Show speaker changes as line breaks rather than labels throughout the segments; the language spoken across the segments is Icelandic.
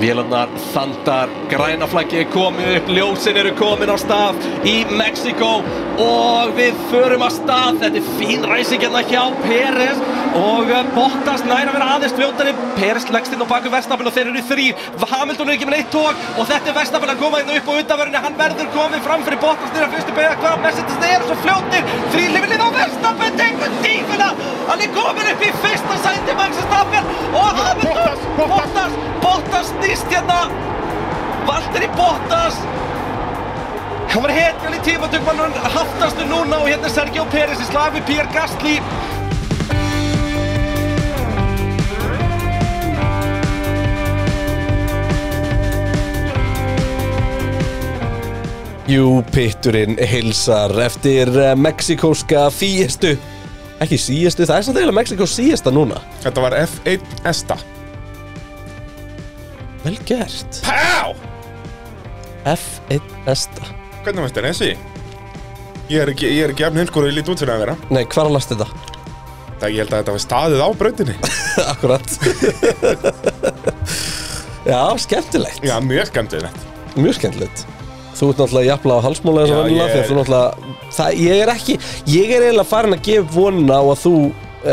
Vélarnar, þandar, grænaflæki er komið upp, ljósin eru komin á stað í Mexiko og við förum að stað. Þetta er fín ræsing hérna hjá Peres og eh, Bottas nær að vera aðeins fljótari. Peres leggst inn á baku Verstafn og þeir eru þrýr. Hamilton er ekki með neitt tók og þetta er Verstafn að koma inn upp á undanverðinu. Hann verður komið fram fyrir Bottas nýra fyrstu beigja hvað Mercedes þeir eru svo fljótir. Þrýlifilið á Verstafn, tengur tífuna. Hann er komin upp í fyrsta sæti Max Verstafn og Hamilton.
Bottas, Bottas.
Bottas, Bottas nýst hérna Valtteri Bottas Hann var hetjan í tímatökmann Haftastu núna og hérna er Sergio Pérez í slag við Pierre Gasly
Jú, pitturinn hilsar eftir eh, mexikóska fíestu Ekki síestu, það er samt eiginlega Mexikó síesta núna
Þetta var F1 Esta
Vel gert
Pá!
F1 esta
Hvernig veist þetta, Nessi? Ég er ekki, ég er ekki jafn heimskur og ég lít út fyrir að vera
Nei, hvar að lasta þetta?
Það ég held að þetta var staðið á brautinni
Akkurat Já, skemmtilegt
Já, mjög skemmtilegt
Mjög skemmtilegt Þú ert náttúrulega jafnlega á halsmóla þess
Já,
að vennilega
ég
Þegar þú
er-
náttúrulega það, Ég er ekki Ég er eiginlega farin að gefa vonina á að þú uh,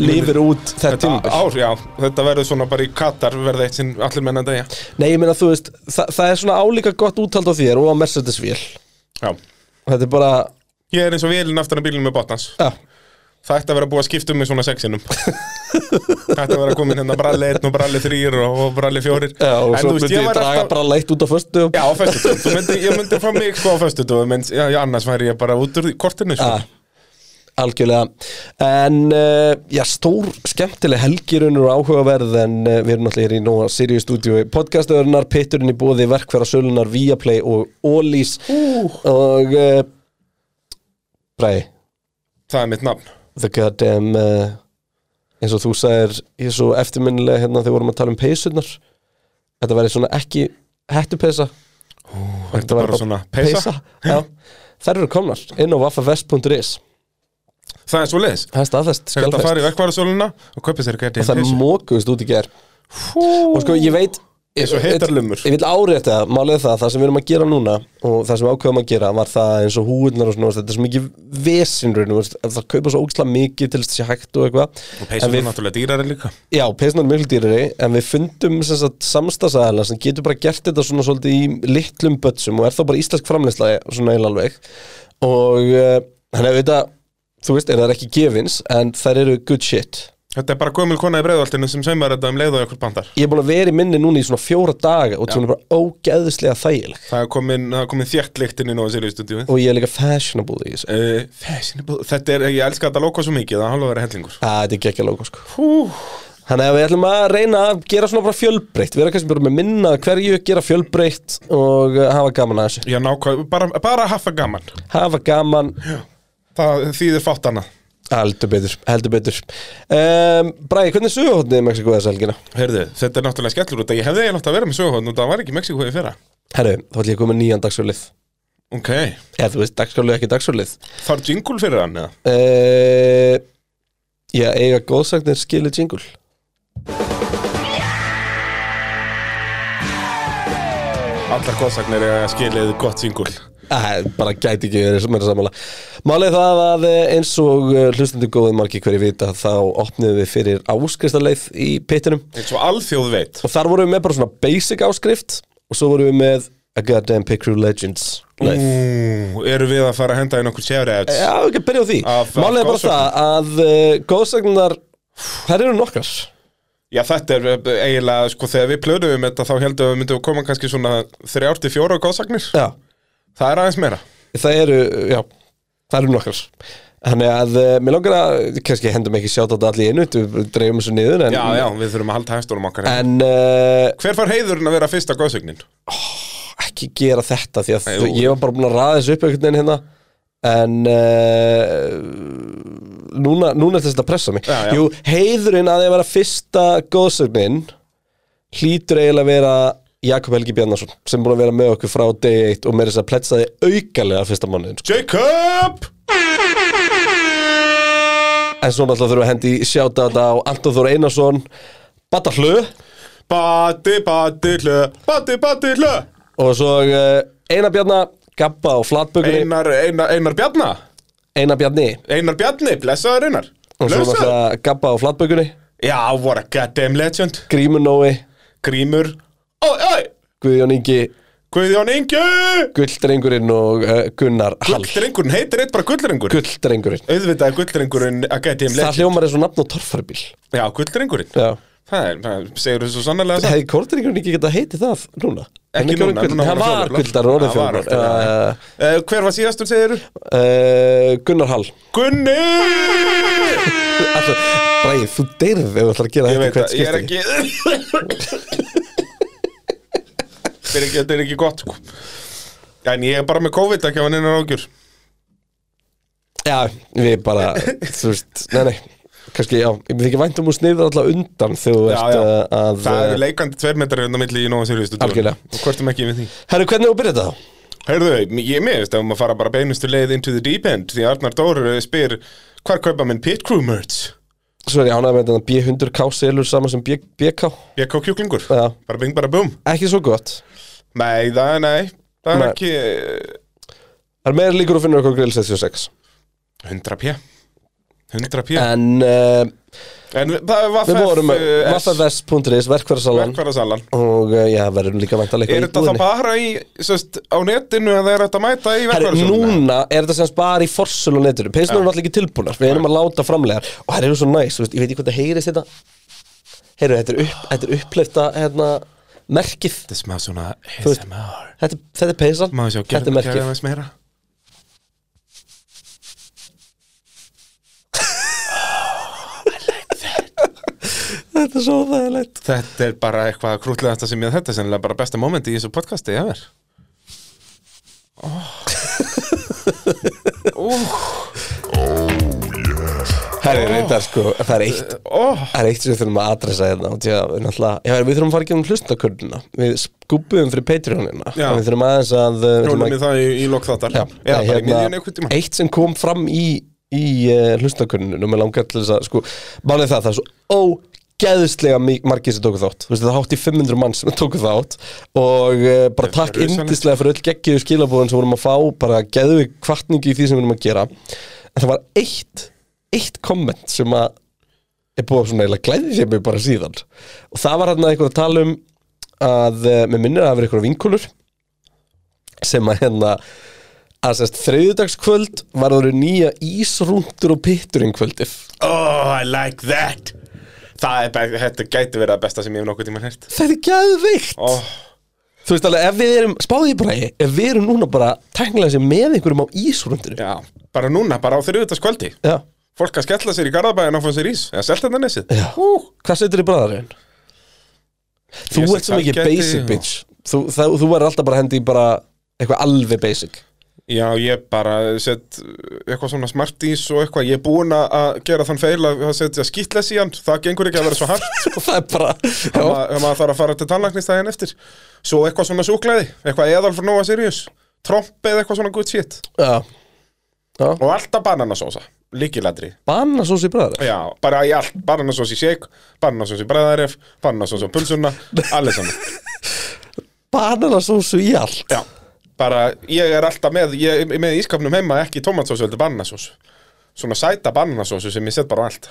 lifir út þetta tímabil
ár, já, þetta verður svona bara í Katar verða eitt sinn allir menna degja
Nei, ég meina þú veist það, það er svona álíka gott úthald á þér og á Mercedes-vél
Já
Þetta er bara
Ég er eins og vélinn aftan af bílinn með botnans
Já,
Það ætti að vera búið að skipta um mig svona sexinum Það ætti að vera komin hérna bralli 1 og bralli 3 og, og bralli 4
já og
En
svo
þú veist,
myndi
ég
ég
var
draga
alltaf
bara leitt út á föstu
Já, á föstudöfum, Þú myndi, ég myndi fá mig sko á föstudöfum en já, já, annars væri ég bara út úr því- kortinu sko.
Já, algjörlega En, uh, já, stór skemmtileg helgirunur og áhugaverð en uh, við erum náttúrulega hér í Nóa Sirius stúdíu podcastöðurnar, pitturinn í bóði verkfæra sölunar, Viaplay og Ólís og uh, Bræði,
Það er mitt nafn
the goddamn uh, eins og þú sagðir ég er svo eftirminnilega hérna þegar við vorum að tala um peysurnar þetta væri svona ekki hettupeysa
Þetta er bara svona peysa
Já, þær eru komnar inn á waffavest.is
Það er svo leiðis
Það er staðfest,
Þetta
skjálfest
farið verkvarðarsóluna og kaupið sér gæti
og það mókuðust út í ger og sko ég veit
Eins og heitar lumur.
ég vil árétta það, málið er það, það sem við erum að gera núna og það sem við ákveðum að gera var það eins og húðnar og svona, þetta er svo mikið vesinn raunum, það kaupa svo ógislega mikið til þess að sé hægt og eitthvað
Og peysa
En
er
við-
náttúrulega dýrari líka
já, peysunar er miklu dýrari, en við fundum sem sagt, samstagsæðala sem getur bara gert þetta svona svolítið í litlum bötsum og er þá bara íslensk framleysla svona eil alveg og eh, þannig að auðvitað þú veist, er það ekki gefins en þær eru good shit
Þetta er bara gömul kona í breiðvaltinu sem semar þetta um leið og ykkur bandar
ég er búin að vera í minni núna í svona fjóra daga og það er bara ógeðislega þægileg
Það er komin, það er komin þjætt lyktinn í Nóa Sirius-stúdíu
og ég er líka fashionable í þessu
uh, Fashionable Þetta er, ég elska þetta logo svo mikið, það er alveg að vera hellingur
Það þetta er gekkja logo sko Þannig að við ætlum að reyna að gera svona bara fjölbreytt Við erum kannski bara með minna af hverju, gera fjölbreytt og uh, hafa gaman að þessu
Já, nákvæm, bara, bara að hafa gaman
Hafa gaman,
Það þýðir fátt annað
heldur betur, heldur betur um, Bræði, hvernig er söguhóttnið í Mexiko þessa helgina?
Heyrðu, þetta er náttúrulega skellur út að ég hefði eiginlega átt að vera með söguhóðn og það var ekki í Mexíkó í fyrra
Herru, þá ætlum ég að koma með nýjan dagsfjölið
Ok,
Eða þú veist, dagsfjölið ekki dagsfjölið
þarf jingle fyrir hann eða?
uh, Já, eiga góðsagnir skilu jingle
Allar góðsagnir er að skilið gott jingle
Æ, bara gæti ekki verið meira sammála Málið það að eh, eins og eh, hlustandi góðið margir hverju vita þá opnum við fyrir áskristaleið í pittinum
Eins og alþjóð veit
og þar vorum við með bara svona basic áskrift og svo vorum við með A Goddamn Pick Crew Legends leið
Ú, eru við að fara að henda inn okkur shoutouts
Já, við ekki að byrja á því
Af- af
Málið er bara það að uh, góðsagnar þær eru nokkar
Já, þetta er eiginlega, sko, þegar við plöðum þetta þá heldum við að myndum að koma kannski svona þrjár til fjóra góðsagnir
Já,
Það er aðeins meira
það eru, já, það eru nokkar Þannig að uh, mér langar að, kannski hendum ekki sjátt á þetta allir í einu Við dreifum þessu niður en,
Já, já, við þurfum að halda hæstunum okkar hérna.
En uh,
Hver far heiðurinn að vera fyrsta góðsögnin?
ekki gera þetta því að
Nei,
þú,
jú.
ég var bara búin að ræða þessu upp einhvern veginn hérna en uh, núna, núna er þetta að pressa mig
Já, já.
Jú, heiðurinn að ég vera fyrsta góðsögnin hlýtur eiginlega að vera Jakob Helgi Bjarnason sem er búin að vera með okkur frá day 1 og með þess að pletsaði aukalega fyrsta mánuðin sko.
Jacob!
en svo náttúrulega þurfum við að hendi sjáta þetta á Anton Þór Einarsson Bata Hlu
Bati, bati, hlö Bati, bati, hlö
Og svo uh, Einar Bjarnar, Gabba og Flatbökunni
Einar, Einar, Einar Bjarna
Einar Bjarni
Einar Bjarni, blessaður Einar
Og svo
Blessaður
náttúrulega Gabba og Flatbökunni
Já, what a goddamn legend
Grímunói,
Grímur Oi, oi
Guðjón Ingi
Guðjón Ingi
Gulldrengurinn og uh, Gunnar Hall
Gulldrengurinn heitir eitt bara gulldrengur
Gulldrengurinn
Auðvitað er gulldrengurinn að gæti
Það
um legend
hljómar eins og nafn og torfarbíl
Já, gulldrengurinn
Já
Það er, það segir þú svo sannlega
Hefði Kortringurinn ekki getað heitið það núna?
Ekki
Hann er
núna,
orðinn gull-
núna
Hann
var hann
var
fjólubblár.
guldar orðið
Hann var
fjólublár
gulldarinn,
uh,
Uh, hver var síðastur, segir þú?
uh, Gunnar Hall
Gunni!
Alltaf, Bræði, þú deyrð ef þú ætlar að gera
Ég
þetta í
veit
hvert
að ég er
skipti
ekki Þetta er ekki, þetta er ekki gott sko. En ég er bara með COVID ekki að hann innan ágjur
Já, við bara, þú veist, nei, nei kannski, já, ég myndi ekki vænt um að sniða alltaf undan þegar þú
Já,
ert
já.
uh, að
Það eru
uh,
leikandi tveir metrar undan milli í Nóa Sirius
Algjörlega.
Og hvortum ekki við því
Herru, hvernig þú byrjar þetta þá?
Heyrðu, ég meðist að maður fara bara beinustu leið into the deep end Því Arnar Dór eh, spyr Hvar kaupa minn pit crew merch?
Svo er ég ánægð með þetta B100K selur saman sem B- BK
BK kjúklingur
Já.
Bara bing bara bum
Ekki svo gott
Nei, það, nei, það er
Nei.
ekki eh,
Það er meira líkur að finna okkur grill 66
100p 100p
En uh,
En það var eh,
við vorum
FF
vaffavest.is, verkværasalan
Verkvarasalan
og uh, já, verðum líka vænt að leika
Er þetta þá bara í, sérst, á netinu eða er þetta að mæta í
Herru,
verkvarasalunum?
núna er þetta semst bara í forsölu og netinu Peysunum er náttúrulega ekki tilbúnar, við erum að láta framlegar Og það eru svo næs, þú veist, ég veit ekki hvað það heyrist þetta Heyrðu, þetta er, upp, þetta er uppleifta hérna, merkið
Þetta er smá svona
veist-
ASMR
Þetta, þetta er peysan,
Má sjá,
þetta er
gerðum
merkið
gerðum aðeins meira
Þetta er svo þægilegt
Þetta er bara eitthvað krútlegasta sem ég þetta er sennilega bara besta momenti í þessu podcasti, ég verð
Herru, reyndar sko, það er eitt
Óh,
Það er eitt sem við þurfum að adressa hérna og því að við náttúrulega, já, við þurfum að fara ekki um hlustakurluna Við skúpuðum fyrir Patreonina
Já.
En Við þurfum aðeins að uh, við þurfum
rólum
að-
við það í, í lokþáttar
Já,
Eða
nei, hérna-
bara í miðjun einhvern tíma
Eitt sem kom fram í, í uh, hlustakunninu og mér langar til þess að sko, málið það, það er svo ógeðslega mi- margir sem tóku þátt Þú veist, það hátt í 500 mann sem tóku þátt og uh, bara
Það er
takk
rosalegt.
yndislega fyrir öll geggiðu skilabúðin sem við vorum að fá bara geðu kvartningi í því sem við vorum að gera en það var eitt eitt komment sem að er búið að svona eiginlega glæði sér mig bara síðan og það var hann að einhver að tala um að eh, mér minnir að það vera einhverja vinkulur sem að hérna að sérst þriðudagskvöld var það nýja ísrúndur og pitturinn kvöldið
Oh, I like that Það er, be- þetta gæti verið að besta sem ég hef nokkuð tíma hert
þetta er gæðveikt
oh,
þú veist alveg ef við erum spáðið bara í, ef við erum núna bara tæknilega sem með einhverjum á ísrúndinu
Já, bara núna, bara á þriðutaskvöldi
já.
Fólk að skella sér í garðabæðin og fá sér ís Eða selta þetta nesið
Já. hvað setur þið bræðarinn? þú
Ég sé
ert svo mikið
það gæti-
basic bitch þú, það, þú verður alltaf bara hendi í bara eitthvað alveg basic
Já, ég bara set eitthvað svona smart ís og eitthvað Ég er búinn að- að gera þann feil að að setja skýtles í hann Það gengur ekki að vera svo hart
það er bara
Það
já.
ma- maður þarf að fara til tannlæknist daginn eftir Svo eitthvað svona súklaði Eitthvað eðal frá Nóa Sirius Tromp eða eitthvað svona good shit
Já.
Og alltaf bananasósa, líkiladri
Banasós í bræðarinn
Já, bara í allt, bananasós í shake Bananasós í bræðaref, bananasós á pulsunna Allir saman
Banasósu í allt
Já, bara ég er alltaf með Ég er með í ískapnum heima ekki tomatsósu heldur bananasósu Svona sæta bananasósu sem ég set bara á allt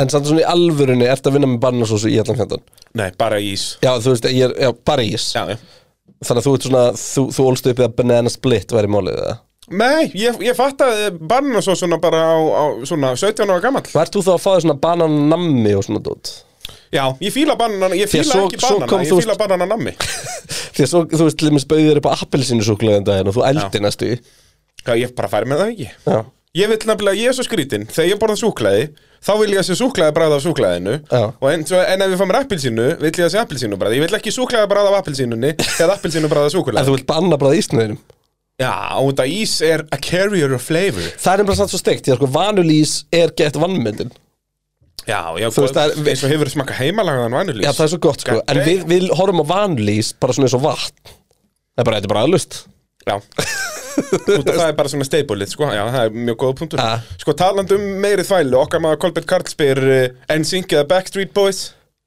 En samt svona í alvörunni, ert að vinna með bananasósu í allan fjöndan?
Nei, bara í ís
Já, þú veist, ég er, já, bara í ís
Já, já
Þannig að þú ert svona, þú, þú ólst upp í að banana split væri málið eða?
Nei, ég, ég fattaði bananasósuna bara á, á svona 17 ára gamall
Hvað ert þú þá að fá þér svona bananammi og svona dót?
Já, ég fíla bananana, ég
Því að
fíla
svo-
ekki
svo kom
bananana, ég
þú-
fíla banananammi
Því að svo, þú veist, limins bauðir upp á appelsinusúklaðin daginn og þú eldi næstu í
Já, ég bara færi með það ekki
Já,
Ég vil nefnilega, ég er svo skrítinn, þegar ég borða súklaði þá vil ég að sé súklaði bræða af súklaðinu
Já.
og en, svo, en ef ég fá mér appelsínu, vil ég að sé appelsínu bræða ég vil ekki súklaði bræða af appelsínunni eða appelsínu bræða af
en
súklaði
þú vilt banna bara ísnöðinum
Já, og þetta ís er a carrier of flavor
Það er bara samt svo steikt, ég er sko vanulís er gett vannmyndin
Já, já,
veist, það er-
eins og hefur smakka heimalagaðan vanilís
Já, það er svo gott sko, en við, við horfum á vanulís bara svona eins og vatn Það er bara, þetta er bara aðlust
Já Út af það er bara svona steipulið, sko, já, það er mjög góða punktur
Ja.
Sko, taland um meiri þvælu, okkar maður Kolbjörn Karl spyr uh, NSYNC eða eh, Backstreet Boys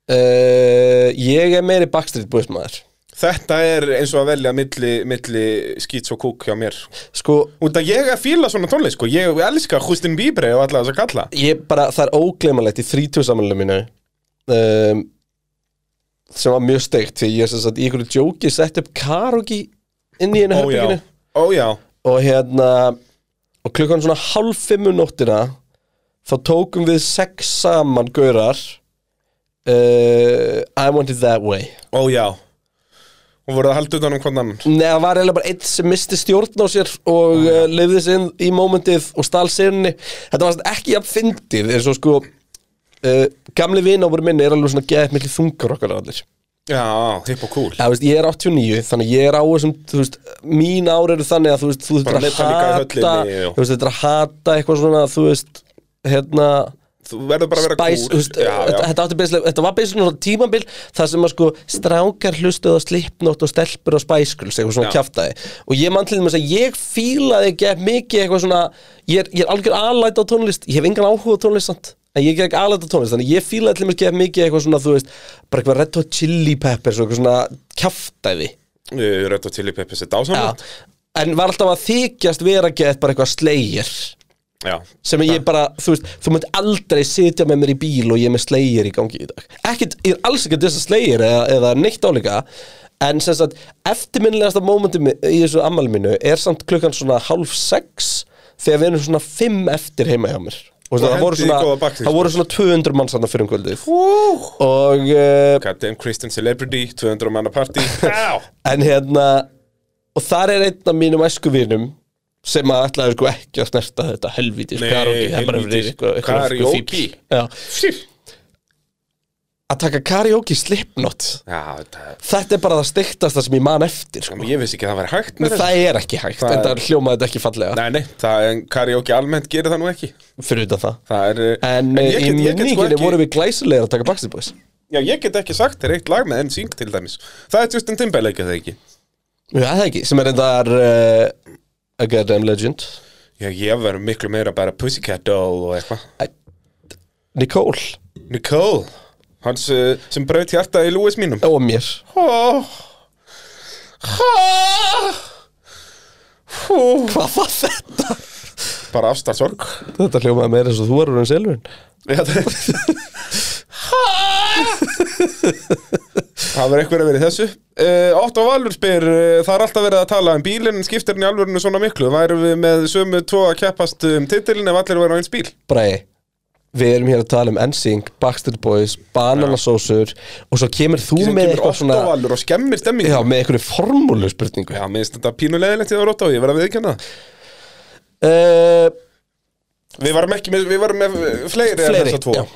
uh, Ég er meiri Backstreet Boys maður
Þetta er eins og að velja milli, milli skýts og kúk hjá mér
Sko,
Út að ég er að fíla svona tónleik sko Ég elska Justin Bieber og alla þess að kalla
ég bara, það er ógleimalegt í 30 samanlega mínu um, sem var mjög steikt því ég sem sagt í einhverju djóki sett upp karaoke inn í einu
Ó já,
herbygginu
ó já
og hérna og klukkan svona hálf fimmu nóttina þá tókum við sex saman gaurar uh, I want it that way
Ó já Og voruð að halda utan um hvern annan
Nei, það var eiginlega bara einn sem misti stjórn á sér og uh, leiði sér inn í mómentið og stál sérni. Þetta var samt ekki jafn fyndið, eins og sko uh, gamli vináfur minni er alveg svona geðið miklu þungar okkar allir.
Já, hipp og cool
Já, veist, ég er 89, þannig ég er á þessum, þú veist, mín ár eru þannig að þú veist, þú
Bara
veist,
leika líka í
hata,
höllinni, já.
þú veist, þetta er að hata eitthvað svona, þú veist, hérna,
Þú verður bara að vera
spæs, þú
cool
veist,
já, já.
þetta, þetta, átti beislega, þetta var beislega svona tímabil þar sem að sko strákar hlustuð á slipnót og stelpur og spæskuls eitthvað svona
Já.
kjaftaði og ég mann til þess að ég fílaði ekki mikið eitthvað svona ég er, ég er algjör alæt á tónlist, ég hef engan áhuga á tónlist samt En ég er ekki alæt á tónlist, þannig ég fílaði til mér ekki mikið eitthvað svona, þú veist, bara eitthvað Red Hot Chili Peppers og eitthvað svona kjaftæði.
Ég Rödd og Tilly Peppis er
Já.
dásamlegt
En var alltaf að þykjast vera gett bara eitthvað slegir
Já,
sem ég bara, þú veist, þú munt aldrei sitja með mér í bíl og ég er með slegir í gangi í dag ekkert, ég er alls ekki að dissa slegir eða, eða neitt álíka en sem sagt, eftirminnilegasta mómenti í þessu ammæli mínu er samt klukkan svona hálf sex þegar við erum svona fimm eftir heima hjá mér og,
Og
það, voru
hendi í
svona,
góða baksýn,
það voru svona 200 manns hann fyrir um kvöldið og uh,
Goddamn Christian Celebrity 200 manna party Já,
en hérna og þar er einn af mínum æskuvinum sem að ætlaði sko ekki að snerta þetta helvítis
Nei,
karaoke, það er bara
helvítis
eitthvað- eitthvað- eitthvað fíbl.
karaoke.
Já. að taka karaoke í slipnot
já þetta
þetta er bara það steiktasta sem ég man eftir sko.
Ég vissi ekki að það væri hægt með
það er ekki hægt,
Það
en
er-
það hljómaði þetta ekki fallega
Nei, nei, það en karaoke almennt gerir það nú ekki
fyrir utan það
Það er
en, eh,
ég
í
get- ég get sko
minninginni
ekki-
vorum við glæsilegir að taka Backstreet Boys
Já, ég get ekki sagt þér eitt lag með enn syng til dæmis Það er Justin Timberlake, er það ekki
já það ekki, sem er endar uh, a goddamn legend
Já, ég verður miklu meira bara Pussycat Doll og eitthvað
Nicole,
Nicole, hans uh, sem braut hjarta í Lewis mínum
og mér
oh. Oh. Oh.
hvað var þetta?
Bara afstafsorg
þetta hljómaði meira eins og þú varur um selvin
Já, það Það verður eitthvað að vera í þessu uh, Otto Valur spyr uh, Það er alltaf verið að tala um bílinn En skiptir hann í alvörinu svona miklu Værum við með sömu tvo að keppast um titilin Ef allir verður á eins bíl
Bræði, við erum hér að tala um NSYNC, Backstreet Boys, Bananasósur og svo kemur þú
Sem
með
kemur
eitthvað
Otto
svona
Valur og skemmir stemming
já, með einhverju formúlu spurningu
Já, minnst þetta pínulegilegt í það Otto Ég verð að viðkjanna það
uh,
Við varum ekki með, við varum með uh, fleiri, en
Fleiri,
þessa tvo
já.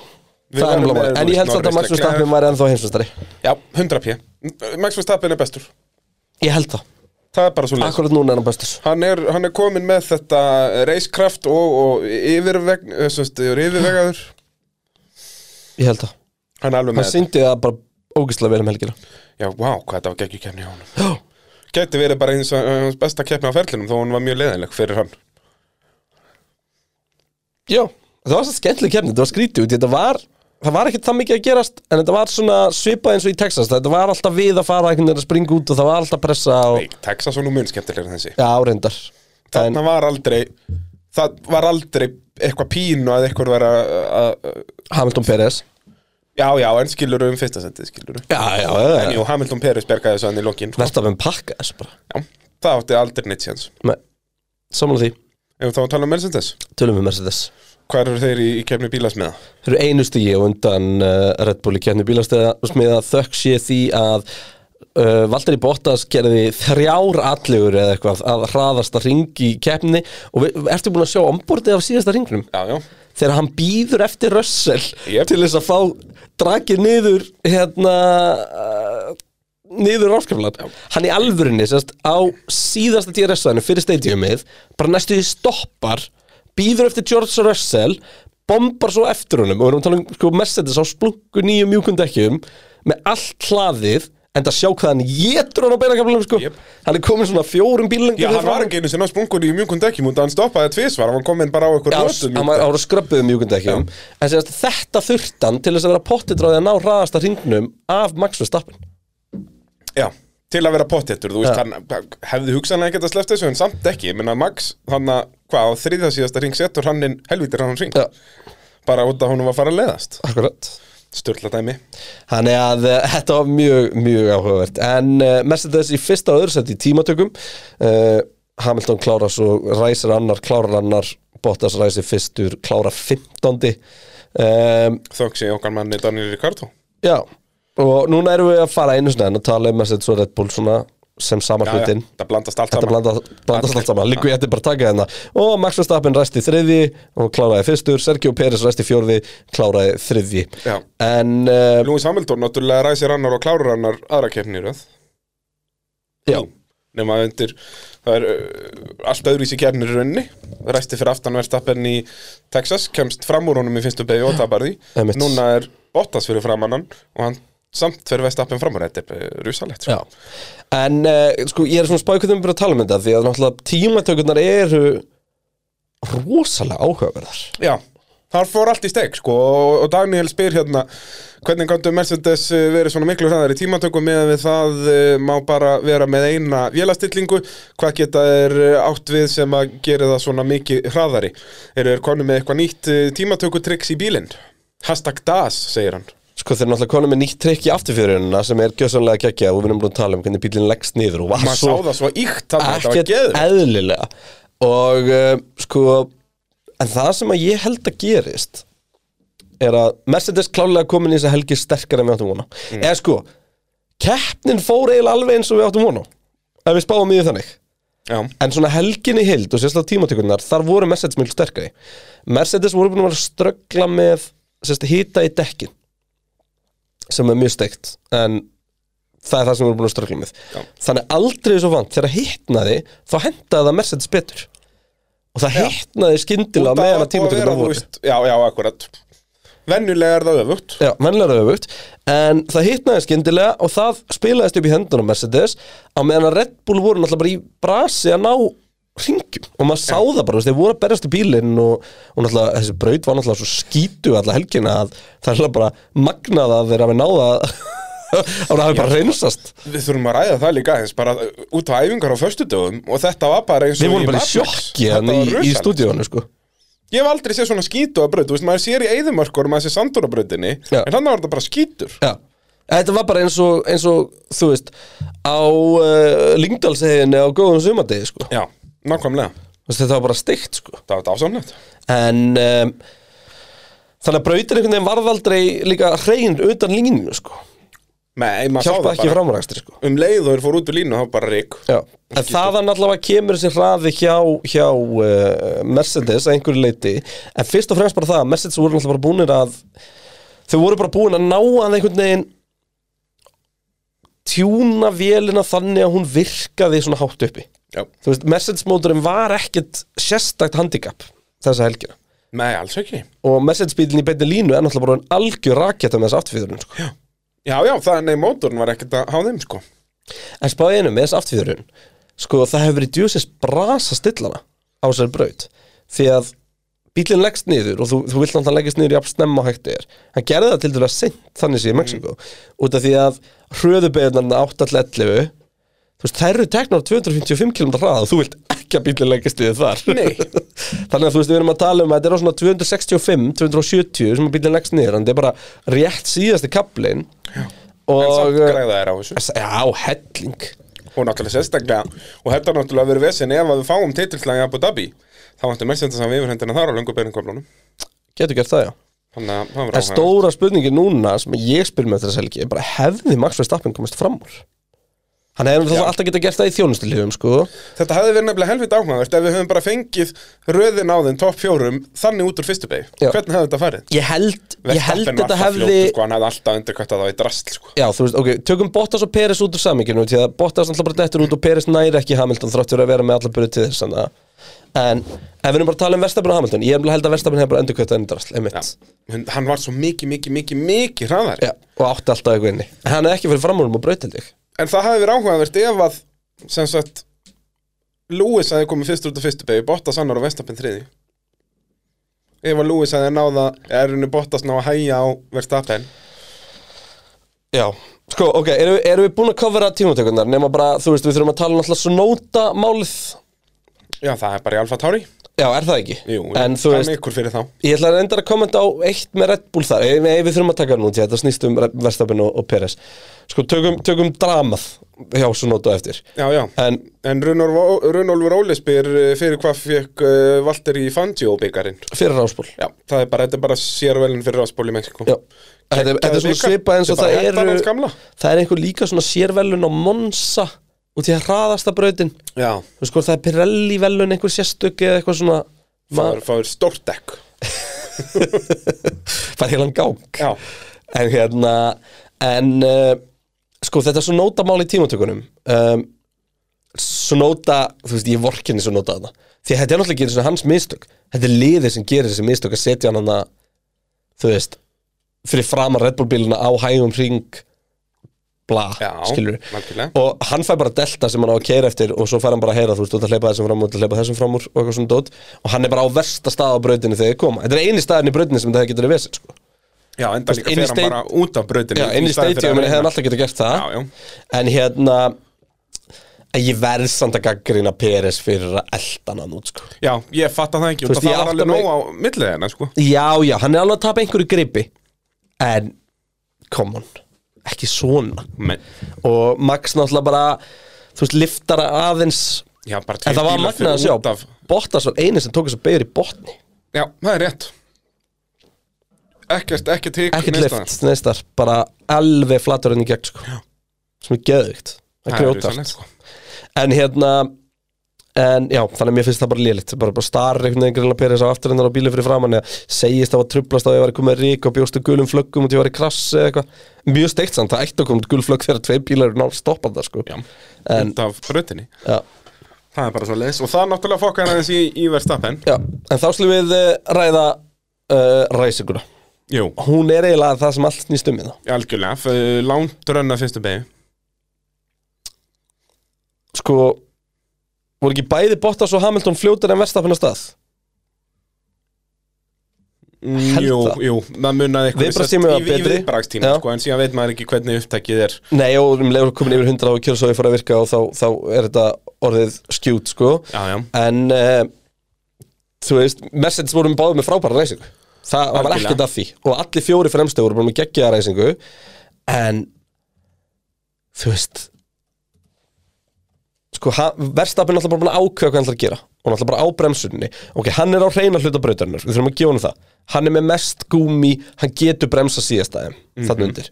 Við
Það er
vorum
nefnilega
með,
málið. En
þú
ég held
veist,
samt að
Norris
Max
Leclerc.
Verstappen væri ennþá heimsvistari
Já, 100 p Max Verstappen er bestur
Ég held það
Það er bara svo
Akkurat núna er hann bestur
Hann er, hann er komin með þetta reiskraft og, og yfirveg, eh, sest, yfirvegaður
Ég held það
Hann er alveg
Hann
með þetta
syndi það bara ógeðslega vel um helgina
Já, vá, hvað þetta var geggjur kemni hjá honum
Já
Gæti verið bara eins og uh, hans besta keppni á ferlinum þó hann var mjög leiðinleg fyrir hann
Já Það var svo skemmtileg kemni Þetta var skrítið út Þetta var Það var ekkert það mikið að gerast En þetta var svona svipað eins og í Texas Þetta var alltaf við að fara einhvern veginn að springa út Og það var alltaf pressa og...
Nei, Texas var nú mun skemmtilegur en þessi
Já, áreindar
Þarna var aldrei Það var aldrei eitthvað pínu að eitthvað vera að, að,
Hamilton Perez
Já, já, en skilur um fyrsta sendið skilur
Já, já, já,
En
já.
jú, Hamilton Peres bergaði þessu hann í lokin sko.
Verstafinn pakka þessu bara
Já, það átti aldrei neitt séns
Nei Samanlega því
Ef þá að tala um Mercedes
Tölum við Mercedes
Hvað eru þeir í, í kemni bílasmiða?
Þeir eru einu stígi og undan uh, Red Bull í kefni bílasmiða þökk sé því að uh, Valtteri Bottas gerði þrjár allugur eða eitthvað að hraðasta ring í kefni og við, ertu búin að sjá ombordið af síðasta ringnum
Já, já
þegar hann býður eftir Russell
Jep.
til þess að fá drakið niður hérna uh, niður ráskaflan hann í alvörinni sérst á síðasta DRS-sæðinu fyrir stadiumið bara næstu því stoppar býður eftir George Russell bombar svo eftir honum og við erum að tala um sko, Mercedes á splungu nýjum mjúkum dekkjum með allt hlaðið en það sjá hvað hann getur hann á beinakaflunum sko
Jep.
hann er komin svona fjórum bílengdur
Já, hann var ekki einu sinna sprungur í mjungum dekkjum og hann stoppaði tvisvar, hann kom inn bara á einhver
Já,
rötu
hann var- hann var skröbbuð um mjúkundekjum en sérst, þetta þurftan til þess að vera pottitráði að ná hraðasta hringnum af Max Verstappen
Já, til að vera pottettur, þú veist,
Já.
hann hefði hugsanlega ekkert að sleppta þessu en samt ekki, menna Max, hann að, hvað, á þriðja síðasta ring setur hann inn helvítir hann ring,
Já,
bara út að hún var að fara að leiðast,
akkurat
störla dæmi.
Þannig að uh, þetta var mjög, mjög áhugavert En uh, Mercedes í fyrsta og öðru sett í tímatökum uh, Hamilton klárar svo ræsir annar, klárar annar Bottas ræsir fyrstur, klárar 15. Um,
Þögg sé okkar manni Daniel Ricardo.
já, og núna erum við að fara einu sinni en að tala um Mercedes og Red Bull svona sem sama
Já, já,
hlutin
það blandast allt
Þetta
saman.
blanda, blandast allt saman, líku ég ætti bara að taka hérna Og Max Verstappen ræsti þriði og kláraði fyrstur Sergio Pérez ræsti fjórði, kláraði þriði
Já.
En, uh,
Lewis Hamilton náttúrulega ræsir annar og klárar annar aðra keppni í röð
já,
nema að undir það er uh, allt öðru í sér kernir raunni ræsti fyrir aftan verðstappen í Texas kemst fram úr honum í fyrstu beigju og tapar því
Einmitt.
núna er Bottas fyrir framannan og hann samt fyrir verðstappen fram úr þetta er uh, rúsalegt
Já, en uh, sko ég er svona spáði hvernig við byrjum að tala um þetta því að náttúrulega tímatökurnar eru rosalega áhugaverðar
Já, þar fór allt í steg sko, og, og Daniel spyr hérna hvernig gáttu Mercedes eh, verið svona miklu hraðar í tímatökum meðan við það uh, má bara vera með eina vélastillingu hvað geta er átt við sem að gera það svona mikið hraðari eru þeir konu með eitthvað nýtt uh, tímatökutricks í bílinn hashtag DAS segir hann
Sko þeir eru náttúrulega konum með nýtt trikk í afturfjörunina sem er gjössanlega geggja og við erum búin að tala um hvernig bílinn leggst niður og var
maður sá
svo
það svo íkt þannig að þetta var
ekkert
geður
eðlilega og uh, sko en það sem að ég held að gerist er að Mercedes klálega komin í þess að helgi sterkar en við áttum vona
Mm.
eða sko, keppnin fór eiginlega alveg eins og við áttum vona ef við spáum í því þannig
Já,
En svona helginni hild og sérstaklega tímatökurnar þar voru Mercedes mjög sterkari Mercedes voru búin að vera að ströggla með sérstaklega hýta í dekkin sem er mjög steikt en það er það sem voru búin að ströggla með
Já.
Þannig aldrei svo vant þegar hýtnaði þá hendaði það Mercedes betur og það hýtnaði skyndilega
Út af
meðan að
var búið vera,
tímatökurnar
þú
voru
veist, Já, já, akkurat Venjulega er það öfugt
Já, mennlega öfugt En það hittnaði skyndilega og það spilaðist upp í hendunum Mercedes á meðan að Red Bull voru náttúrulega bara í brasi að ná hringjum og maður sá það bara, þú veist, þeir voru að berjast í bílinn og, og náttúrulega þessi braut var náttúrulega svo skítu alla helgina að það er náttúrulega bara magnað að þeir hafi náða að það hafi bara reynsast
Við þurfum að ræða það líka eins bara uh, út á æfingar á föstudögum og þetta var bara eins og
Við vorum bara í
Matrix.
sjokki
Þetta
hann
var
í, í
rosalegt.
stúdíónu sko
Ég hef aldrei séð svona skítu að braut, þú veist, maður sér í eyðumörkur maður sér sandur á brautinni,
Já.
en hann var þetta bara skítur
Já Þetta var bara eins og, eins og þú veist, á uh, Lyngdalsheginni á góðum sumardegi sko
Já, nákvæmlega,
Þú veist, Þetta var bara steikt sko
það var þetta ásánlegt
en um, þannig að brautin einhvern veginn varð aldrei líka hrein utan línu sko
Nei, maður sá
hjálpa
það
ekki
bara
framrækstir sko
Um leið og þeir fór út úr línu, það var bara rík
Já. en þaðan allavega kemur þessi hraði hjá, hjá uh, Mercedes að einhverju leiti en fyrst og fremst bara það að Mercedes voru alltaf bara búinir að þau voru bara búin að ná að einhvern veginn tjúna vélina þannig að hún virkaði svona hátt uppi
Já,
þú veist, Mercedes móturinn var ekkit sérstakt handicap þessa helgina
nei, alls ekki
og messagebílinn í beinni línu er náttúrulega bara en algjör raketta með þess afturfýðurinn sko.
Já, já, það, nei, mótorn var ekkert að hafa þeim, sko
en spáði einu með þess afturfýðurinn sko, það hefur verið djúsins brasa stillana á þessari braut því að bílinn leggst niður og þú, þú vilt náttúrulega leggist niður jafn snemma og hægt er hann gerði það til dæla seint þannig sé í Mexiko
Mm.
út af því að hröðubeginarna 8-11 þú veist, þær eru teknar á 255 km hraða og þú vilt ekki að bílinn leggist niður þar
Nei.
þannig að þú veist, við erum að tala um að þetta er á svona 265, 270 sem að bílinn leggst niður, en þetta er bara rétt síðasti kaplinn og uh, eh,
En samt græða er á þessu
Já, helling
Og náttúrulega sérstaklega, og þetta er náttúrulega verið vesinn ef að við fáum titilslægi Abu Dhabi Þá vantum Mercedes að við yfirhendina þar á löngu beininköflunum
Getur gert það, já
Þannig að það var
En
áhugavert.
stóra spurningin núna sem ég spyr með þess helgi er bara hefði Max Verstappen komist fram úr? Hann hefði náttúrulega alltaf getað gert það í þjónustiliðum sko
Þetta hefði verið nefnilega helvit áhugavert ef við höfum bara fengið röðin á þeim topp fjórum þannig út úr fyrstu beig.
Já.
Hvernig hefði þetta farið?
Ég held, ég held
Verstappen var
þetta
það
hefði
fljótur, sko, hann hefði alltaf undirkvættað það í drasl sko.
Já, þú veist, ok, tökum Bottas og Peres út úr samíkinu því að Bottas alltaf bara dettur út og Peres næri ekki Hamilton þrátt fyrir að vera með allar burið til þess þannig að en ef við erum bara að tala um Verstafn og Hamilton ég er nefnilega held að Verstafn hefur bara endurkvætt endrast
Já.
einmitt,
Hún- Hann var svo mikið, mikið, mikið, mikið hraðar
já. og átti alltaf eitthvað inni en hann hefði ekki fyrir framúrum og braut held ég
En það hafi verið áhugavert ef að sem sagt Lewis hefði komið fyrst út af fyrstu begi Bottas annar og Vestapin þriði Ef að Lewis hefði náða er henni Bottas ná að hæja á Verstapin
Já, sko, ok, erum við, erum við búin að covera tímatökurnar nema bara, þú veist, við þurfum að tala náttúrulega svo nota málið
Já, það er bara í Alfa Tauri
Já, er það ekki?
Jú,
en þú
það er
veist,
ykkur fyrir þá
ég ætla að enda að kommenta á eitt með Red Bull þar Nei, við þurfum að taka það nú, því þetta snýst um Verstapin og, og Peres Sko, tökum, tökum dramað hjá svo nota á eftir
Já, já
En,
En Runor- Runólfur Óli spyr eh, fyrir hvað fekk uh, Valtteri Fangio byggarinn
fyrir ráspól
Já, það er bara, þetta er bara sérvelin fyrir ráspól í Mexiko
Já, þetta er- þetta er svona
vika.
svipað eins og
Þetta er
það
bara
eru
hettan hans gamla.
Það er einhver líka svona sérvelun á Monsa út í að hraðasta brautin Þú
Já,
veist, hvort það er Pirelli velun einhver sérstök eða eitthvað svona
það er, það er stórt dekk
fær heilan gang
Já,
en hérna en uh, sko þetta er svo nótamál í tímatökunum um, svo nota þú veist ég vorkinni svo nota þarna því að þetta er náttúrulega ekki einu sinni hans mistök þetta er liðið sem gerir þessi mistök að setja hann hana þú veist fyrir framar Red Bull bíluna á hægum ring bla,
já,
skilur
algjörlega
og hann fær bara delta sem hann á að keira eftir og svo fær hann bara að heyra þú veist, þú ert að hleypa þessum fram úr, þú ert að hleypa þessum fram úr og eitthvað svona dót og hann er bara á versta stað á brautinu þegar þið koma þetta er eini staðin í brautinu sem þetta getur að vesið sko.
Já, enda líka
inn í
fyrir hann
steit-
bara út af brautinu
Já, inn í
staðinn fyrir
stadium
að
hefði hann
reyna.
alltaf getur gert það
Já, já.
En hérna en Ég verð samt að gaggrina Peres fyrir að elda hann út sko.
Já, ég fatta það ekki
Þú
út
veist, ég
að það var
átta
alveg
mig-
nóg á millið hennar, sko
Já, já, hann er alveg að tapa einhverju gripi En, come on Ekki svona
Men,
Og Max náttúrulega bara Þú veist, liftar aðeins
Já, bara
En
tveir
það var
bílar
magnað að
fyrir
sjá
út af-
Bottas var eini sem tók þess að beigur í botni
Já, það er rétt Ekkert, ekkert hík
Ekkert lift, neistar Bara alveg flatur henni í gegn sko. Sem er geðugt Það er
Það er
grjótart
visanlega, sko
En hérna En já, þannig að mér finnst það bara lélitt Bara, bara starri einhvern veginn grilla Peres á afturinnar á bílum fyrir framann eða segist það var trublast á að ég var að koma rík og bjóstu gulum flöggum og ég var í krass eða eitthvað Mjög steikt samt, það ætti að koma gul flögg þegar tvei bílar eru nátt stoppað það sko
Já,
En-
út af brautinni
já,
Það er bara svo leiðis og það er náttúrulega fokka hann aðeins í, í verðstappen
já. En þá slum við eh, ræða uh, ræsinguna
Jú,
Hún er eiginlega það sem allt snýst um í það
algjörlega, f- eh, langt rönna fyrstu beigju
Sko, voru ekki bæði Bottas og Hamilton fljótar en verstafinn á stað Held
Jú,
það.
jú, það munnaði eitthvað
Viðbragðstími
sem
var
sagt í, í
betri.
viðbrakstíma
Já.
sko, en síðan veit maður ekki hvernig upptækið er
Nei, og um leiður komin yfir 100 og kjörsóði fór að virka og þá, þá er þetta orðið skjút sko
Já, já,
en uh, þú veist, Mercedes voru með báðum með frábæra reysingu það var
Algjörlega.
ekkert að því og allir fjóri fremstu voru bara með geggjaða reysingu en þú veist sko, verðstapin náttúrulega bara búin að ákveða hvað hann ætlar að gera og náttúrulega bara á bremsunni ok, hann er á reyna hluta brautarinnar, við þurfum að gefa hann það hann er með mest gúmi, hann getur bremsa síðastæðum,
Mhm.
mm -hmm. þannig undir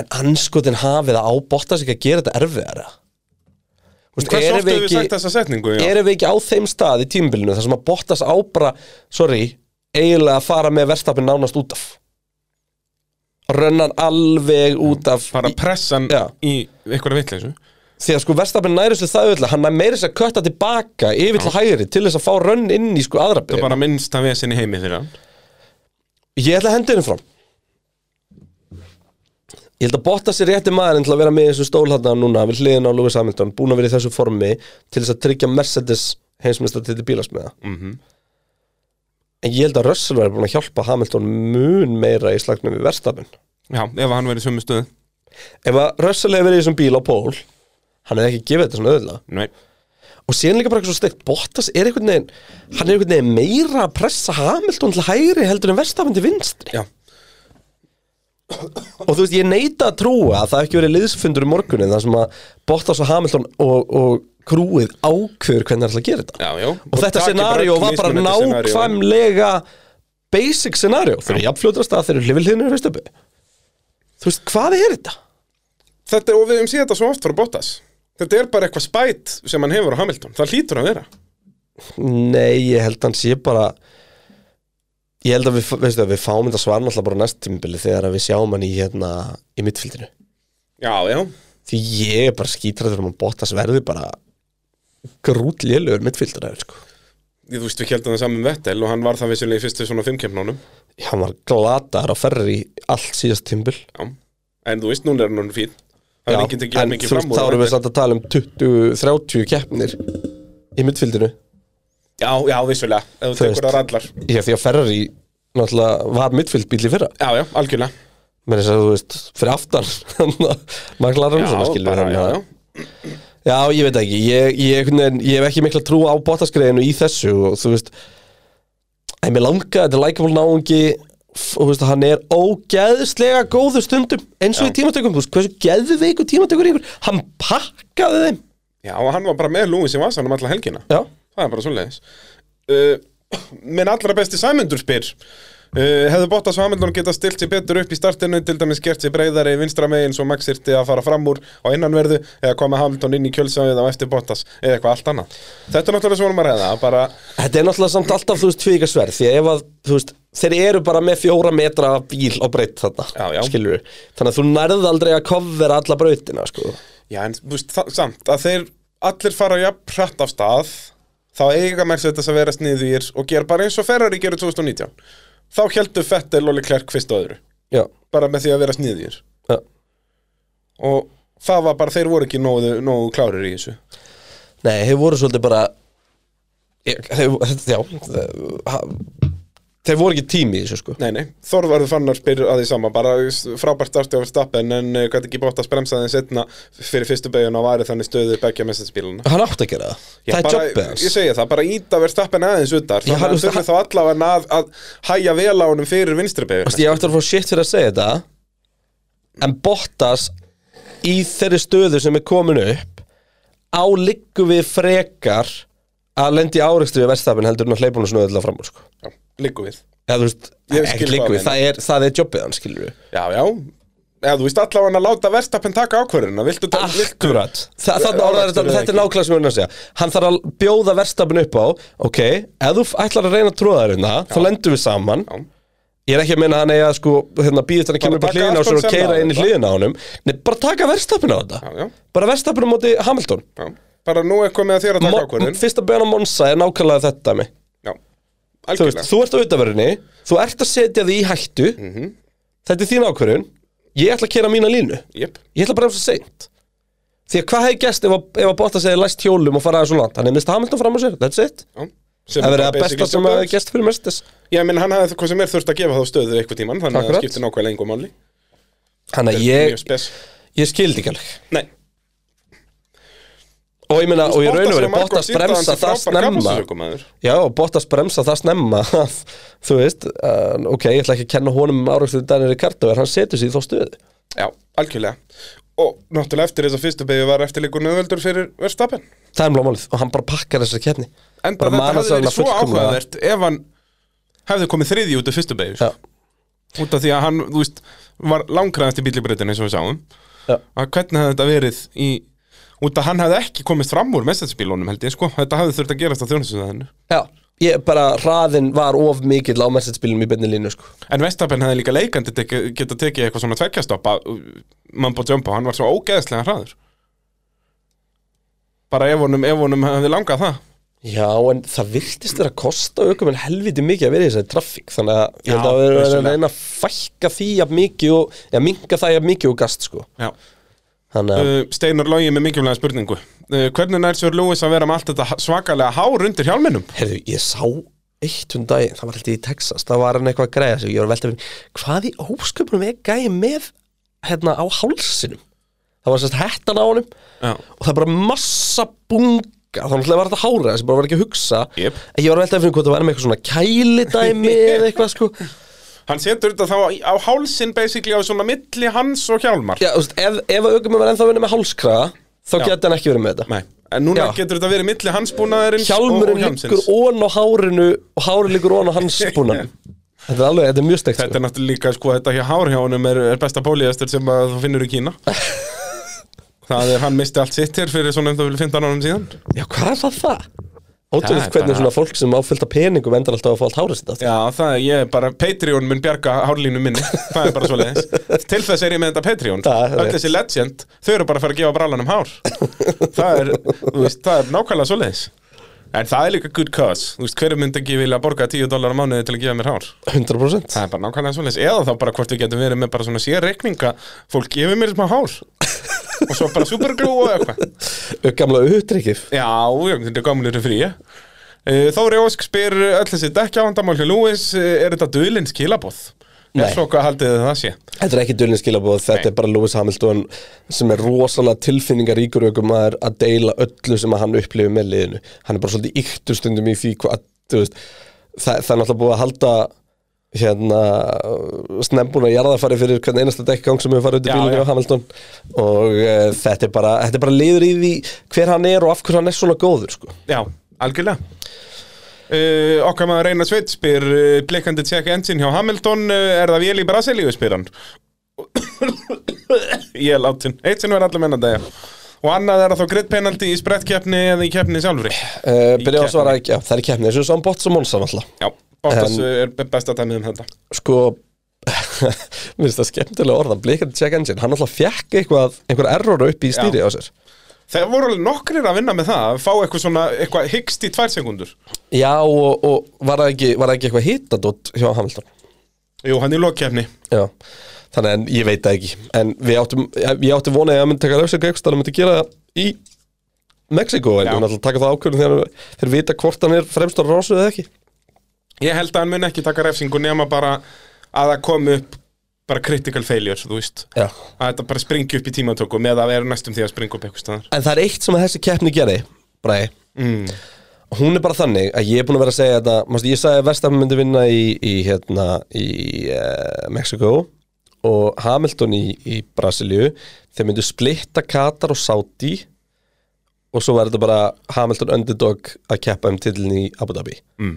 en anskotin hafið að ábotta sig ekki að gera þetta erfiðara Þú veist,
Hversu
erum
oft hefur við sagt þessa setningu? Já,
erum við ekki á þeim stað í tímabilinu þar sem að Bottas á bara, sorry eiginlega að fara með verstafin nánast út af rönnar alveg út af
bara
í-
pressan
Já.
í einhverja vitleysu
því að sko verstafin næri sér það öll hann er meira sér að kötta tilbaka yfir til hægri til þess að fá rönn inn í sko aðra
Það er
byrja
bara minnsta vesen í heimi fyrir hann
ég ætla að henda henni fram ég held að Bottas er rétti maðurinn til að vera með í þessum stól þarna núna við hliðin á Lewis Hamilton, búin að vera í þessu formi til þess að tryggja Mercedes heimsmyndstar til bílasmiða
Mhm.
en ég held að Russell verður búin að hjálpa Hamilton mun meira í slagnum við verstafinn
Já, ef hann verið sömu stöðu
ef að Russell hefur verið í þessum bíl á pól hann hefði ekki gefið þetta svona öðvöldlega
Nei,
og síðan líka bara eitthvað svo steikt Bottas er einhvern veginn, hann er einhvern veginn meira að pressa Hamilton til hægri heldur en verstafinn til vinstri
já,
og þú veist, ég neita að trúa að það hef ekki verið liðsfundur í morgunin þar sem að Bottas og Hamilton og, og krúið ákveður hvernig það ætla að gera þetta
já, já
og þetta
taki
scenario
öll
var bara
mismunandi scenaríóin.
nákvæmlega basic scenario þeir eru jafnfljótrast að þeir eru hlifilhliðinu í veistöpu þú veist, hvað er þetta?
Þetta, og við um síðan þetta svo oft fyrir Bottas Þetta er bara eitthvað spæt sem hann hefur á Hamilton Það hlýtur að vera
Nei, ég held að hann sé bara ég held að við, veistu, að við fáum þetta svar náttúrulega bara á næst tímabili þegar að við sjáum hann í hérna í mittfildinu
Já, já,
því ég er bara skítrættur um að Bottas verði bara grút lélur mittfylgdaraður sko.
Ég, þú veist, við kjeldum það saman um Vettel og hann var það vissulega í fyrstu svona fimmkeppnunum.
hann var glatar á ferri allt síðast tímbil
Já. En þú veist, núna er hann fín. Það
Já,
er enginn að gera
en
mikið
þú
fram
veist,
úr.
þá erum við
Vettel.
samt að tala um 20-30 keppnir í mittfildinu
Já, já, vissulega. Ef þú
Þú
tekur
veist.
það allar.
Já, því að Ferrari náttúrulega var mittfildbíl í fyrra
Já, já, algjörlega.
með þess að þú veist, fyrir aftan McLaren svona skilur
bara,
hann
já,
að-
já.
já, ég veit ekki, ég, ég, einhvern veginn- ég hef ekki mikla trú á bóttaskriðinu í þessu og þú veist að mér langa, þetta er likeable náungi f- og þú veist, hann er ógeðslega góðu stundum, eins og í tímatökum þú veist, hversu geðveiku tímatökur ykkur hann pakkaði þeim
Já, og hann var bara með Lúi sem var sannum alla helgina.
já,
Það er bara svoleiðis. Uh, minn allra besti sæmundur spyr. Uh, hefðu Bottas og Hamilton geta stilt sér betur upp í startinu, til dæmis gert sér breyðari vinstra megin svo Max yrti að fara fram úr á innanverðu eða koma Hamilton inn í kjölsæðið á eftir Bottas eða eitthvað allt annað. Þetta er náttúrulega svona maður reyða, bara
þetta er náttúrulega samt alltaf þú veist tvíkasverð, því að ef að þú veist, þeir eru bara með fjóra metra af bíl á breytt þarna,
Já, já.
skilur við þannig að þú nærð aldrei að kofvera alla brautina sko.
Já, en þú veist, þa- samt að þeir allir fara jafn hratt af stað þá eiga Mercedes að vera sniðugir og gera bara eins og Ferrari gerir 2019 þá heldur Fettel og Leclerc fyrst og öðru
já,
bara með því að vera sniðugir
já
og það var bara, þeir voru ekki nógu, nógu klárir í þessu
Nei, þeir voru svolítið bara ég- þeir- Já þeir- ha- Þeir voru ekki tími í þessu sko
Nei, nei, Þorvarður fannar spyr að því sama bara s- frábært starti á verðstappen en eh, gæti ekki bótt að spremsa þeim setna fyrir fyrstu beiguna og varði þannig stöðu begja Mercedes-bíluna
Hann átti að gera það
Já,
Það er
bara-
jobbið hans
Ég segi það, bara íta verðstappen aðeins utar
Já,
þannig
hann-
að þurfi þá allavega að, að hæja vel á honum fyrir vinstri beiguna
Vast, Ég átti að fá shit fyrir að segja þetta En Bottas í þeirri stöðu sem er komin upp á liggu við frekar að lendi áreikstu við verðstafin heldur en að hleypa hún svona öðvitað fram úr sko
Já, liggum við
Já, þú veist,
Ég
ekki
skil hvað
liggu við,
hann
það er, það er jobbið hans skilur við
Já, já Já, þú veist allavega að láta verðstappen taka ákvörðuna Viltu
Ah.
ta- viltu-
Akkurat Þa,
Við-
Þannig orðar
árekstur
þetta,
eða
þetta er
ekki?
nákvæmlega sem við erum að segja Hann þarf að bjóða verstafin upp á Ok, ef þú f- ætlar að reyna að tróða þér hérna Þá lendum við saman
Já.
Ég er ekki að meina að hann eigi að sko hérna, býðist hann að kemur upp á
taka
hliðina á sér og
Aston Senna
keira
á
inn í
þetta.
hliðina á honum Nei, bara taka verstafin á þetta
Já, já.
Bara verstafin á móti Hamilton
Já, bara nú er komið að þér að taka
Mo-
ákvörðun
Fyrsta bæðan á Monsa er nákvæmlega þetta mig
Já,
Þú, veist,
algjörlega
þú ert á auðaverinni, þú ert að setja því í hættu
Mhm.
Þetta er þín ákvörðun Ég ætla að kera mína línu
Jep,
Ég ætla bara að bremsa seint Því að hvað hefði gæst ef að, ef að Bottas hefði læst hjólum og faraði svo langt Hann hefði mista Hamilton fram á sér, that's it
já
Það verið að
basically
besta sem hefði
stjórnvöld.
gæst fyrir Mercedes
Já, menn hann hafði hvað sem er þurft að gefa þá stöðu eitthvað tíman Þannig að
Akkurat.
það skiptir nákvæmlega engum máli
Þannig að
Mjög
ég,
spes
ég skildi ekki alveg
Nei,
Og ég meina, og í raun og veru,
hefur margoft
Bottas
sýnt að hann
bremsa
sé
það
frábær
snemma
kapasitetsökumaður.
Já, og Bottas bremsa það snemma að, Þú veist, uh, ok, ég ætla ekki að kenna honum áraugstuðu Daniel Ricardo En hann setur sig í þá stöðu
Já, algjörlega Og náttúrulega eftir þess að fyrstu beigju var eftirleikur nöðveldur fyrir verðstappen
Það er málið, og hann bara pakkar þessari keppni
En
Bara
bara þetta
manar sig hann
hefði verið
að
svo
fullkomlega.
áhugavert ef hann hefði komið þriði út af fyrstu beigju
Já,
út af því að hann, þú veist, var langræðast í bílibreytinu eins og við sáum
Já.
að hvernig hefði þetta verið í út af hann hefði ekki komist fram úr mestarsbílunum held ég sko, þetta hefði þurft að gerast á þjónusöðinu
já Ég bara, hraðin var of mikill á message-spilum í beinni línu, sko
en Vestapen hefði líka leikandi teki, geta tekið eitthvað svona tveggjastoppa Mambo Jumbo, hann var svo ógeðslega hraður bara ef honum, ef honum hefði langað það
Já, en það virtist vera að kosta aukum en helviti mikið að vera í þessari traffík þannig að ég held
Já,
að við erum að
vissulega.
reyna að fækka því að mikið og, já, minka það að mikið og gast, sko
Já.
Þannig að,
Uh, Steinar Lógi með mikilvæga spurningu uh, hvernig nær sér Lewis að vera með allt þetta svakalega hár undir hjálminum
heyrðu, ég sá eitt um daginn, það var held ég í Texas það var hann eitthvað að græja sig, ég var að velta fyrir hvað í ósköpunum er gæði með hérna á hálsinum það var sérst hettan á honum
Já.
og það er bara massa bunga þannig að var þetta hára þess, ég bara var ekki að hugsa
Jep.
En ég var að velta fyrir hvað það var með eitthvað svona kælidæmi eða eitthvað sko
Hann setur þetta þá á- á hálsin basically á svona milli hans og hjálmar
Já, þú veist, ef, ef aukum er ennþá vinnur með hálskraga þá geti hann ekki verið með þetta
Nei, en núna
Já.
getur þetta verið milli hansbúnaðarins og, og
Hjálmurinn
hjálmsins
liggur ón á hárinu og hárið liggur ón á hans búnan Þetta er alveg, þetta er mjög steikt
Þetta
sko.
er náttúrulega líka, sko, þetta hjá hár hjá honum er, er besta pólíðastur sem að þú finnur í Kína Það er, hann misti allt sitt hér fyrir svona um það vilja 15 árum síðan
Já, hvað er það það? Ótrúlega
Það er
hvernig
bara-
svona fólk sem áfylgta peningum endar alltaf að fá allt hárið sitt aftur.
Já, það er, ég er bara, Patreon mun bjarga hárlínu minni, það er bara svo leiðis Til þess er ég með þetta Patreon
Það er
Öll
rétt.
þessi legend, þau eru bara að fara að gefa brallanum hár Það er, þú veist, það er nákvæmlega svo leiðis En það er líka good cause, þú veist, hverju myndi ekki vilja borga 10 dólar á mánuði til að gefa mér hár
100%
Það er bara nákvæmlega svoleiðis Eða þá bara hvort við getum verið með bara svona sérreikninga Fólk gefur mér smá hár Og svo bara superglú og eitthvað
Ök Gamla utrykkif
Já, já, þetta er gamlur fríi Eh, Þóri Ósk spyr öll þessi dekkja vandamál hjá Lewis eh, Er þetta duðlinn skilabóð?
Nei.
Er svo hvað haldið þið að það sé?
Þetta er ekki dölinn skilabóð, þetta
Nei.
er bara Lewis Hamilton sem er rosalega tilfinningaríkur ökumæður að deila öllu sem að hann upplifir með liðinu Hann er bara svolítið yktur stundum í því hvað, þú veist Það, það er náttúrulega búið að halda hérna snembúna jarðafari fyrir hvern einasta dekkgang sem hefur farið út í
Já,
bílunni
já.
á Hamilton og uh, þetta, er bara, þetta er bara liður í því hver hann er og af hverju hann er svona góður sko.
Já, algjörlega Uh, okkar maður Einar Sveit spyr uh, blikandi tjekk ensin hjá Hamilton uh, er það vél í Brasilíu spyr hann ég er látin eitt sinn verður allir menna dæja og annað er það þá grid penalty í sprettkeppni eða í keppni sjálfri
uh,
Í
Byrja á að svara
keppni.
ekki, já, það er keppni þessu saman bótt sem Monsa náttúrulega
já, Bottas
En-
um, er besta dæmið um þetta
sko mér finnst það skemmtilega orða blikandi check engine, hann alltaf fjekk eitthvað einhver error upp í stýri á sér
þeir voru alveg nokkrir að vinna með það að fá eitthvað svona, eitthvað hyggst í tvær sekundur
já og, og var, það ekki, var það ekki eitthvað hitadótt hjá Hamilton
jú, hann í lokkeppni
já, þannig en ég veit það ekki en við áttum, ég átti vonaði að hann myndi taka refsingu eitthvað, hann myndi gera það í Mexiko, en
Já.
hann alltaf taka það ákvörðin þegar þeir vita hvort hann er fremst á rásu eða ekki
ég held að hann mun ekki taka refsingu nema bara að það komi upp bara critical failure, þú veist
já.
að þetta bara springi upp í tímatökum eða að vera næstum því að springa upp eitthvað staðar
en það er eitt sem að þessi keppni gerði bræði
mm.
hún er bara þannig að ég er búin að vera að segja þetta mástu, ég sagði að Vestapen myndi vinna í, í, hérna, í uh, Mexiko og Hamilton í, í Brasilíu þeir myndu splitta Katar og Saudi og svo verður þetta bara Hamilton underdog að keppa um titlin í Abu Dhabi
Mm.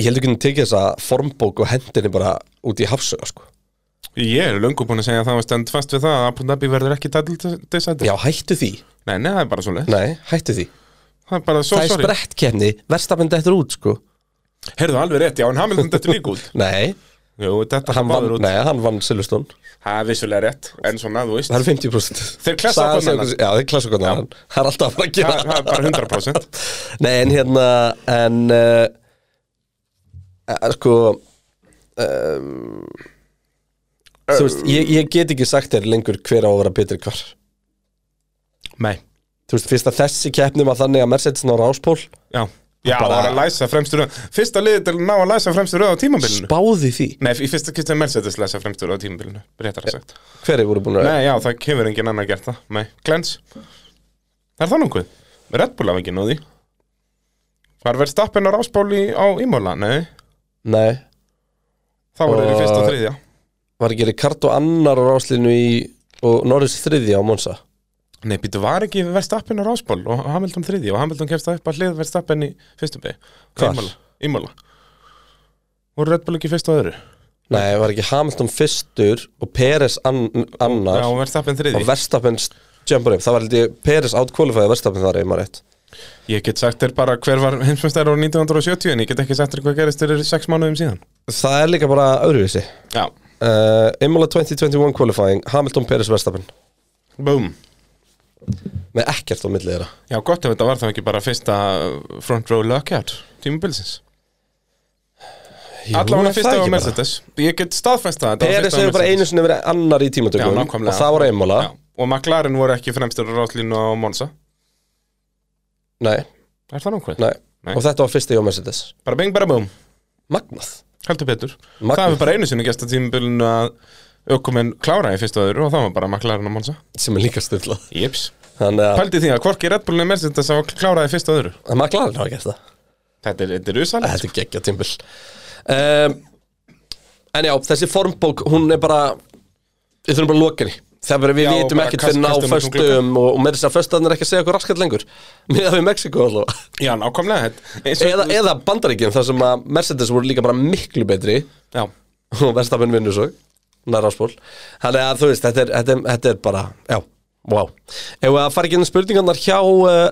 ég heldur ekki að tekið þessa formbók og hendinni bara út í hafsöga sko.
ég er löngu búin að segja það og stend fast við það að Abu Dhabi verður ekki tætildisæti
já, hættu því,
nei, nei, það er bara svo leið
nei, hættu því
það er bara svo
það er
sorry
sprett kemni, Vestapen dettur út sko.
heyrðu alveg rétt, já, en Hamilton þetta líka út
nei,
jú, þetta
hann vann,
út
nei, hann vann Silverstone
það er vissulega rétt, en svona, þú veist
Það eru 50%
Þeir klessa
Sagan segir
hvorn annan.
okkur- Já, þeir klessa hvernig annan Það er alltaf að fara að
það
gera
það er bara 100%
Nei, en hérna En uh, eh, Sko um, Þú veist, ég, ég get ekki sagt þér lengur hver á að vera betri hvar Þú
nei,
veist, fyrst að þessi keppni var þannig að Mercedes ná ráspól
já Já,
Bara-
bara... var að læsa fremstu röð Fyrsta liðið til að ná að læsa fremstu röð á tímabilinu
Spáði því
Nei, í fyrsta kistið Mercedes læsa fremstu röð á tímabilinu Réttar að sagt
Hverju voru búin að
Nei, já, það kemur engin annar gert það Nei, glens Er það nokkuð? Red Bull af ekki náði Var verið stappin á ráspól í, á Ímóla? Nei,
Nei,
það voru þeir í
Og-
fyrsta og þriðja
var ekki Ricardo annar á ráslinu í Og Norris þriðja á Monsa
Nei, býtu, var ekki verið stappin á ráspól og Hamilton þriðja og Hamilton kemst það upp að hlið verið stappin í fyrstu
Hvar?
begi Ímóla Voru Red Bull ekki fyrst og öðru?
Nei, var ekki Hamilton fyrstur Og Peres an annar
Já, verið stappin
og
þriðji
Verstappen jumpar upp, það var heldur Peres átkvalifæði Verstappen þar einmar rétt
Ég get sagt þér bara hver var heimsmestæri á 1970 en ég get ekki sagt þér hvað gerist þér sex mánuðum síðan
það er líka bara öðruvísi
Já,
uh, Imola 2021 qualifying, Hamilton Peres Verstappen
boom
með ekkert á milli þeirra
Já, gott ef þetta var þá ekki bara fyrsta front row lockout tímabilsins
Jú, er
Allavega
það
fyrsta
ekki
á
bara?
Mercedes Ég get staðfæst það
Peres hefur bara einu sinni verið annar í tímatökum og það var Imola
Og McLaren voru ekki fremstur á ráslínu á Monza
nei,
Er það nákvæm?
nei.
Nei.
og þetta var fyrsta hjá Mercedes
Bara bing bara boom,
Magnað
heldur betur
Magnað.
Það hefur bara einu sinni gesta tímabilinu að aukumenn klára í fyrsta og öðru og það var bara McLaren á Monza
sem er líka stöðlað
Jips
þannig að
Pældi því að hvorki Red Bullin er Mercedes að klára í fyrsta og öðru
að McLaren hafa gert það
Þetta er, þetta er usalega
þetta er geggja tímbil um, en já, þessi formbók hún er bara við þurfum bara að loka henni þegar við
Já, og
vitum
bara
ekkert
kast- um
fyrir ná
kastum þessum
föstum og, og með þess að föstaðan er ekki að segja okkur raskat lengur meðan við Mexiko alltaf
Já, nákvæmlega þetta- eins og-
eða, eða bandaríkjum þar sem að Mercedes voru líka bara miklu betri
Já,
og Verstappen vinnur svo nær áspól þannig að þú veist, þetta er, þetta er, þetta er bara já, wow ef við að fara ekki inn í spurningarnar hjá uh,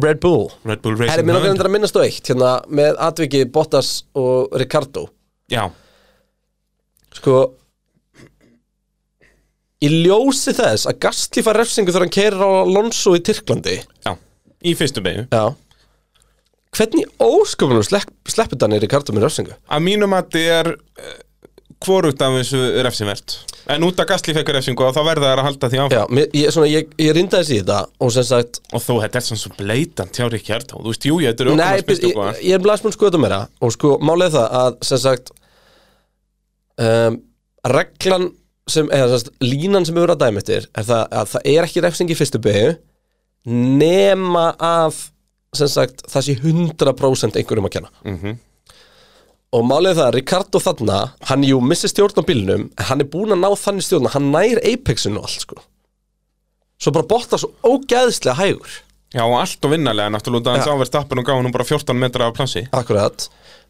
Red Bull
Red Bull Racing
Herri, mér langar
Hand.
endur að minnast á eitt hérna, með atvikið Bottas og Ricardo
Já,
sko í ljósi þess að Gastli fær refsingu þegar hann keirir á Alonso í Tyrklandi
já, í fyrstu beigju
Já Hvernig ósköpunum slepp, sleppur Danni Ricardo með refsingu?
Að mínum að þið er uh, hvorugt af þessu refsivert En út af gasli fekkur refsingu og þá verða þær að halda því áfram
Já, mér, ég, svona, ég, ég rindaði sér í þetta og sem sagt
Og þú, þetta er svona svo bleitan tjári kjart Þú veist, jú, ég þetta er sko.
Nei, ég,
ökumannsmistök
ég,
og allt.
ég er blasmund skoða meira og sko, málið er það að sem sagt um, reglan sem, eða sem sagt, línan sem við verðum að dæmi eftir er það að það er ekki refsing í fyrstu byggju nema af sem sagt, það sé 100% einhverjum að kenna
Mhm.
og málið er það að Ricardo þarna hann jú missir stjórn á bílnum en hann er búinn að ná þannig stjórn að hann nær apexinu og allt sko svo bara botta svo ógeðslega hægur
Já, og allt og vinnarlega, náttúrulega, þannig að verðstappin og gaf hún bara 14 metra af plassi
Akkurat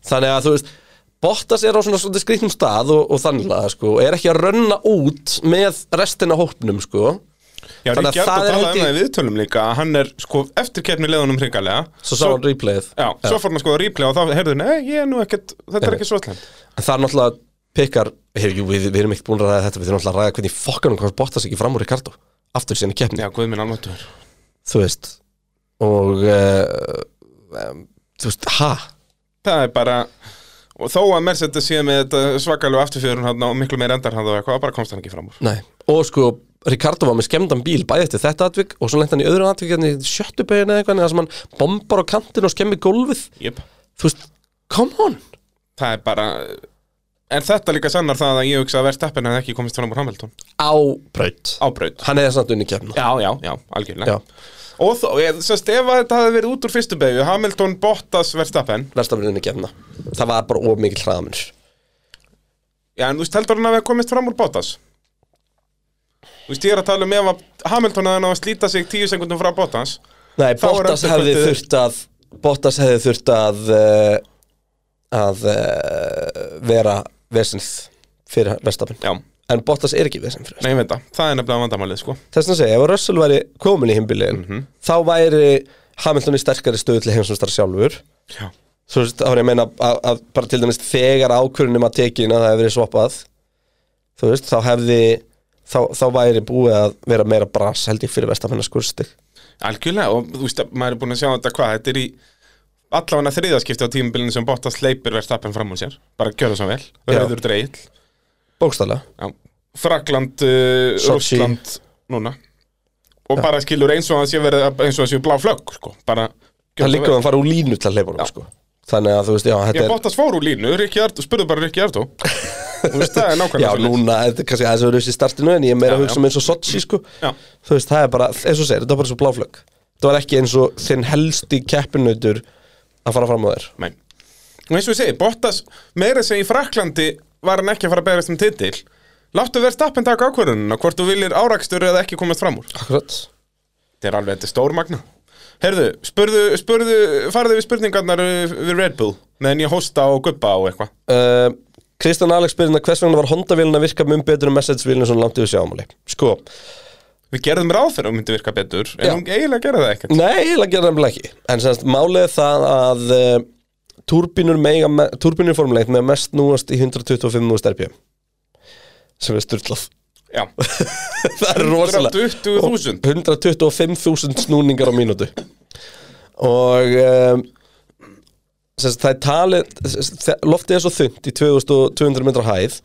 Þannig að þú veist Bottas er á svona svona skrýtnum stað og, og þannig að sko og er ekki að rönna út með restina hópnum sko
Já,
Þannig að
Ríkjard
það
og
er
talaði
held
um
ég-
það í viðtölum líka að hann er sko eftir keppni leðunum hringalega
Svo sá hann replayið
Já, svo fór hann að skoða replay og þá heyrðu, nei, ég er nú ekkert, þetta er ekki svo slæmt
En það er náttúrulega pikkar hef, jú, við, við erum ekkert búin að ræða þetta Við erum náttúrulega að ræða hvernig fokkanum komst Bottas ekki fram úr Ricardo Aftur sinni keppni
Já, guð minn almáttur
Þú veist Og uh, um, Þú veist, ha?
Það er bara, og þó að Mercedes sé með þetta svakalegu afturfjörun hann og miklu meir endar hann og eitthvað, bara komst hann ekki fram úr
Nei Og sko Ricardo var með skemmdan bíl bæði eftir þetta atvik og svo lent hann í öðru atvik hérna í sjöttu beginni eða eitthvað þar sem hann bombar á kantinn og skemmir gólfið
Jep
þú veist, come on
Það er bara, en þetta líka sannar það að ég hugsa að verðstappin hefði ekki komist fram úr Hamilton
á braut
Ábraut
hann hefði samt unni kemna
Já, já, já, algjörlega
já,
Og þó, ég, sest, ef að þetta hefði verið út úr fyrstu beigju Hamilton, Bottas, Verstappen
verðstafrið unni kemna það var bara of mikil hraðamins
Já, en þú veist, heldur hann að við komist fram úr Bottas? Þú veist, ég er að tala um ef að Hamilton hefði náð að slíta sig tíu sekundum frá Bottas
nei,
Þá er
Bottas
endurkvöldið-
hefði þurft að Bottas hefði þurft að uh, að uh, vera vesins fyrir verðstafin
Já,
en Bottas er ekki vesins fyrir
nei, ég veit það, það er nefnilega vandamálið, sko
þess að segja, ef að Russell væri komin í himbilin þá væri Hamilton í sterkari stöðu til heimsumstar sjálfur
Já,
þú veist, þá er ég að meina að, að bara til dæmis þegar ákvörunum að tekin að það hefði verið swappað þú veist, þá hefði þá, þá væri búið að vera meira bras held ég fyrir vestamennar skurstig
algjörlega, og þú veist, maður er búin að sjá þetta hvað Þetta er í allavega þriðaskipti á tímubilinu sem Bottas leipir Verstappen fram úr sér Bara gjöra svo vel,
Já.
rauður dreigill
bókstælega
Já, Frakland, uh,
Sochi.
Rússland, núna Og bara skilur eins og að sé verið, eins og að sé blá flögg, sko Bara, gjörðu
það
svo
líka að
vel.
hann fara úr línu til að hleypa honum sko. þannig að þú veist, já,
Ég
þetta er
Bottas fór úr línu, Rikki Ardó, spurðu bara Rikki Ardó Þú veist, það er
já,
nákvæmlega svoleiðis.
núna, þetta er kannski aðeins að vera þessi startinu en ég er meira
Já,
að hugsa
já.
um eins og Sochi sko.
Já.
þú veist, það er bara, eins og segir, þetta var bara svo bláflögg þetta var ekki eins og þinn helsti keppinautur að fara fram á þér
Nei. Og eins og ég segi, Bottas meira sem í Fraklandi var hann ekki að fara að berast um titil Láttu verðstappin taka ákvörðunina hvort þú viljir árakstur eða ekki komast fram úr
akkurat
Þetta er alveg, þetta er stór magna Herðu, spurðu, spurðu, farðu við spurningarnar uh, við Red Bull meðan ég hósta og guppa og eitthvað
Uh, Kristján Alex spyrir hérna hvers vegna var Honda-vélina að virka mun betur en Mercedes-vélina svona langt yfir sjáumali Sko,
Við gerðum ráð fyrir að hún myndi virka betur en
Já.
hún eiginlega gerði það ekkert
nei, eiginlega gerir nefnilega ekki En semst, málið er það að uh, turbínur, mega, me- turbínur formleitt með mest núast í 125 rpm sem er styrtlað
Já,
Það er rosalega
120.000
125.000 snúningar á mínútu Og um, semst, það er talið þe- loftið er svo þund í 2200 metra hæð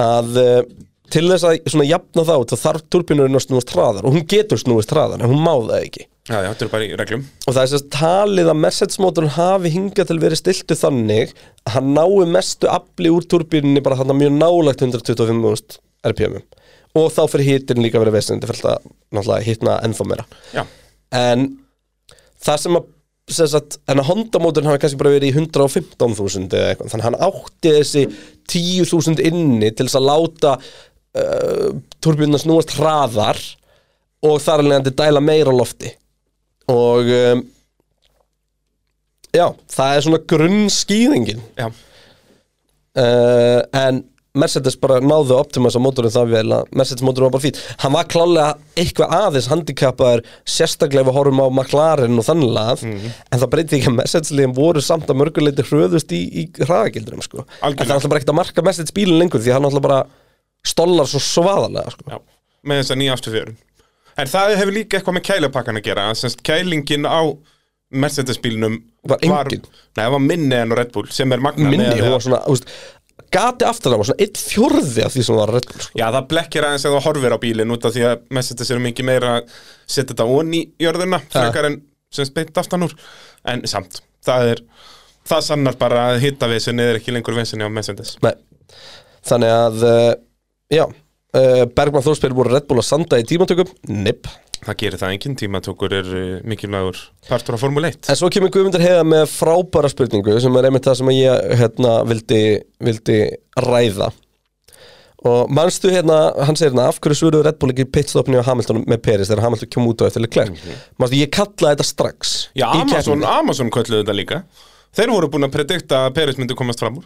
að eh, til þess að svona jafna þá þá þarf turbinurinn að snúast hraðar og hún getur snúist hraðar en hún má það ekki
Já, já, þetta er bara í reglum
og það er semst talið að Mercedes motorn hafi hingað til verið stiltu þannig að hann nái mestu afli úr turbininni bara þannig mjög nálagt 125.000 rpm og þá fyrir hittin líka verið vesend fyrir þetta náttúrulega hittna ennþá meira
Já,
en það sem að sem sagt, en að Honda mótorin hafi kannski bara verið í 115.000 eða eitthvað þannig að hann átti þessi 10.000 inni til þess að láta uh, turbinna snúast hraðar og þar alveg að dæla meira á lofti og um, já, það er svona grunnskýðingin
já
uh, en Mercedes bara náðu að optimasa mótorinn það vel að Mercedes mótorinn var bara fýtt hann var klálega eitthvað aðeins handikapaður sérstaklega ef við horfum á McLaren og þannig lað
Mhm.
en það breyti ekki að Mercedes liðin voru samt að mörguleiti hröðust í, í hraðagildrum sko. en það
Algjörlega.
er alltaf bara ekkert að marka Mercedes bílinn lengur því hann alltaf bara stollar svo svaðalega sko.
Já, með þess að nýja afturfjörun En það hefur líka eitthvað með kælapakkan að gera Semst kælingin á Mercedes-bílnum
Var engin.
Nei, það var minni en á Red Bull sem er magna
minni,
með,
hún var svona úst, gati aftan á var svona eitt fjórði af því sem var redd sko.
Já, það blekkir aðeins að það horfir á bílinn út af því að Mercedes eru mikið meira að setja þetta onni í jörðina frekar en semst beint aftan úr En samt, það er Það sannar bara að hitta vesinni er ekki lengur vesinni á Mercedes
Nei. þannig að uh, já, uh, Bergman Þórspeir voru Red Bull að sanda í tímatökum nipp
Það gerir það enginn tímatökur er eh, mikilvægur partur á Formule 1
En svo kemur Guðmundur heiða með frábæra spurningu sem er einmitt það sem ég hérna, vildi, vildi ræða og manstu hérna, hann segir hérna af hverju svöruðu Red Bull ekki pitstopni á Hamilton með Peris þegar Hamilton kemur út á eftir Leclerc manstu, ég kallaði þetta strax
Mhm. Já,
í
Amazon,
keppninni.
Amazon kölluðu þetta líka Þeir voru búin að predikta að Peres myndi komast fram úr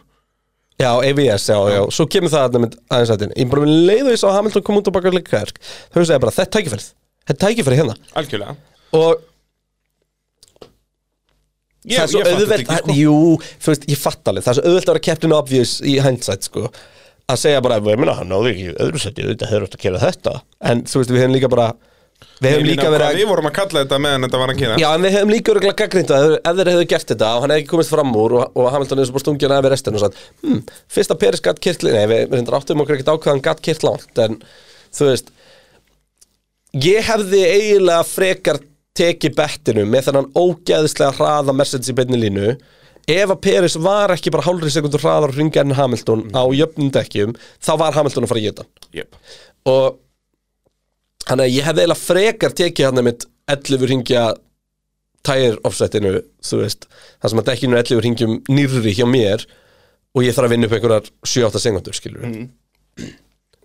Já, AVS, já, já, svo kemur það þarna mynd aðeins að þinn Ég bara minn leiðu þess að Hamilton kom út og baka Leclerc Þau segja bara, þetta er tækifærið Þetta er tækifærið hérna
Algjörlega
Og
Ég,
það er svo
ég fatt þetta
auðvelt
ekki, sko
Jú, þú veist, ég fatt alveg Það er svo auðvelt að vera captain obvious í hindsight, sko Að segja bara, ég meina, hann náði ekki í öðru seti Þetta hefur átt að gera þetta En þú veist, við hefum líka bara Við
Ég
hefum
meina,
líka verið
hvað
að
Við vorum að kalla þetta meðan þetta var að gera
Já, en við hefum líka örgulega gaggrind að ef ef þeir hefðu gert þetta og hann hefði ekki komist fram úr og, og Hamilton hefði svo bara stungið hann við restin og sagt hm, fyrst að Peris gatt kirtli, nei, við við reyndar áttum okkur ekkert á hvað hann gatt kirt langt en þú veist ég hefði eiginlega frekar tekið bettinu með þennan ógeðislega hraða message í beinni línu ef að Peris var ekki bara hálfri sekundur hraðar að ringa enn Hamilton á jöfnum dekkjum, þá var Hamilton að fara að geta
yep.
og þannig að ég hefði eiginlega frekar tekið hann mitt 11 ringja tire offsetinu, þú veist það sem að dekkinu er 11 ringjum nýrri hjá mér og ég þarf að vinna upp einhverjar 7-8 sekundur, skilur
Mm.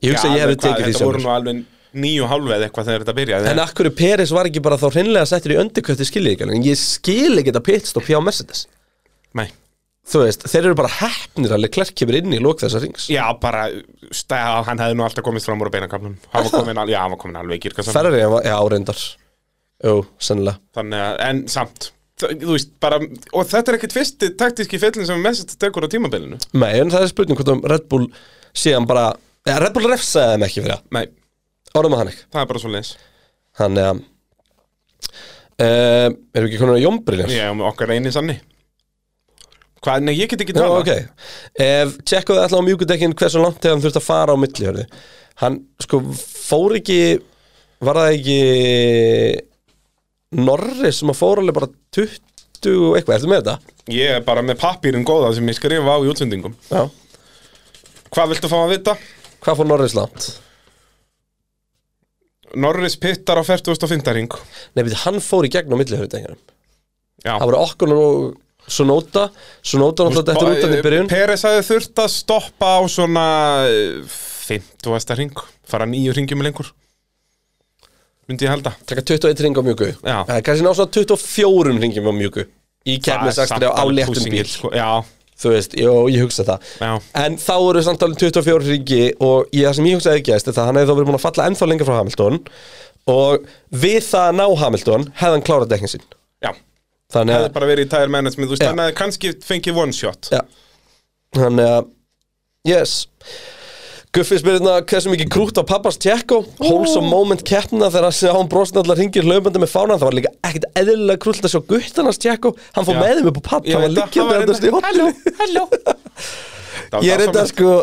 ég hugsa að ég hefði tekið því
Þetta voru
sjálfur
nú alveg nýju hálfu eða eitthvað þegar þetta byrjaði
en akkur Peris var ekki bara þá hreinlega settur í öndikvætti skiljið ekki, alveg, en ég skil ekki þetta pitstop hjá Mercedes,
Nei
þú veist þeir eru bara hefnir að Leclerc kemur inn í lók þessa rings,
Já, bara, stæða, hann hefði nú alltaf komist fram úr á beinakaflum Hann var komin, al- já, hann var komin alveg í kirkasan
Ferrari var, já, reyndar jú, sennilega
Þannig að, en samt Þa- Þú veist, bara, og þetta er ekkert fyrsti taktíski fyllin sem mest tekur á tímabilinu
Nei, en það er spurning hvort um Red Bull síðan bara, eða Red Bull refsaði þeim ekki fyrir það,
Nei,
orðum að hann ekki
það er bara svo leis
Þannig að uh, erum við ekki konar að jómbril
Já, okkar eini sanni Hvað, nei, ég get ekki
Já,
tala
ok Ef tjekkuðu alltaf á mjúkudekkin hversu langt hefði hann þurft að fara á milli hörðu. Hann sko fór ekki var það ekki Norris sem að fór alveg bara 20 og eitthvað, ertu með þetta?
Ég er bara með pappýrin góða sem ég skrifa á í útsendingum
Já
Hvað viltu fá að vita?
Hvað fór Norris langt?
Norris pittar á 45. ring
Nei, veit, hann fór í gegn á milli hörðu
Já
Það voru okkur og Sonota Sonota náttúrulega þetta er út af því í byrjun
eh, Peres hafði þurft að stoppa á svona 50. ring Fara nýju ringjum lengur Myndi ég halda
taka 21 ringum á mjúku
Já.
Eh, kannski ná svona 24 ringum á mjúku í kefnisakstri á
alveg
léttum
pushing
bíl
it, sko. Já,
þú veist, jó, ég hugsa það
Já.
en þá eru samtalið 24 ringi og ég, það sem ég hugsaði ekki eðst það hann hefði þá verið búin að falla ennþá lengra frá Hamilton og við það að ná Hamilton hefði hann klárað dekkin sín
já
þannig
Hefði
að,
bara verið í tire management Þú veist,
Já.
hann hefði kannski fengið one shot
ja, þannig að yes Guffi spyrir hérna hversu mikið krútt á pappas tjekko Hóls og moment keppna þegar hann sé á hann brosin allar ringir löpandi með fánan Það var líka ekkert eðlilega krullt að sjá guttarnas tjekko Hann fór
Já.
með þeim upp á papp
Ég
Hann var
veit það, hann
liggjandi
var
að í
hérna-
hotinu
Halló, halló
Ég er þetta sko að,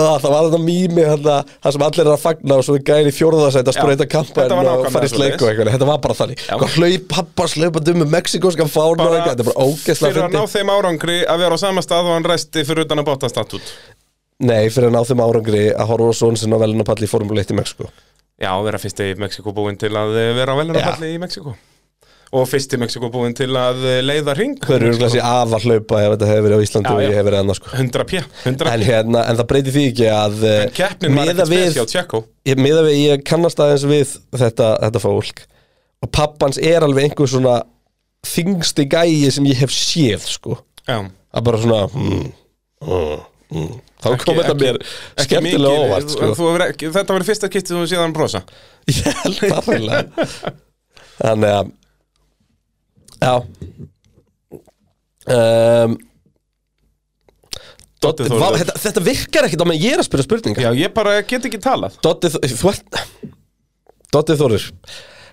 Það var þetta mými hérna Það sem allir er að fagna og svo er gæðin í fjórðarsætt að
Já.
spreita
Þetta var
kampan og
nákvæmlega
fara í sleik og
svoleiðis.
eitthvað Þetta var bara þannig Hvað hlaup pappas löpandi um með mexikóskan fána og eitthvað Þetta er bara
Fyrir
ógeðslega
að ná
fyndi
þeim árangri að vera á sama stað og hann resti fyrir utan að bóta statút
Nei, fyrir að ná þeim árangri að horfa svo sinn á velunapalli í formuleitt í Mexiko
Já, vera fyrsti Mexikobúin til að eh, vera á velunarfalli í Mexiko Og fyrsti Mexikobúin til að eh, leiða ring
Þau eru örgulega sér af að hlaupa ef þetta hefur verið á Íslandi
Já,
og ég
já.
hefur verið annars sko
100 p, 100
En, hérna, en það breytir því ekki að eh,
En keppnin var
miðað
ekkert
við-
spesiál Tjekko
ég, miða við, ég kannast aðeins við þetta, þetta fólk og pappans er alveg einhver svona þingsti gæi sem ég hef séð sko
Já,
að bara svona mm, mm, mm. hmm, þá kom þetta mér skemmtilega óvart sko.
en þú hefur ekki- Þetta verður fyrsta kittið þú séð hann brosa
Ég held það fælega Þannig að Já um, Doddi,
Þórðar.
vá, þetta, þetta virkar ekkit á meðan ég er að spyrja spurninga
Já, ég bara get ekki talað
Doddi, Þ- þú ert Doddi Þórir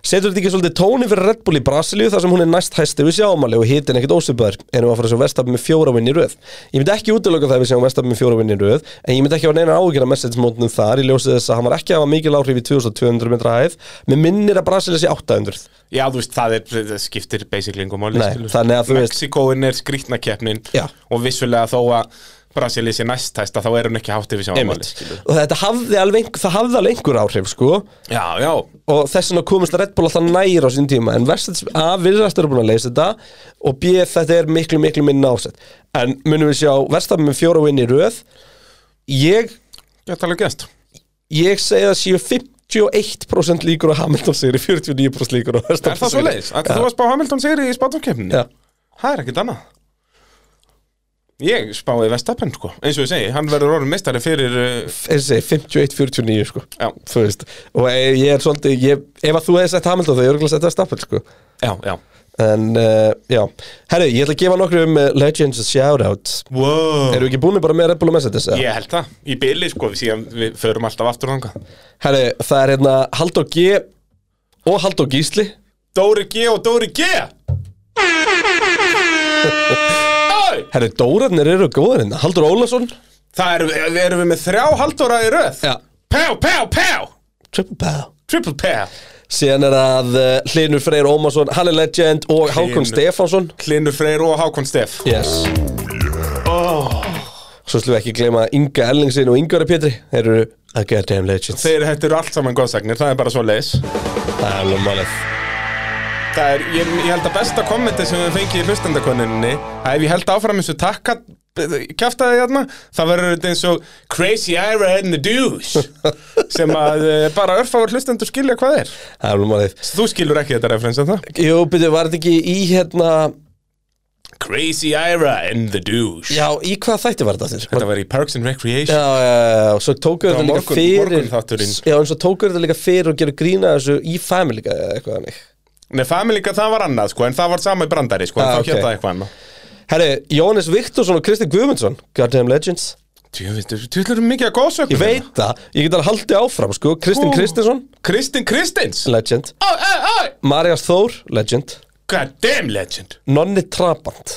Setur þetta ekki svolítið tóni fyrir Red Bull í Brasilíu þar sem hún er næst hæsti við sjáumali og hitin ekkit ósvipaður en hún var að fara að sjá Vestapen með fjóra vinn í röð Ég myndi ekki útiloka það að við sjáum Vestapen með fjóra vinn í röð en ég myndi ekki hafa neina áhugjur að messagemótnum þar í ljósið þess að hann var ekki að hafa mikil áhrif í 2200 metra hæð með minnir að Brasilíu sé 800
Já, þú veist, það, er, það skiptir basically engum máli
Nei,
skilur.
þannig að þú veist-
Mexíkóin er skrýtna keppnin
Já.
og vissulega þó að Brasilíu sé næsthæsta þá er hún ekki hátt yfir sjámáli
Einmitt. og þetta hafði alveg, einhver- það hafði alveg einhver áhrif sko
Já, já,
og þess vegna komist Red Bull alltaf nær á sín tíma en Verstappen- A, virðast eru búin að leysa þetta og B, þetta er miklu miklu minna ásett en munum við sjá Verstappen með fjóra vinn í röð ég,
ég tala um gæst
ég segi það séu 51% líkur á Hamilton sigri 49% líkur á
Er
Verstappen
það svo leiðis?
sigri.
Þú
Já.
að spá Hamilton sigri í spátumkeppninni?
Já.
Það er ekkert annað Ég spáði Vestapen, sko Eins og ég segi, hann verður orðin mistari fyrir uh,
Eins og ég segi, 51-49 sko
Já,
þú veist, og ég ég er svolítið ég, ef að þú hefði sett Hamilton þá ég örgulega sett Verstappen sko
já, já
En, uh, já, herru, ég ætla að gefa nokkru um Legends a shout-out
wow.
Erum við ekki búinir bara með Red Bull og Mercedes? eða?
Ég held það, í byli, sko, síðan við förum alltaf aftur þangað
Herru, það er hérna Halldór G og Halldór Gísli
Dóri G og Dóri G Æ!
Herru, Dórarnir eru góðir hérna Halldór Ólafsson
Það erum við, við erum við með þrjá haldóra í röð
Já.
Pá, pá, pá
Triple Pow
Triple pá
Síðan er að uh, Hlinur Freyr Ómarsson, hann er legend og Hákon
Hlynur.
Stefánsson
Hlinur Freyr og Hákon Steff
Yes Oh. Svo slum við ekki gleyma Inga Ellingsin og Ingvar Pétri Þeir eru a goddamn legends
Þeir þetta eru allt saman góðsagnir, það er bara svo leis
Það er alveg málið
Það er, ég, ég held að besta kommenti sem við fengið í hlustendakoninni að ef ég held áfram eins og takka kjaftaði hérna, það verður þetta eins og Crazy Ira and the Deuce sem að eh, bara örfáður hlustendur skilja hvað er
Það er alveg málið
Þú skilur ekki þetta referens en það
Jú, byrju, var þetta ekki í hérna
Crazy Ira and the Douche
Já, í hvað þætti var þetta þér?
Þetta var í Parks and Recreation
Já, já, já, já, og svo tókuðu
Já,
þetta líka
morgun-
fyrir
morgunþátturinn.
Já, en svo tókuðu þetta líka fyrir og gerðu grína þessu í Family Guy eða eitthvað hannig
Nei, Family Guy, það var annað sko, en það var sama í brandari sko, en
Ah,
þá
ok.
okay. það eitthvað annað
Herri, Jóhannes Viktorsson og Kristi Guðmundsson Goddamn Legends
Þú ætlum mikið að góðsögn um
Ég veit það, ég get alveg haldið áfram, sko Kristinn
Ú.
Kristinsson,
Kristinn Kristins
legend
Ó, ó, ó
Marjas Þór, legend
God damn legend
Nonni Trabant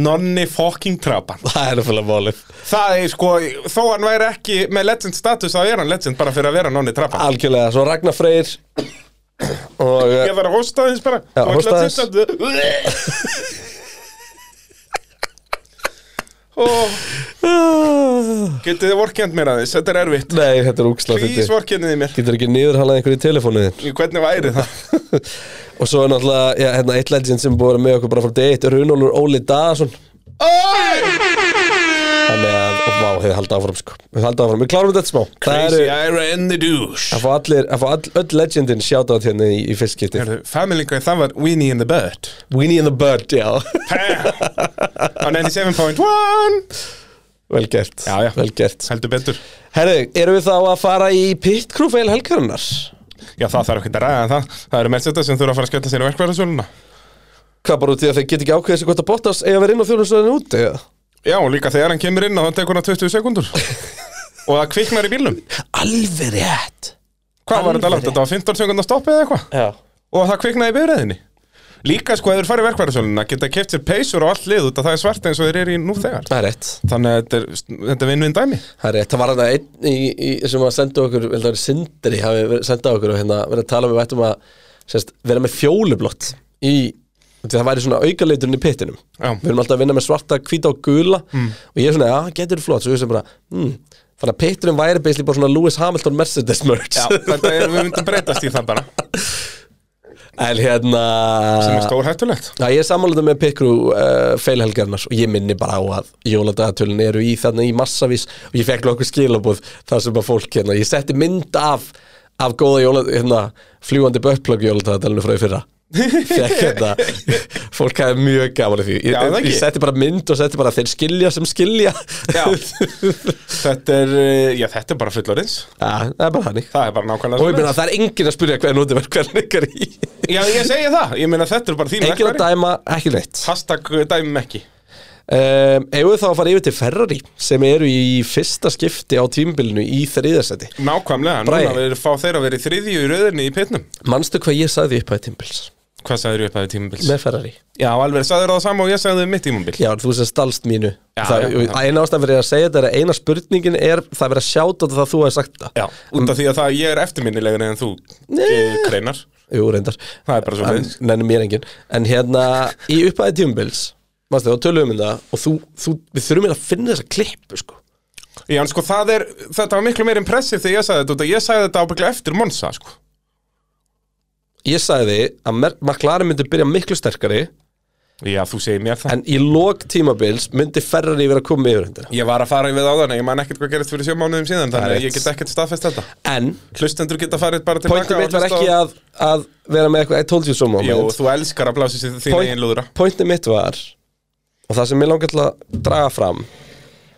Nonni fucking Traban
Það er fyrir málið
Það er sko, þó hann væri ekki með legend status þá er hann legend bara fyrir að vera Nonni Traban
Algjörlega, svo Ragnar Freyr Og eh,
Ég þarf að hosta þins bara
Já,
Þú
hósta
ætlar að
aðeins.
sitja- Ó, Getið þið vorkjönd mér aðeins, þetta er erfitt
Nei, þetta er úksla
Please vorkjöndið mér
Getur ekki niðurhalað einhverju í telefónu þinn
Hvernig væri það?
Og svo er náttúrulega, já, hérna, eitt legend sem er búið að vera með okkur bara frá deitt Runólfur Óli Daðarsson Þannig að, og vá, hefur haldið áfram, sko Hefur haldið áfram, við klárum þetta smá Það eru,
Crazy Ira and the Douche
að fá allir, að fá all, öll legendin sjátt á hérna í, í fyrstskipti
Herðu, Family Guy, það var Winnie and the Bird
Winnie and the Bird, já
Á 97.1
Vel gert,
Já, já.
vel gert
Heldur betur
Herðu, erum við þá að fara í pit crew feil helgarinnar?
Já, það þarf ekki að ræða um það Það eru Mercedes sem þurfa að fara að skella sér í verkvæðarsöluna
Hvað bara út í að þeir get ekki ákveðið sig hvort að Bottas eiga að vera inn á þjóðnustöðinu út, eða?
Já, og líka þegar hann kemur inn og það tekur hann 20 sekundur Og það kviknar í bílnum
Alveg rétt
Hvað var þetta langt? Þetta var 15 sekundar stoppið eða eitthvað
Já
Og það kviknaði í bifræðinni Líka sko, ef þeir farið verkvæðarsöluna Geta keft sér peysur og allt lið út að það er svart eins og þeir eru í nú þegar
Það er rétt
Þannig að þetta er, þetta er vinn-vinn dæmi
Það er rétt, það var þetta einn í, í, sem að senda okkur, vel það er Sindri hafi verið- sendað okkur og hérna verið að tala um við ættum að sérst, vera með fjólublott í, því það væri svona aukaleiturinn í pittinum
Já. Mm.
Við erum alltaf að vinna með svarta, hvíta og gula og ég er svona, já, getur flott, svo ég sem bara, mm, þannig að pitturinn væri basically bara svona Lewis Hamilton Mercedes merch
Já, þetta er, við myndum breytast í það bara
En hérna
Sem er stórhættulegt
Já, ég er samanlega með Pikru uh, feilhelgarnar og ég minni bara á að jóladagatölunin eru í þarna í massavís og ég fekk nokkuð skilabúð þar sem að fólk hérna, ég setti mynd af af góða jóla, hérna, fljúandi bökplögg jólatagatalinu frá í fyrra Fekk hérna, fólk hafði mjög gaman af því Ég,
Já, það
ég
ekki.
setti bara mynd og setti bara þeir skilja sem skilja
Já. þetta er, eh, já, þetta er bara fullorins
Já, það er bara þannig
Það er bara
Og ég
nákvæmlega svoleiðis.
meina, það er enginn að spyrja hver nótum er hvern ykkar í
Já, ég segi það, ég meina þetta er bara þín
Enginn að dæma, ekki neitt
Hashtag dæmum ekki
um, Eigum við þá að fara yfir til Ferrari sem eru í fyrsta skipti á tímbilinu í þriðasæti
Nákvæmlega,
Bragi.
núna við fá þeir að vera í þriðju í röðinni í pitnum
Manstu hvað ég sagði upp að tímbils
Hvað sagður ég upp að þið tímabils?
með Ferrari?
Já, alveg, sagður það sama og ég sagði um mitt tímabil
Já, þú sem stalst mínu
Já,
það,
já, já.
Eina ástæðan fyrir að segja þetta er að eina spurningin er það verið að sjáta það að þú hefði sagt það
Já, út af því að það, ég er eftirminnilegur en þú eh, kreinar
Jú, reyndar
Það er bara svo
En- Nenni mér engin En hérna, í upphæði tímbils Manstu, þá tölum við um það Og þú, þú, við þurfum hérna að finna þessa klippu, sko
Já, en sko það er, þetta var miklu meir impressiv þegar ég sagði þetta út að ég sagði þetta ábygglega eftir Monsa, sko
Ég sagði að Mer- McLaren myndi byrja miklu sterkari
Já, þú segir mér það
En í lok tímabils myndi Ferrari vera að koma yfir hundina
Ég var að fara við áðan, en ég man ekkert hvað gerist fyrir sjö mánuðum
Það er
síðan Þannig að
rétt.
ég get ekkert staðfest þetta
En,
Hlustendur geta farið bara til
pointið mitt var ekki að, að vera með eitthvað I told you so moment
Jó, þú elskar að blása sér þín
Point-
eigin lúðra
Pointið mitt var og það sem ég langar til að draga fram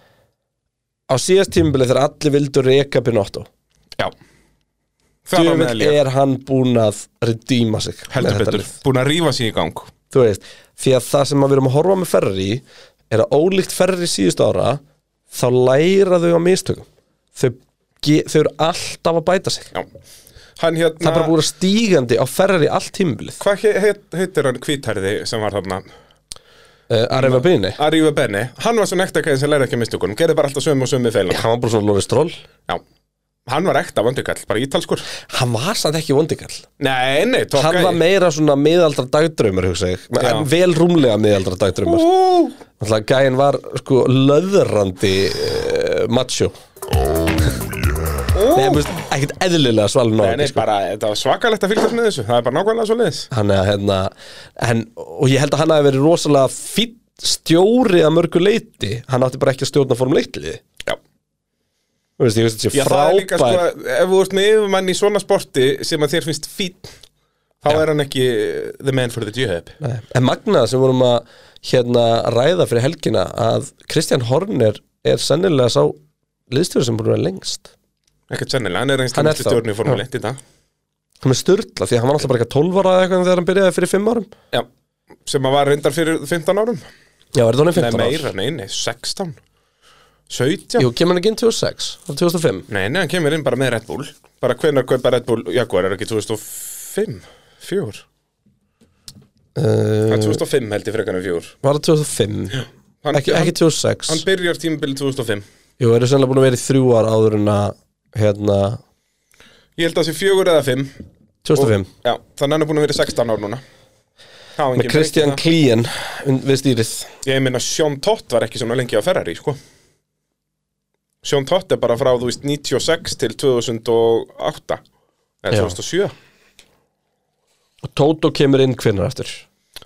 á síðast tímabilið þegar allir vildu reka Binotto
Já Það var
djöfull
meðal ég
er hann búinn að redýma sig með
Heldur
þetta
betur,
lið.
búin að rífa sér í gang
þú veist, því að það sem að við erum að horfa með Ferrari er að ólíkt Ferrari síðust ára þá læra þau á mistökum þau, ge- þau eru alltaf að bæta sig
Já Hann
það er bara
hérna,
búin að stígandi á Ferrari allt tímabilið
hvað he- heit- heitir hann kvítærði sem var þarna
uh, að reyfa byrni
að rífa benni, hann var svona ekta kæðin sem læra ekki mistökunum, gerði bara alltaf sömu og sömu feilna
hann var bara svona Loris Stroll
Já, hann var ekta vandikall, bara ítalskur
hann var samt ekki vondikall
Nei, nei, tók
Hann var meira svona miðaldra dagdraumur hugsa ég,
Já.
en vel rúmlega miðaldra dagdraumur
Ú,
Þannig að gæinn var sko löðrandi uh, macho Nei, mjög, ekkert eðlilega svalin
Nei, nei,
sko.
bara, þetta var svakalegt að fylgjast með þessu Það er bara nákvæmlega svo leiðis
Hann er hérna en, og ég held að hann hafi verið rosalega fýtt stjóri að mörgu leiti hann átti bara ekki að stjórna form leitliði
Já,
Þú veist, ég veist þessi
Já það er líka
frábær
sko, ef þú ert með yfirmann í svona sporti sem að þér finnst fín þá er hann ekki uh, the man for the job
Nei. En magnað sem vorum að hérna ræða fyrir helgina að Kristján Horner er sennilega sá liðstjóri sem búin að vera lengst
Ekkert sennilega, hann er einst
Hann er
næstu
þá.
stjórn í Formule 1 í dag
hann er styrla því að hann var alltaf bara eitthvað 12 ára eða eitthvað þegar hann byrjaði fyrir 5 árum
Já, sem að var reyndar fyrir 15 árum
já, var þetta hann 15
Nei,
ára?
meira, nei, nei, 16 17
jú, kemur hann ekki inn 2006, það er 2005
Nei, nei, hann kemur inn bara með Red Bull Bara hvenær kaupa Red Bull Jaguar er ekki 2005 4
uh,
Hann 2005 held ég frekarinn 4
Eh, var það 2005
Hann,
ekki, ekki
hann,
2006
hann byrjar tímbil 2005
jú, eru sennilega búin að vera í 3 ára áður en að hérna,
Ég held að það sé 4 eða 5
2005
Já, þannig að hann er búin að vera í 16 ár núna Það var engin
með Kristján
breyting
Klíen við stýrið
þar. um Ég meina Sean Tott var ekki svona lengi á Ferrari sko. Sean Tott er bara frá þú veist 96 til 2008
Já.
eða 2007
og Tóto kemur inn hvinnar eftir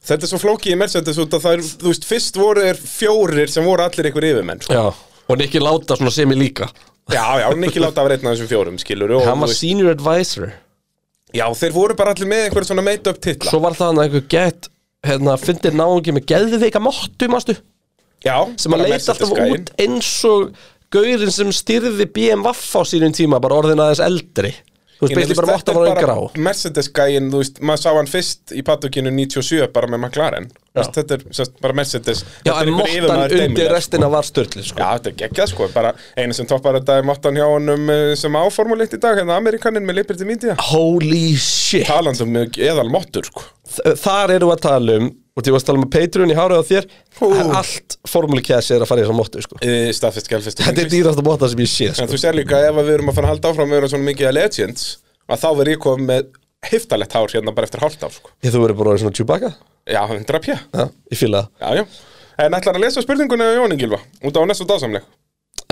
Þetta er svo flókið í Mercedes út að það er, þú veist, fyrst voru er fjórir sem voru allir einhver yfirmenn, sko.
já, og Nicky Láta svona sem í líka
Já, já, Nicky Láta var einn af þessum fjórum, skilur, og,
hann
þú
var
veist,
senior advisor
já, þeir voru bara allir með einhver svona made-up titla.
svo var það hann einhver gett hérna, fyndið náungi með geðveika mottu, mástu
Já,
sem að
bara
leita alltaf
Mercedes-gæinn.
út eins og gaurinn sem styrði BMW á sínum tíma, bara orðin aðeins eldri þú veist,
Ég meina,
beitli
þú
bara
veist,
mótt
þetta
að vera
er
yngra á
bara Mercedes-gæin, þú veist, maður sá hann fyrst í patukinu 97 bara með McLaren Þú veist, Þetta er sest, bara Mercedes
já,
Þetta er
en
einhver
móttan
yfirmaður
undir
dæmilega,
restina var störtli
sko. Já,
sko.
þetta er geggjað sko, bara einu sem toppar þetta er mottan hjá honum eh, sem áformuleitt í dag, hérna Amerikanin með Liberty Media
Ah. holy shit
Talandum með eðal mottur sko
Þ- þar eru að tala um og því varst að tala um að Patreon í hárið á þér en allt formúli kæs er að fara í þessa móttu sko.
e, Staffist, gelfist
þetta er dýrasta mótta sem ég sé sko.
En þú sér líka ef að við erum að fara að halda áfram að vera svona mikið að Legends að þá verð ég komið með heftalett hár hérna bara eftir hálft ár sko
því þú verður bara orðin svona Chewbacca
Já, 100 pjö
ja, ég fíla það
Já, já En ætlar að lesa spurninguna á Jónin Gilva út á næstu dásamleg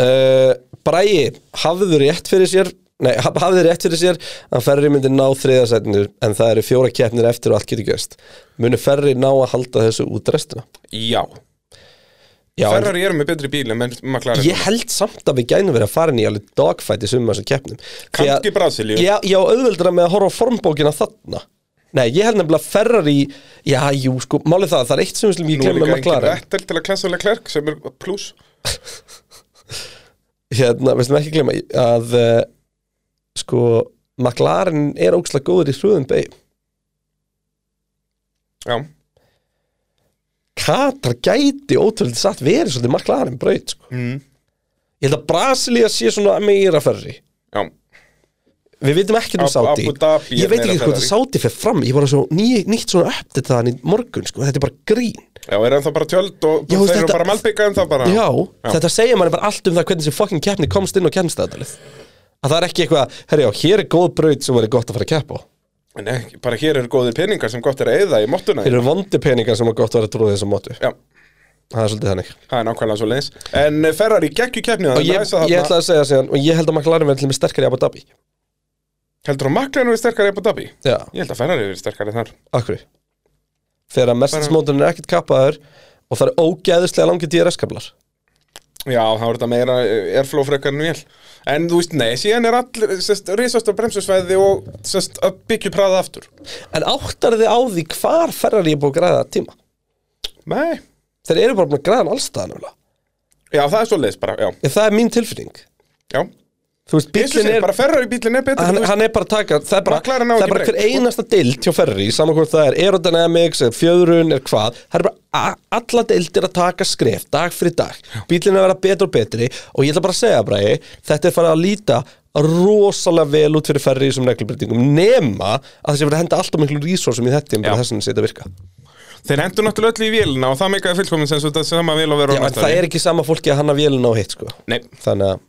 Uh, Bræi, hafðu rétt fyrir sér Nei, haf- hafðu rétt fyrir sér að Ferri myndi ná þriðasætinu en það eru fjóra keppnir eftir og allt getur gerst Munu Ferri ná að halda þessu út restina?
Já,
Já, en-
Ferrari eru með betri bíl en McLaren
Ég held samt að við gænum verið að fara inn í alveg dogfight í sumum þessum keppnum Því að-
Kannski Brasilíu.
Já, já, auðveldra með að horfa á formbókina þarna Nei, ég held nefnilega Ferrari Já, jú, sko, málið það, það er eitt sem við slum ég
Nú er
glemma
líka
með
engin
McLaren
Vettel til að klessa Leclerc sem er pluss
hérna, við slum ekki glemma að uh, sko, McLaren er ókslega góður í þröðum beig
Já,
Katar gæti ótrúlega satt verið svolítið McLaren braut, sko
Mm.
Ég held að Brasilia sé svona meira Ferrari
já
Við veitum ekkert um
Ab-
Saudi
Abu Dhabi
Ég
er
veit
meira
ekki hvort að
Ferrari.
Saudi fer fram Ég var að sjá ný, nýtt svona uppdætt þaðan í morgun sko. Þetta er bara grín
Já, er ennþá bara tjöld og
Já,
þeir eru
þetta-
bara malbygga en það bara
Já, þetta segja manni bara allt um það hvernig sem fucking keppni komst inn á keppnstæðalið Að það er ekki eitthvað, herri já, hér er góð braut sem verið gott að fara að keppa á
En ekki, bara hér eru góðir peningar sem gott er að eyða í mottuna
Hér eru vondi peningar sem er gott að vera að trúa þessum mótu
Já,
Það er svolítið þannig
það er nákvæmlega svo leins En eh, Ferrari geggju keppnið
Og ég, ég ætla að segja síðan, og ég held að McLaren verið til með sterkari í Abu Dhabi
Heldur þú að McLaren verið sterkari í Abu Dhabi?
Já,
Ég held að Ferrari verið sterkari þar
akkur Þegar að mestinsmóturinn er ekkert kappaður Og það er ógeðislega langið DRS-kablar
Já, það voru þetta meira eh, airflow frekar en vél En þú veist, nei, síðan er allir sest, risastur bremsusvæði og sest, að byggju praða aftur
En áttar þið á því hvar Ferrari er búið að græða tíma?
Nei,
Þeir eru bara búin að græða hann allstaðan nefnilega.
já, það er svo leins bara, já,
Ef það er mín tilfinning.
já
Þú veist,
Ég
bíllinn
sé,
er,
bara Ferrari bílinn er betri
hann,
þú veist,
hann er bara að taka, það er bara,
McLaren á
það
ekki
er bara hver
breytt, sko.
einasta deild hjá Ferrari, saman hvort það er aerodynamics, eða fjöðrun, er hvað, það er bara a- alla deildir að taka skref, dag fyrir dag. Bíllinn er að vera betri og betri og ég ætla bara að segja, Bræði, þetta er farið að líta rosalega vel út fyrir Ferrari í þessum reglubreitingum, nema að þessi verið að henda allt og miklu resursum í þetta,
Já.
bara þessin setja að virka.
Þeir hendur náttúrulega öll í vélina og það meikaði fullkomin sem þetta sama vél að vera
Já, en það er ekki sama fólki að hanna vélina og hitt, sko.
Nei,
Þannig að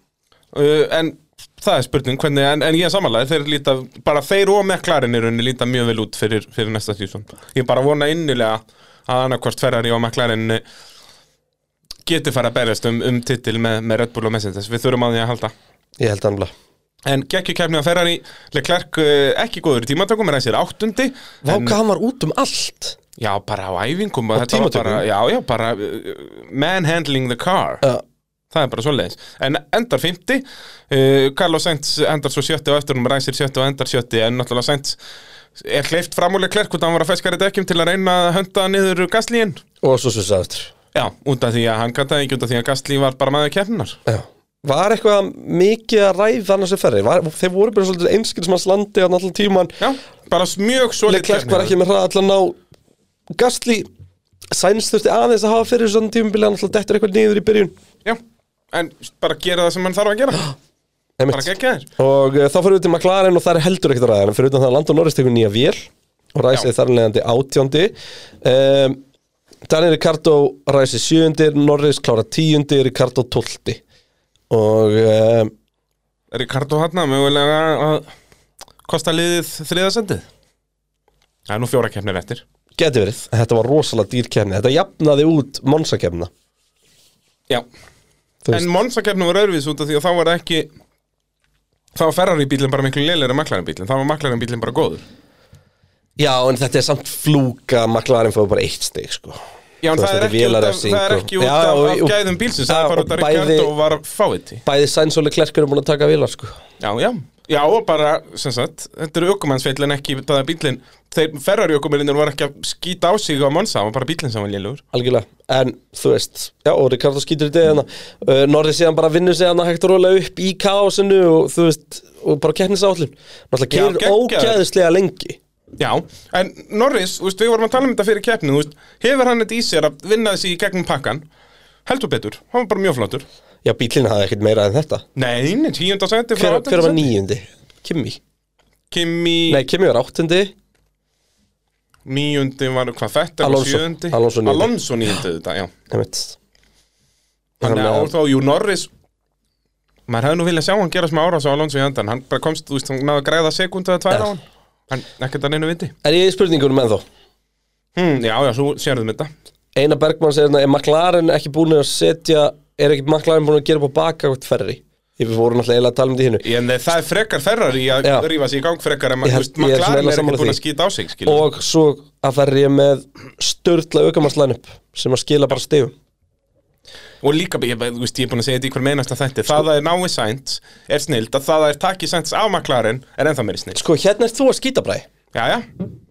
uh, en það er spurning hvernig, en, en ég er samanlega, þeir líta bara þeir og McLaren í rauninni líta mjög vel út fyrir, fyrir næsta sísón. Ég bara vona innilega að annarkvort Ferrari og McLaren eh, geti fara að berjast um, um titil með, með Red Bull og Mercedes við þurfum að því að halda
ég held annafla.
en geggju kefni að Ferrari Leclerc eh, ekki góður í tímatökum er aðeins er áttundi
Vá,
en,
hvað hann var út um allt
já, bara á æfingum
Á
og þetta var
tímatökum? Uh.
bara, já, já, bara eh, manhandling the car
Já,
Það er bara svoleiðis. En endar 50, uh, Carlos Sainz endar svo sjötti og eftir hún ræsir sjötti og endar sjötti, en náttúrulega Sainz er hleyft framúlega klerk út að hann var að feskari dekkjum til að reyna að hönda niður gaslíin.
og svo svo sæður
Já, út af því að hann gataði ekki, út af því að gaslí var bara maður keppnar.
Var eitthvað mikið að ræða annars sem ferri var, Þeir voru bara svolítið einskilsmanns landi á náttúrulega tíman
Já, bara mjög svolítið.
Leclerc var ekki með hraða allan á Gastli Sæns þurfti aðeins að hafa fyrir svona tímabili hann alltaf dettur eitthvað niður í byrjun
Já, en bara gera það sem hann þarf að gera. Bara
Einmitt.
gegja þér.
Og uh, þá fyrir við til McLaren og það er heldur ekkert að ræða En fyrir utan það að Landon Norris tekur nýja vél Og ræsið
Já.
þar leðandi átjóndi um, Daniel Ricardo ræsið sjöundir Norris klára tíundir, Ricardo tólti Og um,
Ricardo Hanna, mögulega að kosta liðið þriðasendið. Það er nú fjóra keppnir eftir.
Geti verið, þetta var rosalega dýr kemni Þetta jafnaði út Monsa kemna
Já, En Monsa-keppnum var öðruvís út af því að þá var það ekki Þá var Ferrari-bílinn bara miklu leilir en McLaren-bílinn Þá var McLaren-bílinn bara góður
Já, en þetta er samt flúka McLaren fóðu bara eitt stig sko.
Já, en
Þú
það
veist,
er,
þetta
ekki út af,
vélarefsing
það er
og-
ekki út
Já,
af,
og-
af
og-
gæðum bílsins Það
Já,
er bara út af
og bæði-
Ricardo og var fáiði
Bæði sænsóli klerkur er búin að taka vilar sko.
Já, já Já, og bara, sem sagt, þetta eru ökumannsveill en ekki það er bílinn Þeir Ferrari-ökumanninnur var ekki að skýta á sig á Monsa Það var bara bílinn sem var lélugur
Algjörlega, en þú veist Já, og Ricardo skýtur í degina uh, Norris síðan bara vinnur sig hann að hægt rólega upp í kaosinu og þú veist, og bara keppnisállin Náttúrulega
Já,
keirir
geggjaður.
ógæðislega lengi
Já, en Norris, þú veist, við vorum að tala um þetta fyrir keppni þú veist, Hefur hann þetta í sér að vinna þessi í gegnum pakkan Heldur betur, hann var bara mjög flottur
Já, bílinn hafði ekkert meira en þetta
Nei, nei, tíunda senti
Hver, hver var nýjundi? Kimi
Kimi,
Nei, Kimi var áttundi
níundi var hvað þetta
Alonso.
sjöundi
Alonso níundi.
Alonso níundi þetta, já
Einmitt.
Þannig
Þannig
að
að-
og þá, jú, Norris maður hefði nú viljað sjá hann gera smá árás á Alonso í endan hann bara komst, þú veist, hann náði að græða sekundu eða tvær á
Já.
hann en ekkert að neinu viti
Er ég í spurningunum ennþó?
hmm, Já, já, svo sérðum þetta
Einar Bergmann segir hérna, er McLaren ekki búin að setja, er ekki McLaren búin að gera upp á baka hvort ferri? Ég við vorum alltaf eiginlega að tala um þetta í hinnu.
En það er frekar Ferrari að
Já.
rífa sig í gang frekar en
Ég
maður, þú
held-
veist,
ég er svona
McLaren
eiginlega
er
sammála
ekki búin að
því.
skýta á sig, skilur
Og svo að ferri er með störtla aukamannslæn upp sem að skila bara stegum.
og líka, ég, ég, þú veist, ég er búin að segja þetta í hver meinast að þetta, það að er náið sænt er snild, að það að er takið sænt af maklarinn er ennþá meiri snild
Sko, hérna ert þú að skýta bræ
já, já,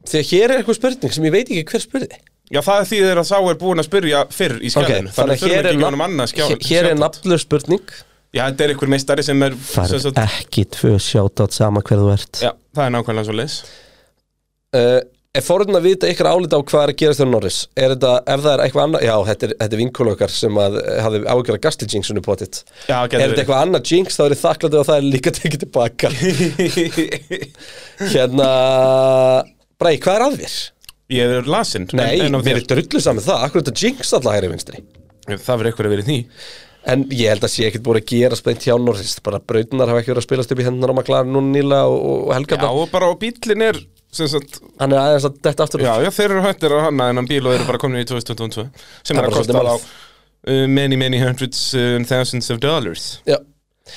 Þegar hér er eitthvað spurning sem ég veit ekki hver spurði
já, það er því þeir að sá er búin að spyrja fyrr
Ok,
í skjálinu,
þannig að
þurfum
hér
ekki
er,
að gefa honum
nafn,
annað skjál
hér- hér er
shoutout.
nafnlöf spurning
já, þetta er einhver meistari sem er
Það
sem sagt-
er ekki tvö sjátátt sama hver þú ert
já, það er nákvæmlega svo leis
uh, Er fórhundin að vita ykkar álita á hvað er að gerast þér Norris? Er þetta, ef það er eitthvað annað Já, þetta er, þetta er vinkul okkar sem að eh, hafði ágjör að gasli jinxunni potið
já,
Er þetta
getur
eitthvað annað jinx, þá er ég þakklætið og það er líka tekið tilbaka
við
Hérna Bræ, hvað er að þér?
ég er lasinn
Nei,
en, en á
við
þér.
erum drullu saman það Akkur þetta jinx alltaf hægri vinstri
það verður eitthvað að vera í því
En ég held að sé ekkert búið að gera spennt hjá Norris bara brautunar hafa ekki verið að spilast upp í hendunar á maklar núna nýla og, og
já,
helgarna
og bara, og bílinn er sem sagt,
Hann er aðeins að detta aftur
já,
út.
já, þeir eru hættir að hanna en bíl og þeir eru bara komin í 2022 sem
Það
er
er
að
bara svolítið
kosta á
málið.
uh, many, many hundreds and thousands of dollars
Já.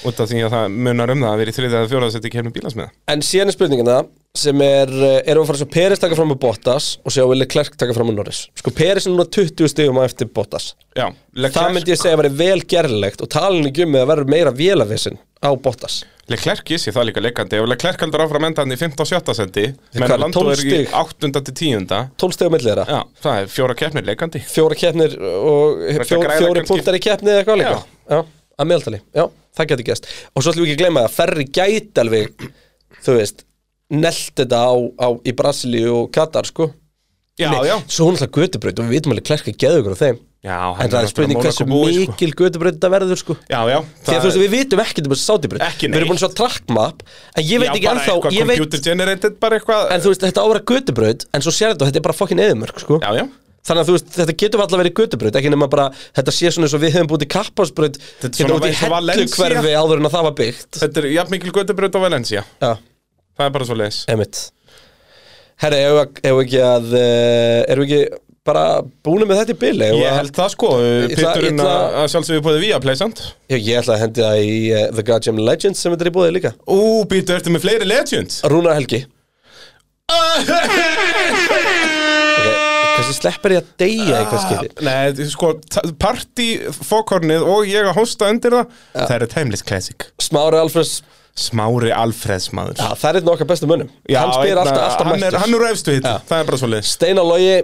út af því að það munar um það að vera í þriðið eða fjóraðs eftir kemni bílasmiða
En síðan er spurningina sem er, eh, erum við að fara svo Peris taka fram á Bottas og sjá Willi Klerk taka fram á Norris Sko Peris er núna 20 stigum á eftir Bottas
já,
Það myndi
Leclerc,
ég segja að veri vel gerlilegt og talinu ekki um með að vera meira vélavissin á Bottas
Leclerc ég sé það líka leikandi ef Leclerc heldur áfram endan í 15 og 17 sendi
hvað
menn
er,
að Lando
12
er í
stig?
8. til 10
12 stigum millir þeirra
já, það er fjóra keppnir leikandi
Fjóra keppnir og
Þetta
fjó,
græða
fjóri
kannski.
punktar í keppni eða eitthvað líka
Já.
Já, að meðaltali, já, það getur gæst Og svo ætlum við ekki að gleyma það, Ferri gæti alveg, þú veist, nelt þetta á, á, í Brasilíu og Katar, sko
já,
Nei,
já,
Svo hún alltaf götubraut og við vitum alveg klerka geðugur á þeim
já
En það er spurning hversu
sko.
mikil götubraut þetta verður, sko
já, já,
Því að þú veist, við vitum ekkert um þessu sátibraut
Ekki
Við erum búin að sjá trackmap, en ég veit
já,
ekki
bara
ennþá
eitthvað
ég veit-
computer generated bara eitthvað
En þú veist, þetta á að vera götubraut, en svo sér þetta, og þetta er bara fokkin eðumörk, sko
já, já
Þannig að þú veist, þetta getur alltaf verið götubraut, ekki nema bara, þetta sé svona eins og við hefum búið í kappásbraut,
Þetta er
hérna
svona
út í
eins og
helluhverfi áður en að það var byggt.
Þetta er jafn mikil göttubraut á Valencia
Já,
Það er bara svo leis
emitt. Herra, eigum við- eigum við ekki að, uh, erum við ekki bara búinu með þetta í bili? Eigum við
Ég
að-
held það sko
ætla-
Pitturinn
ég ætla-
að sjálfsögðu búið við að pleysand
Já, ég ætla að hendi það í uh, The Goddamn Legends sem þetta er í búið líka.
Ú, býtu, ertu með fleiri legends?
Rúnar Helgi.
Ah!
Okay. Kanski sleppar ég að deyja í hvað skipti.
Nei, þetta er sko, partí fókornið og ég að hósta undir það Það er timeless classic
Smári Alfreds,
Smári Alfreds maður
já, það er einn okkar bestu mönnum.
Já,
hann spyr
einna-
alltaf, alltaf
hann er,
mættur.
hann er efstu hitt, það er bara svo leis
Steinar Logi,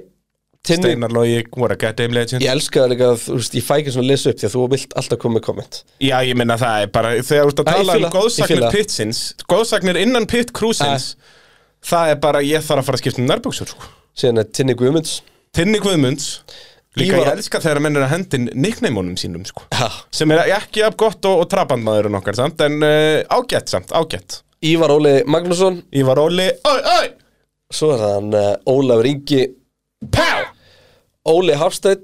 Tinnu
Steinar Logi, what a goddamn legend
Ég elska það líka að þú veist, ég fæ ekki svona að lesa upp því að þú vilt alltaf koma með komment
Já, ég minna það er bara, þegar þú ert
Æ,
að
ég
tala um
fíla, ég
góðsagnir
fíla.
pitsins Góðsagnir innan pit krúsins Það er bara, ég þarf að fara að skipta um nærbúksur sko.
síðan er Tinni Guðmunds
Tinni Guðmunds Líka
Ívar-
ég elska þegar menn er að hendin nickneimunum sínum sko.
ha.
Sem er ekki af gott og, og trabandmaðurinn okkar samt En uh, ágætt samt, ágætt
Ívar Óli Magnússon
Ívar Óli, oi, oi,
svo er hann uh, Ólafur Ingi
pá
Óli Hafsteinn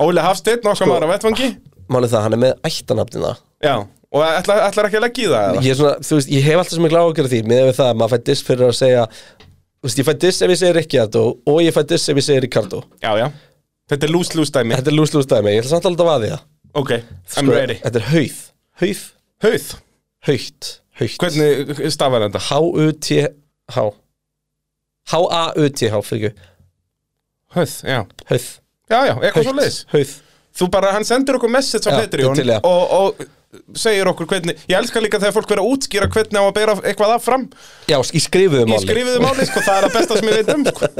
Óli Hafsteinn, nokkað
Sko.
maður á vettvangi
málið það, hann er með ættanafnina
Já, og ætlar, ætlar ekki að leggja í það eða?
ég, er svona, þú veist, ég hef alltaf sem ég gláð okkur því með við það að maður fætt diss fyrir að segja þú veist, ég fætt diss ef ég segir Ricciardo og ég fætt diss ef ég segir Ricardo
Já, já, þetta er lús-lús dæmi
þetta er lúslúst dæmi, ég ætla samt alltaf að því það Sko,
Ok, I'm ready
þetta er hauð, hauð,
Hauð,
hauðt, hauðt
hvernig stafar þetta?
H-U-T-H H-A-U-T-H, fyrir ekki
Hauð, já
Hauð
Já, já, eitthvað svo leiðis
Hauð
Þú bara, hann sendir okkur message á
Já,
Patreon
til- til, já.
og, og segir okkur hvernig Ég elska líka þegar fólk verið að útskýra hvernig á að bera eitthvað af fram
Já, í skrifuðu
Í
máli
skrifiðu máli, sko, það er að besta sem ég veit um sko.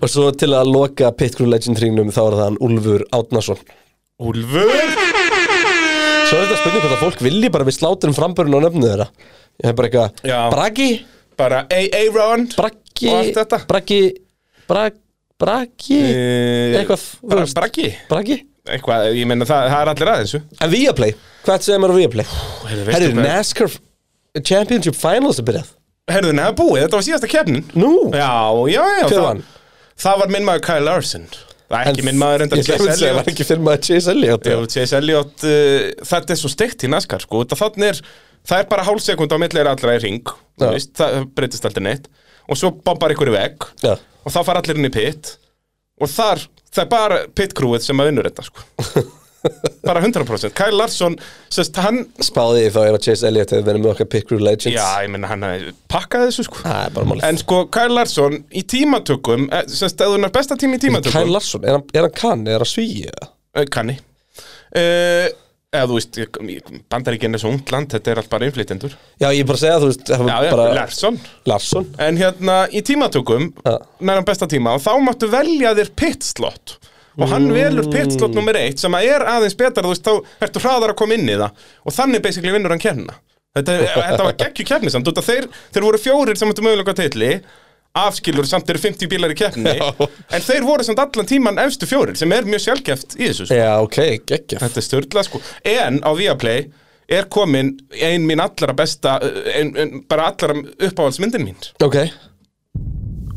Og svo til að loka Pit Crew Legend hringnum þá er það hann Úlfur Átnason
Úlfur
Svo er þetta spurning hvort að fólk vilji bara við sláturum frambörun og nöfnu þeirra Ég hef bara
Já.
eitthvað Bragi,
Bara A-A-Ron
Bragi
Og allt þetta. Eh,
Bragi, Bragi, Bragi Eitthvað, þú
Bara
veist.
braggi
Bragi
Eh, Eitthvað, ég meina það, það er allir aðeins
En Viaplay, hvað segir maður á Viaplay?
heyrðu, veistu
Herri,
hvað-
NASCAR Championship Finals er byrjað
Herðu, neða búið, þetta var síðasta keppnin
Nú,
Já, já, já
hver
það-
vann?
Það var minn maður Kyle Larson Það er ekki minn maður enda
Ég ætla að segja, það var ekki fyrir maður Chase Elliot
Jú, Chase Elliott, uh, þetta er svo steikt í naskar sko, út af þannig er, það er bara hálf sekund á milli er allra í ring, þú
Já.
veist, það breytist aldrei neitt, og svo bombar ykkur í vegg,
Já.
og þá fara allir inn í pit, og þar, það er bara pit-krúið sem að vinnur þetta, sko. bara 100%. Kyle Larsson, sérst, hann,
Spáði ég þá ef að Chase Elliot hefði verið með okkar Pick Crew Legends
já, ég menna, hann hafði pakkað þessu, sko.
Það er bara málið
En sko, Kyle Larsson, í tímatökum, eh, sérst, eða hún er besta tími í
Kyle
tímatökum,
Larsson, er hann, er hann kann, er hann svíi? eða?
Kyle... kanni. uh, eða þú veist, bandaríkinn er svo ungt land, þetta er allt bara innflytjendur
Já, ég er bara að segja, þú veist það
Já,
var
já,
bara,
Larsson
Larsson
En hérna, í tímatökum,
Ja.
nærum besta tíma og þá máttu velja þér pitslott og hann velur
Mm.
pitslott nummer eitt sem að er aðeins betra, þú veist, þá ertu hraðar að koma inn í það og þannig basically vinnur hann kemna Þetta, e, þetta var geggju keppni samt, út af þeir, þeir voru fjórir sem áttu mögulega titli afskilur samt eru 50 bílar í keppni
Já.
en þeir voru samt allan tíman efstu fjórir sem er mjög sjálfgeft í þessu sko.
Já, ok, geggjaf
Þetta er störla sko En á Viaplay er komin ein mín allra besta e, ein, ein, bara allra uppáhaldsmyndin mín
Ok,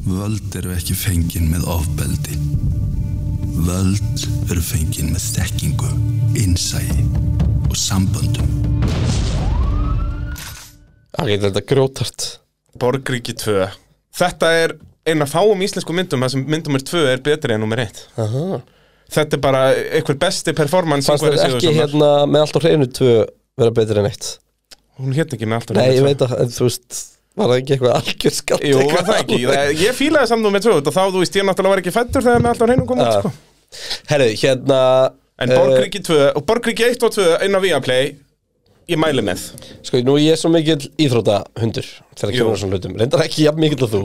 Völd eru ekki fengin með ofbeldi. Völd eru fengin með þekkingu, innsæi og samböndum.
ok, þetta er grjótart
Borgríki 2 Þetta er ein af fáum íslensku myndum þar sem mynd nummer 2 er betri en nummer 1
Aha.
Þetta er bara einhver besti performance
Fannst
Ingvaris
þetta ekki
Sigurðssonar.
hérna með allt á hreinu tvö vera betur en eitt
Hún hétt ekki með alltaf
hérna- Nei, ég veit að, en þú veist Var það ekki eitthvað algjör skatt
sko. Jú, var það ekki, það, ég fílaði samt nummer 2 og þá, þú veist, ég náttúrulega var ekki fættur þegar með alltaf hreinu kom út,
Ja.
sko
Herru, hérna
En
eh,
Borgríki 2, og Borgríki 1 og 2 inn á Viaplay, ég mæli með
Sko, nú ég er svo mikill íþrótahundur þegar
Jú.
kemur að svona hlutum, reyndar ekki jafn mikill að þú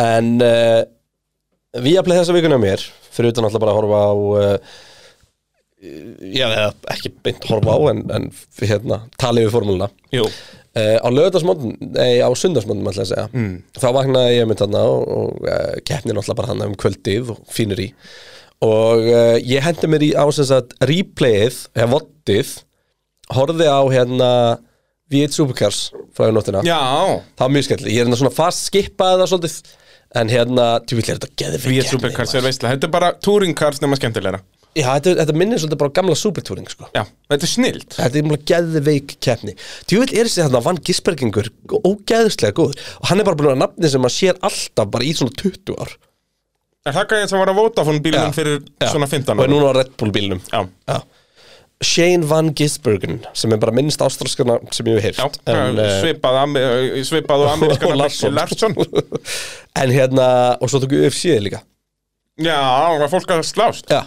en uh, við að playa þessa vikuna mér fyrir utan alltaf bara að horfa á uh, já, eða ekki beint horfa á en, en hérna, tali við formúluna
Jú
Uh, á lögðarsmóndum, nei á sundarsmóndum ætla ég að segja,
Mm.
þá vaknaði ég mynd þarna og, og uh, keppnin alltaf bara þarna um kvöldið og fínur í og uh, ég hendi mér í á sem sagt replayið, eða vottið horfði á hérna V8 Supercars frá í nóttina
Já,
það var mjög skemmtileg, ég er hérna svona fast skipaði það svolítið en hérna, tjúfill er þetta geðvig
Við supercars er veistla, þetta er bara touring cars nema skemmtilegra
Já, þetta, þetta minnir svolítið bara á gamla supertúring sko
Já, þetta er snild
Þetta er mjög geðveik keppni Tjúvill er þessi þarna vann Gisbergingur ógeðslega góður og hann er bara búin að vera nafni sem maður sér alltaf bara í svona 20 ár
Er það gæðið sem var að vota fór bílum
Já.
fyrir
Já.
svona 15
og er
ára?
núna á Red Bull bílnum
Já,
Já. Shane Van Gisbergen sem er bara minnst ástralskana sem ég hef
já,
heyrt en, eh,
svipað, ami, svipað og amerískana
og Larsson.
Larsson
en hérna, og svo tóku UFC líka
Já, það var fólk að slást
Já,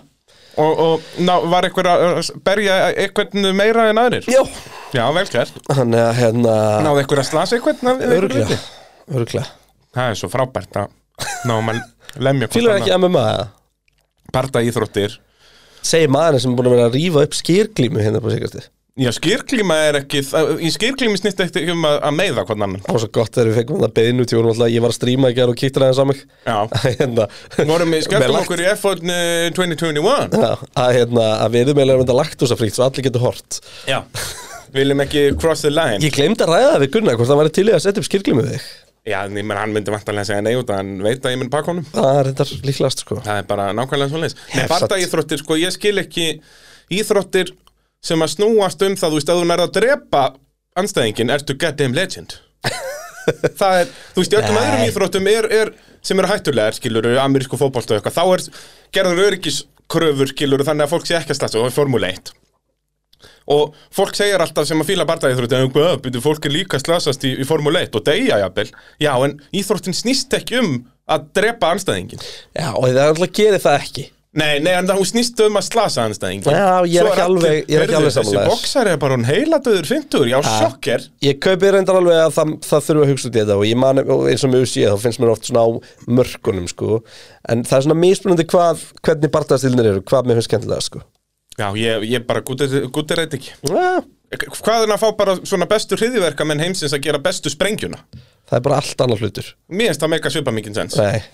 Og, og ná, var einhver að að berja einhvern meira en aðrir?
já
Já, vel gert
Hann er hérna
Náði einhver að slasa einhvern? af- einhverju
Örglega
leyti?
Örglega
Það er svo frábært að ná mann lemja hvort
Fýlar
annað.
ekki MMA eða?
Barda íþróttir
Segir maðurinn sem er búin að vera að rífa upp skýrglímu hérna på sigastu
Já, skýrklíma er ekki, það- í skýrklími snýst ekki um að, að meiða hvern annan
Það var svo gott þegar við fengum þetta beðinu til honum alltaf, ég var að stríma í gerð og kíktir aðeins á mig
Já.
hérna,
vorum við
Með
skemmtum
lakt-
okkur í F1 eh, 2021
Já, að, hérna, að við erum eiginlega mynda laktúsafríkt svo allir getur hort
Já Viljum ekki cross the line
Ég glemd að ræða það við Gunnar hvort það væri til í að setja upp skirkli með þig
Já, en ég menn hann myndi vantanlega segja nei út að hann veit að ég myndi pakka honum
Það er þetta líklegast sko
Það er bara nákvæmlega svo leis Nei,
Hef
barda
satt.
íþróttir, sko, ég skil ekki íþróttir sem að snúast um það, þú veist, að þú nærð að drepa anstæðingin, ertu goddamn legend Það er, þú veist, í öllum
Nei.
öðrum íþróttum er, er, sem eru hættulegar, skilur, amerísku fótbolta og eitthvað, þá er gerður öryggiskröfur, skilur, þannig að fólk sé ekki að slasa og það er formúla 1 og fólk segir alltaf sem að fíla bardaíþrótt en "Bö, byrju, fólk er líka að slasast í, í Formule 1 og deyja jafnvel já en íþróttin snýst ekki um að drepa anstæðingin
Já, og það er alltaf að gera það ekki
Nei, nei, en það hún snýst um að slasa anstæðingin
Já, ég er ekki alveg- ég er ekki alveg sammála
Þessi
þér.
boksari er bara hún heila döður 50 Já, sjokker
Ég kaupi reyndar alveg að það, það þurfa að hugsa út í þetta og ég man, og eins og mjög sé, þá finnst mér oft svona á mörkunum sko En það er svona mismunandi hvað, hvernig barndastilnir eru, hvað mér finnst skemmtilega sko
Já, ég, ég bara gútið reynd ekki
Já,
Hvað er að fá bara svona bestu hriðiverka menn heimsins að gera bestu sprengjuna?
það er bara allt annað hlutur
Mér finnst það meika svipa mikið sens
Nei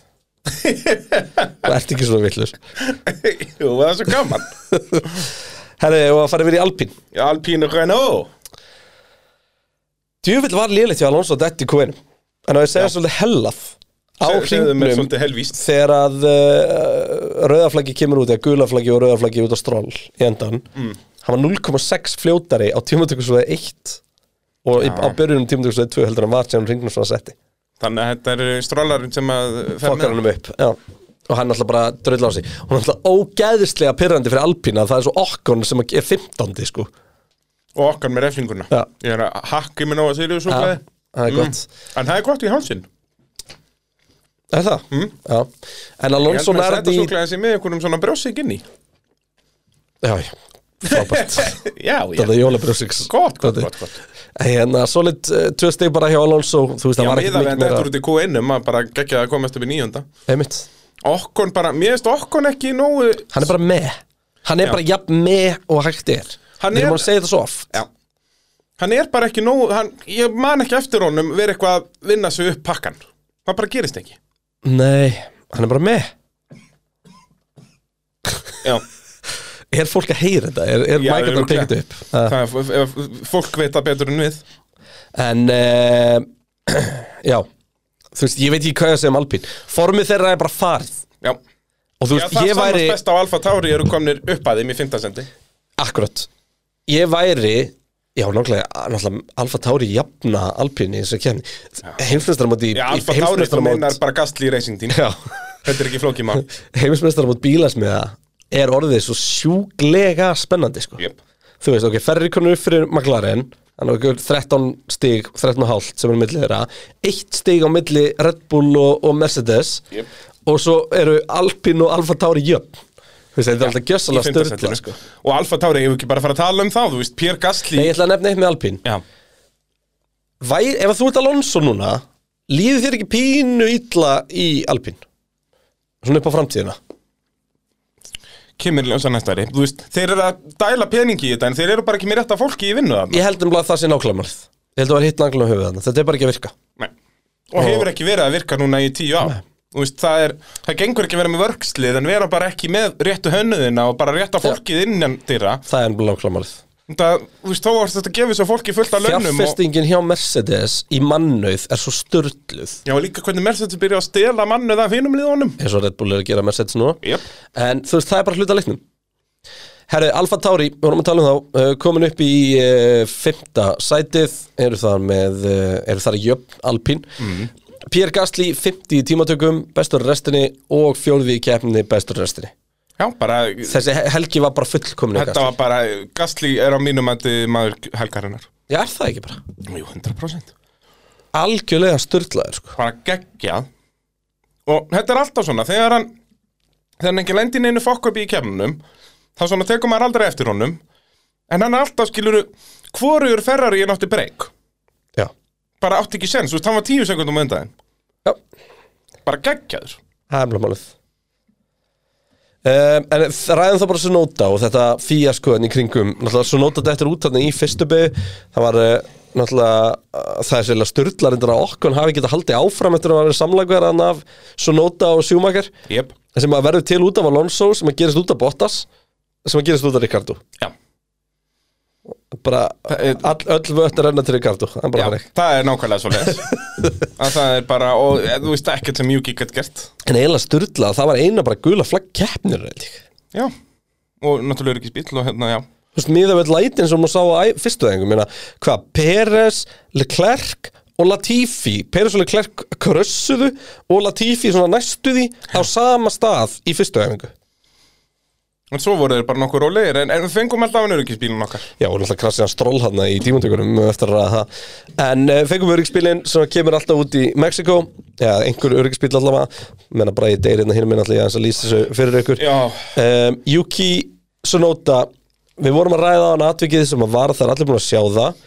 Það ert ekki svona villur
Jú, það er svo gaman
Herri, og að fara yfir í Alpín
Alpínu Renault
Djúvill var lélitt hjá Alonso að detti Q1 En að ég segja svolítið hellað Á
Segðu mér
hringnum
svolítið helvíst
þegar að uh, rauðaflaggi kemur út eða gulaflaggi og rauðaflaggi út á stról í endan
Mm.
hann var 0,6 fljótari á tímatökusvæði 1 og í, á byrjunum tímatökusvæði 2 heldur en hann var sem hringnum svona setti
Þannig að þetta er strólarinn sem að fer með.
fokkar hann um upp já. og hann alltaf bara dröðla á sig og hann alltaf ógæðislega pyrrandi fyrir Alpína það er svo okkon sem er 15 sko.
Og okkar með reflinguna
Já.
Ég er að hakki minn á að sýrjus og
Já,
hvað
það er gott
En það er gott í hálsinn
Er það? Já. En
Mm. Ég
Alonso
held með
nærði í
sætasúklaði sem með einhverjum svona brjósik inn í
Já, já. frábært
Já, já,
Þetta er jólabrjósings
Gott, gott, gott, gott.
Hérna, solid uh, tvö stig bara hjá Alonso Þú veist, það
Já,
var
miða
ekkert mikið
við þetta
meira
eftir út í Q1 maður bara geggja að komast upp í nýjönda
Einmitt.
Okkon bara, mér finnst Okkon ekki nógu
Hann er bara með Hann er
Já.
bara jafn með og hægt er
Hann
Við
er-
erum að segja þetta svo oft
Já Hann er bara ekki nógu, hann, ég man ekki eftir honum verið eitthvað að vinna sig upp pakkan Það bara gerist ekki
Nei, hann er bara með
Já,
Er fólk að heyra þetta? Er, er
Já,
mækarnar að tekja þetta
örugglega.
upp? Uh,
það er, ef- ef- fólk veit það betur en við
En uh, Já Þú veist, ég veit ekki hvað ég að segja um Alpín Formið þeirra er bara farð
Já,
Og þú
Já
veist,
það
ég
samast
væri
best á Alfa Tauri eru komnir upp að þeim í fimmtasendi
Akkurat Ég væri Já, náttúrulega, náttúrulega Alfa Tauri jafna Alpín í þessu kemni Heimsmeistaramót í
Já,
í-
Alfa Tauri þú
heimsmeistaramót-
meinar bara gastli í racing team
Já,
Þetta er ekki flókið mál
heimsmeistaramót bílasmiða er orðið svo sjúglega spennandi sko.
Jep.
þú veist, ok, ferri konur upp fyrir McLaren hann var ekki 13 stig, 13,5 sem er milli þeirra, eitt stig á milli Red Bull og, og Mercedes
Jep.
og svo eru Alpine og Alfa Tauri jöfn þú veist, þetta er alltaf
Í
gjössalega störtla
fimmtasætinu.
sko.
Og Alfa Tauri, hefur ekki bara að fara að tala um það, þú veist, Pér
Nei,
Gastli
ég ætla að nefna eitt með Alpine
Já,
Væri, ef að þú ert Alonso núna líður þér ekki pínu illa í Alpine svona upp á framtíðina
kemur ljósa næsta ári Þú veist, þeir eru að dæla peningi í þetta en þeir eru bara ekki með rétta fólki í vinnu þarna
Ég held um að það sé nákvæmlega Ég held að það var hitt nákvæmlega höfuð þarna Þetta er bara ekki að virka
Nei. Og hefur ekki verið að virka núna í tíu á Þú veist, það er, það gengur ekki að vera með vörkslið en vera bara ekki með réttu hönnuðina og bara rétta fólkið innan dyra
Það er nákvæmlega
það, Þú veist, þó að þetta gefur svo fólki fullt af launum og,
Fjárfestingin hjá Mercedes í mannauð er svo störtluð
Já, og líka hvernig Mercedes byrja að stela mannuð af hinum liðunum
eins og Red Bull er að gera Mercedes nú
Jep.
En þú veist, það er bara hluta leiknum Herri, Alfa Tauri, við vorum að tala um þá uh, komin upp í uh, fymta sætið eru þar með uh, eru þar í jöfn Alpín
Mhm.
Pierre Gasly 50 í tímatökum bestur restinni og fjórði í keppninni bestur restinni
Já, bara,
Þessi he- helgi var bara fullkomin
þetta var bara Gastli er á mínum að maður helgarinnar
Já, er það ekki bara
Jú, 100%
algjörlega störtlaður sko.
bara geggjað og þetta er alltaf svona þegar hann þegar hann ekki lendir neinu fokkabí í kemnum þá svona tekur maður aldrei eftir honum en hann er alltaf skilur hvorur ferrar ég nátti breyk
Já.
bara átti ekki sens, þú veist, hann var tíu sekundum undan þeim.
Já,
bara geggjaður
það er mjög málið um, En ræðum þá bara Sunóta og þetta fíja skoðan í kringum Náttúrulega Sunóta dettur út þarna í fyrstu bygg Það var eh, náttúrulega eh, það er sérlega störtlar endur að okkur hafi getað haldið áfram eftir að vera samlagverðan af Sunóta og Sjúmakar
yep.
sem að verður til út af Alonso sem að gerist út af Bottas sem að gerist út af Ricardo
Já.
bara all, öll vött er enna til Ricardo það er bara
Já,
þannig
það er nákvæmlega svo leis að það er bara, og eh, þú veist ekkert sem Juki gett gert
En eiginlega styrla, það var eina bara gula flagg keppnir held ég.
já, og náttúrulega er ekki spýtl og hérna, já,
Þú veist, miða við lætin sem hún sá á æ- fyrstu þengum, minna, hvað, Peres, Leclerc og Latifi, Peres og Leclerc krössuðu og Latifi svona næstu því á sama stað í fyrstu þengu.
en svo voru þeir bara nokkur rólegir en, en við fengum alltaf hann öryggisbílun okkar
Já, og náttúrulega krassið hann stról hana í tímantökunum eftir að ræða það. En uh, fengum öryggspilin sem kemur alltaf út í Mexiko, já, einhver öryggspil allavega, menna bara ég deyri hérna hinn minn alltaf, ég aðeins að lýsa þessu fyrir ykkur.
Já.
Um, Yuki Sonoda, við vorum að ræða á hann atvikið sem að var, það er allir búin að sjá það,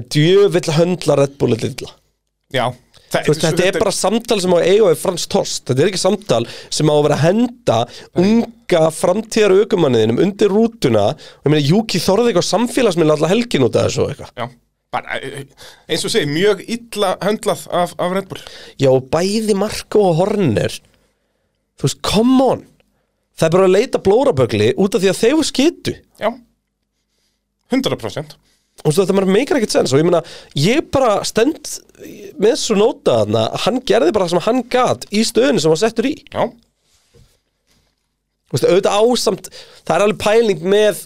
en djövill höndla Red Bull lilla.
já, það,
Þú veist, þetta er bara samtal sem á að eiga við Frans Torst, þetta er ekki samtal sem á að vera að henda unga framtíðar aukumanniðinum undir rútuna og ég meina, Júki þorði eitthvað samfélagsmiðla alltaf helgin út af þessu og eitthvað.
Já, bara, eh, eins og segi, mjög illa höndlað af, af Red Bull
Já, og bæði Marko og Horner þú veist, come on það er bara að leita blórabögli út af því að þeir voru skitu
Já, 100%
og svo þetta maður meikar ekkert sens og ég meina, ég bara stend með svo nota þarna, hann gerði bara það sem hann gat í stöðunni sem hann var settur í
Já,
Þú veist, auðvitað ásamt, það er alveg pæling með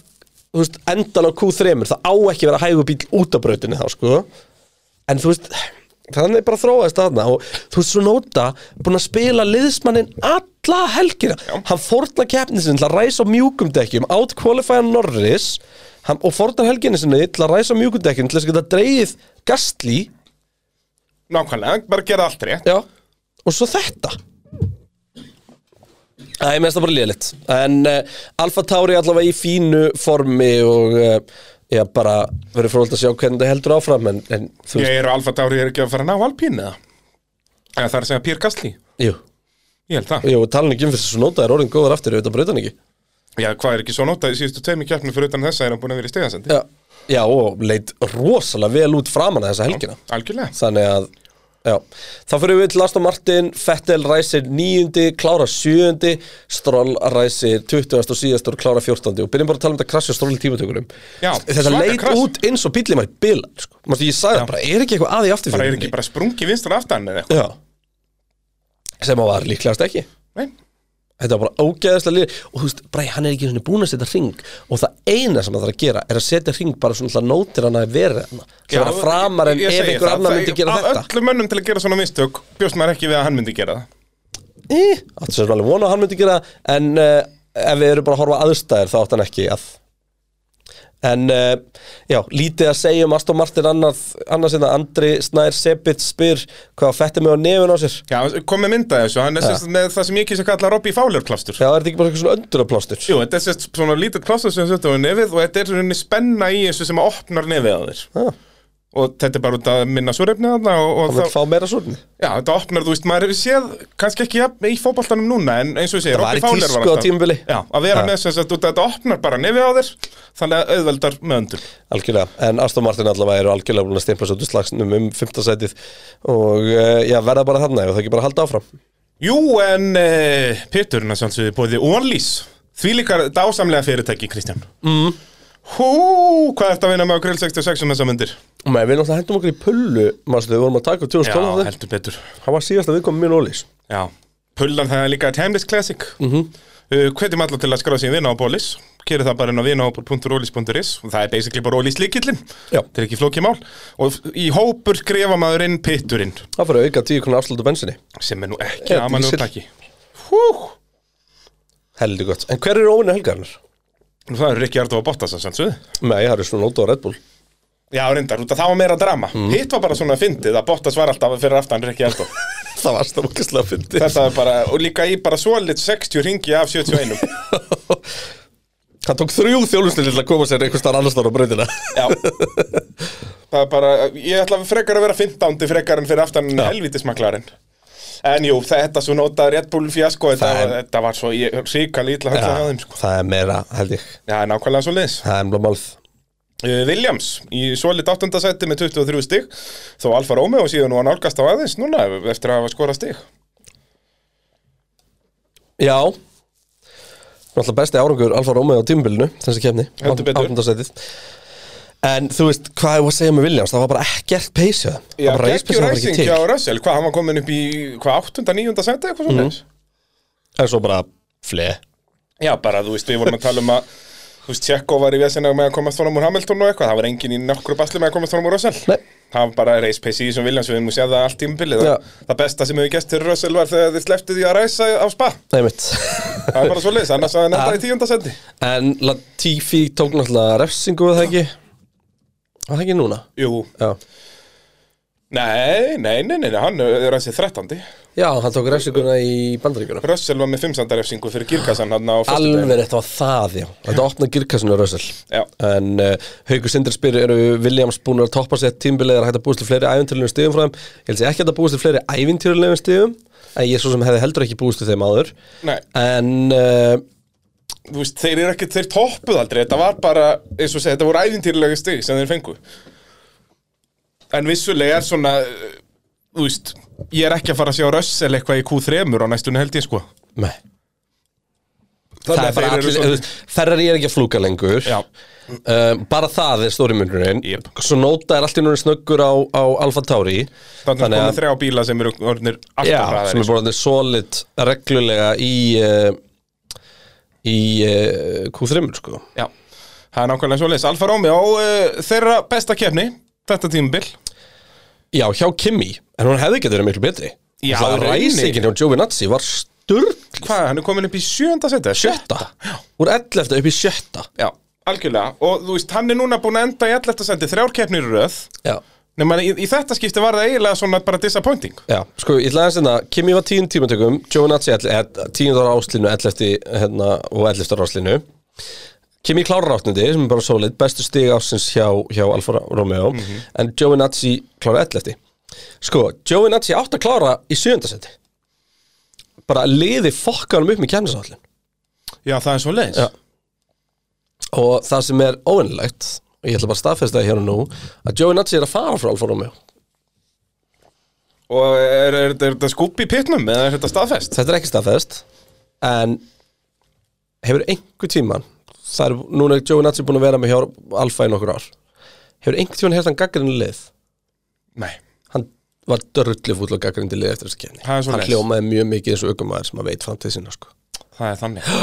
þú veist, endan á Q3 það á ekki að vera hægur bíl út af brautinu þá sko en þú veist, þannig er bara þróaðist þarna og þú veist, svo nota búin að spila liðsmannin alla helgina hann fórna keppni sinni til að ræsa á mjúkum dekkjum át qualifying Norris hann, og fórna helginu sinni til að ræsa á mjúkum dekkjum til þess að geta dreigið gastli
nákvæmlega, bara gera allt rétt
Já. og svo þetta Æ, mér finnst það bara liðlitt En uh, Alfa Tauri allavega í fínu formi og uh, já, bara verður fróðald að sjá hvernig þetta heldur áfram en, en þú
Ég eru Alfa Tauri er ekki að fara að ná Alpín eða Eða það er að segja Pír Gastli
jú,
Ég held það
jú, talan ekki um fyrir þessu nota er orðin góðar aftur auðvitað brautan ekki
Já, hvað er ekki svo notað í síðustu tveimur keppnum fyrir utan þessa er hann búin að vera í stegasendi
já. já, og leit rosalega vel út framan að þessa helgina
Algjörlega
Þannig að, já Þá fyrir við til Aston Martin, Fettel ræsir níundi, klára sjöundi Stroll ræsir 20. og síðast og klára 14. og byrjum bara að tala um þetta krasja Stroll í tímatökurum
Já,
Þetta
svaka
leit
krass.
út eins og bíllið maður bila sko. Mastu, Ég sagði það bara, er ekki eitthvað aði aftur
Bara er ekki bara sprungi vinstur aftan eða eitthvað
Já Sem að var líklegast ekki
Nei,
Þetta var bara ógeðaslega lið og þú veist, Bræ, hann er ekki einu sinni búinn að setja ring og það eina sem hann þarf að gera er að setja ring bara svona til að nótir hann að vera hann það er framar en
ég
ef
segi
einhver
það,
annar
það-
myndi gera
af
þetta
öllum mönnum til að gera svona mistök bjóst maður ekki við að hann myndi gera það
Áttu sér alveg vona að hann myndi gera það, en uh, ef við erum bara að horfa á aðstæður þá átt hann ekki að En uh, já, lítið að segja um Aston Martin annað, annars en að Andri Snær Sebit spyr hvað fætti mig á nefun á sér
Já, kom með mynda þessu, hann er sérst með það sem ég kýs að kalla Robby Fowler klástur
Já, er þetta ekki bara eitthvað svona önduraplástur?
Jú, þetta er sérst svona lítið klástur sem þetta var nefið og þetta er svona spenna í þessu sem opnar nefið á þér
Já,
og þetta er bara út að minna súrefni þarna og, og
hann vil
þá,
fá meira svona
já, þetta opnar, þú veist, maður hefur séð kannski ekki jafn í fótboltanum núna en eins og ég segi,
Það var í
Robby Fowler var
tísku á tímabili.
Já, að vera
Já.
með sérst út að þetta opnar bara nefið á þér þannig að auðveldar með öndum
Algjörlega, en Aston Martin allavega eru algjörlega búin að stempla svo til slagsnum um 15 sætið og uh, já, verða bara þarna og það ekki bara að halda áfram
Jú, en uh, Péturinn að sjálfsögðu bóði Onlys Því líkar dásamlega fyrirtæki, Kristján mm. Hú, hvað ertu að vinna með á Grill 66 um þessa myndir?
Men við náttúrulega hendum okkur í pullu, maður við vorum að taka upp
Já,
2012 þetta.
heldur betur
Það var síðast að við komum minn ólís
Já, pullan það er líka Timeless Classic mm -hmm. uh, Hvetjum alla til að skráða sig í vinna á Bólis Kerið það bara inn á vinahópur.rólis.is og það er basically bara Ólís líkillin
Já.
Þetta er ekki flókið mál og í hópur skrifa maður inn Péturinn
Það fyrir að auka 10 konar afslut á bensinni
sem er nú ekki
Eða
amann og
dísill.
pakki Hú,
Heldur gott En hver eru óvinni helgarinnar?
nú það eru ekki Ardó að botta sem sannsöðu
Nei, það eru svona Lóta og Red Bull
Já, reyndar, út að það var meira drama Hitt var bara svona fyndið að Bottas var alltaf fyrir aftan Rikki Eldó
Það var stókislega fyndi
Þetta er bara, og líka í bara svolít 60 ringi af 71
Hann tók þrjú þjólusnir til að koma sér einhvers staðar annars þar á breytina
Já Það er bara, ég ætla frekar að vera 15 frekar en fyrir aftan helvítismaklarinn En jú, þetta svo nota Red Bull fjasko þetta,
Það er-
var- þetta var svo ríkali ítla högst að þeim sko.
það er meira, held ég
Já, nákvæmlega svo liðs
Það er mjög málð
Uh, Williams í svolít áttundasætti með 23 stig þó Alfa Romeo síðan og hann álgast á aðeins núna eftir að hafa skorað stig
Já Náttúrulega besti árangur Alfa Romeo á tímbilinu Þessi kefni
Heldur betur.
Áttundasætið En þú veist, hvað ég var að segja með Williams Það var bara ekkert pace hjá þeim. Það
Já,
var bara race pace
geggjur
sem var ekki
ræsing
til
hjá Russell, hvað hann var komin upp í hvað, 8. 9. seti eitthvað svona
En svo bara fle
Já, bara þú veist, við vorum að tala um að þú veist, Tjekko var í vesina með að komast honum úr Hamilton og eitthvað, það var engin í nokkru basli með að komast honum úr Russell
Nei.
Það var bara race pace í þessum Williams, við múið séð það allt tímbilið
Já.
það, það besta sem hefur gest til Russell var þegar þið slepptu því að ræsa á spa
Nei mitt
Það er bara svo leiðis, annars að hann enda í 10. seti
En Latifi tók náttúrulega refsingu var Það ekki Var það ekki núna?
Jú,
Já
nei, nei, nei, nei, nei hann er þessi 13.
Já, hann tók refsinguna í bandaríkunum
Russell var með 5. refsingu fyrir Girkassan hann á föstudaginn.
Alveg þetta var það, já Þetta opnaði girkassinu rössal
Já.
En uh, Haukur Sindri spyr eru Williams búin að toppa sér tímbilið er hægt að búist til fleiri ævintýrlegum stigum frá þeim Ég held sé ekki að það búist til fleiri ævintýrlegum stigum En ég svo sem hefði heldur ekki búist til þeim áður
Nei.
En uh,
þú veist, þeir eru ekki, þeir toppuð aldrei þetta var bara, eins og segja, þetta voru ævintýrlega stig sem þeir fengu en vissulega er svona eh, þú veist, ég er ekki að fara að sjá Russell eitthvað í Q3 á næstunni held ég sko
Nei Það er bara allir, þú veist, Ferrari er ekki að flúka lengur
Já.
um, Bara það er stóri munurinn
Jep.
Svo Nóta er alltaf núna snöggur á, á Alfa Tauri
þannig að konu þrjá bíla sem eru orðnir
Já,
alltaf
sem er
hraðari sko.
bara solid reglulega í uh, í uh, Q3 sko.
Já. það er nákvæmlega svo leis Alfa Romeo, uh, þeirra besta kefni þetta tímabil
Já, hjá Kimi, en hún hefði getur verið miklu betri
Já,
Það
í rauninni.
ræsingin hjá Giovinazzi var sturgl
hvað, hann er komin upp í sjönda setja
sjötta, úr 11. upp í sjötta
já, algjörlega, og þú veist, hann er núna búin að enda í 11. seti þrjár kefnir í röð
Já,
Nei, man, í, í þetta skipti var það eiginlega svona bara disappointing
Já, sko, ég ætla aðeins hérna, Kimi var tíund tímatökum, Jovenazzi tíundar áslinu, 11. Hérna, og 11. áslinu. Kimi klárar áttundi, sem er bara solid, bestu stig ásins hjá, hjá Alfa Romeo, en Jovenazzi klárar 11. Sko, Jovenazzi átt að klára í sjöndasetti. Bara liði fokkanum upp með kemnisállin.
Já, það er svo leins
Já. Og það sem er óvenlegt, og ég ætla bara að staðfesta það hér og nú, að Jovenazzi er að fara frá Alfa Romeo.
Og er, er, er, þetta skúpi í pitnum eða er þetta staðfest?
Þetta er ekki staðfest En hefur einhver tíman Það er, núna er Joey Natsi búin að vera með hjá Alfa í nokkur ár Hefur einhver tíman hefst hann gaggrinu lið
Nei
Hann var dörrullu fúll og gaggrinu lið eftir þessu kefni
Það er svoleiðis.
Hann hljómaði mjög mikið eins og aukumæður sem að veit framtíð sinna sko.
Það er þannig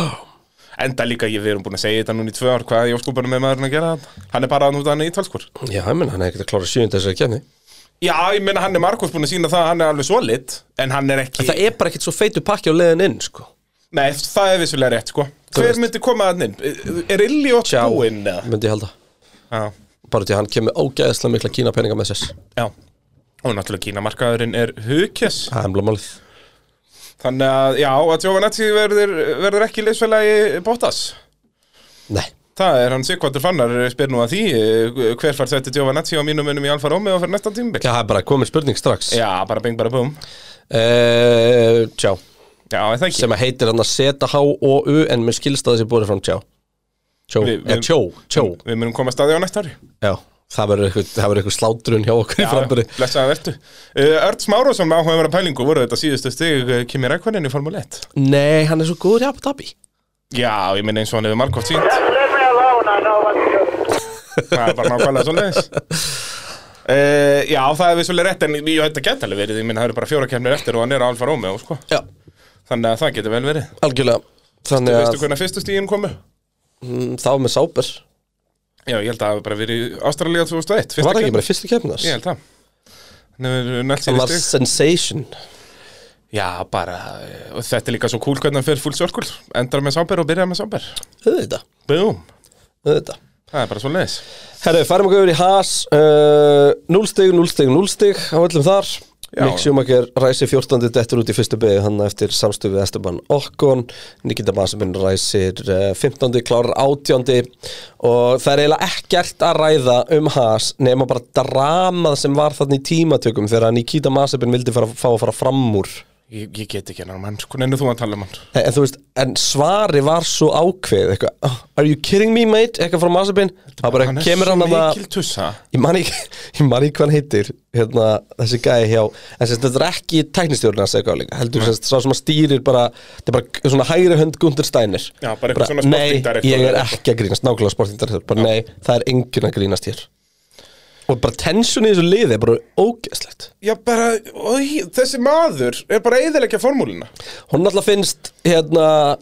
Enda líka, ég, við erum búin að segja þetta núna í tvö ár Hvað er í óskupunum með maðurinn að gera þetta? Hann er bara að núta hann í talskur
Já, ég menn, hann hefði ekkert að klára sjönda þessari kefni
Já, ég meina hann er Markus búin að sína það að Hann er alveg solid En hann er ekki
En það er bara ekkert svo feitu pakki á leiðin inn sko.
Nei, það er vissulega rétt, sko
Þú
Hver
veist.
myndi koma að inn? Er Illiot
Tjá,
búinn? eða?
myndi ég halda
Já,
Bara því að hann kemur ógæðislega mikla kína peninga með sér
já Og náttúrulega kínamarkaðurinn er hugkess
Það er emla málið
Þannig að, já, að Giovanetti verður, verður ekki leysfélagi Bottas
Nei,
Það er hann Sigvartur Fannar spyr nú að því eh, hver fær þetta Giovanetti á mínum munum í Alfa Romeo fyrir næsta tímbil
Já, það er bara komin spurning strax
Já, bara bing bara búm
Eh, Tjá
Já, er það ekki
sem að heitir hann að seta H og U en mér skilst að þessi búið fram tjá tjó,
Við-
eða
við-
tjó, tjó
Við munum koma að staði á næsta ári
já, það verður eitthvað, það verður eitthvað slátrun hjá okkur í frambyrði
blessaða vertu Eh, Örn Smárosson með áhugaverða pælingu voru þetta síðustu stig eh, Kimi Rækkonin í Formule 1
nei, hann er svo góður hjá Abu Dhabi
Já, ég minna eins og hann hefur margótt sínt
Leave me alone, I know what to do.
Það er bara nákvæmlega svo leiðis Já, það er vissulega rétt en ég þetta geta alveg verið, ég minna það eru bara fjóra kemnir eftir og hann er á Alfa Romeo, sko
já,
Þannig að það getur vel verið
algjörlega þannig að
Veistu hvernig fyrstu stíðin komu?
mm, það var með Sáber
Já, ég held að það hafi bara verið í Ástralía 2001 fyrsta
var það
keppnin.
ekki bara í fyrstu keppnars
Ég held það Nú, nælt
það
sér í
var
stig
sensation
Já, bara, eh, og þetta er líka svo kúl hvernig hann fer full circle Endar með sáber og byrjar með sáber
auðvitað,
Búm,
auðvitað
það er bara svo leiðis
Herru, færum okkur yfir í Haas uh, 0 stig, 0 stig, 0 stig á öllum þar
Já.
Mick Schumacher ræsi 14. dettur út í fyrstu beigju hann eftir samstöð við Esteban Okkon Nikita Masabin ræsir uh, 15. klárar 18. og það er eiginlega ekkert að ræða um Haas nema bara dramað sem var þarna í tímatökum þegar Nikita Masabin vildi fara, fá að fara fram úr
Ég, ég get ekki hennar mann, sko, nennu þú að tala um hann
En, en þú veist, en svari var svo ákveð eitthvað, "Oh, are you kidding me mate? eitthvað frá Masabin, það bara
Hann er
kemur
svo
hann að
mikil tussa
ég man ekki, ég man ekki hvað hann heitir hérna, þessi gæði hjá en sem sagt, þetta er ekki tæknistjórnir hans eitthvað líka heldur sem sagt, sá sem að stýrir bara þetta er bara svona hægri hönd Gunther Steiner
Já, bara eitthvað svona
nei,
sporting director
ég er
eða
ekki að grínast, nákvæmlega sportingdirektor bara nei, það er enginn að grínast hér og bara tension í þessu liði er bara ógeðslegt
Já, bara, oi, þessi maður er bara eðilegja formúluna
hún alltaf finnst hérna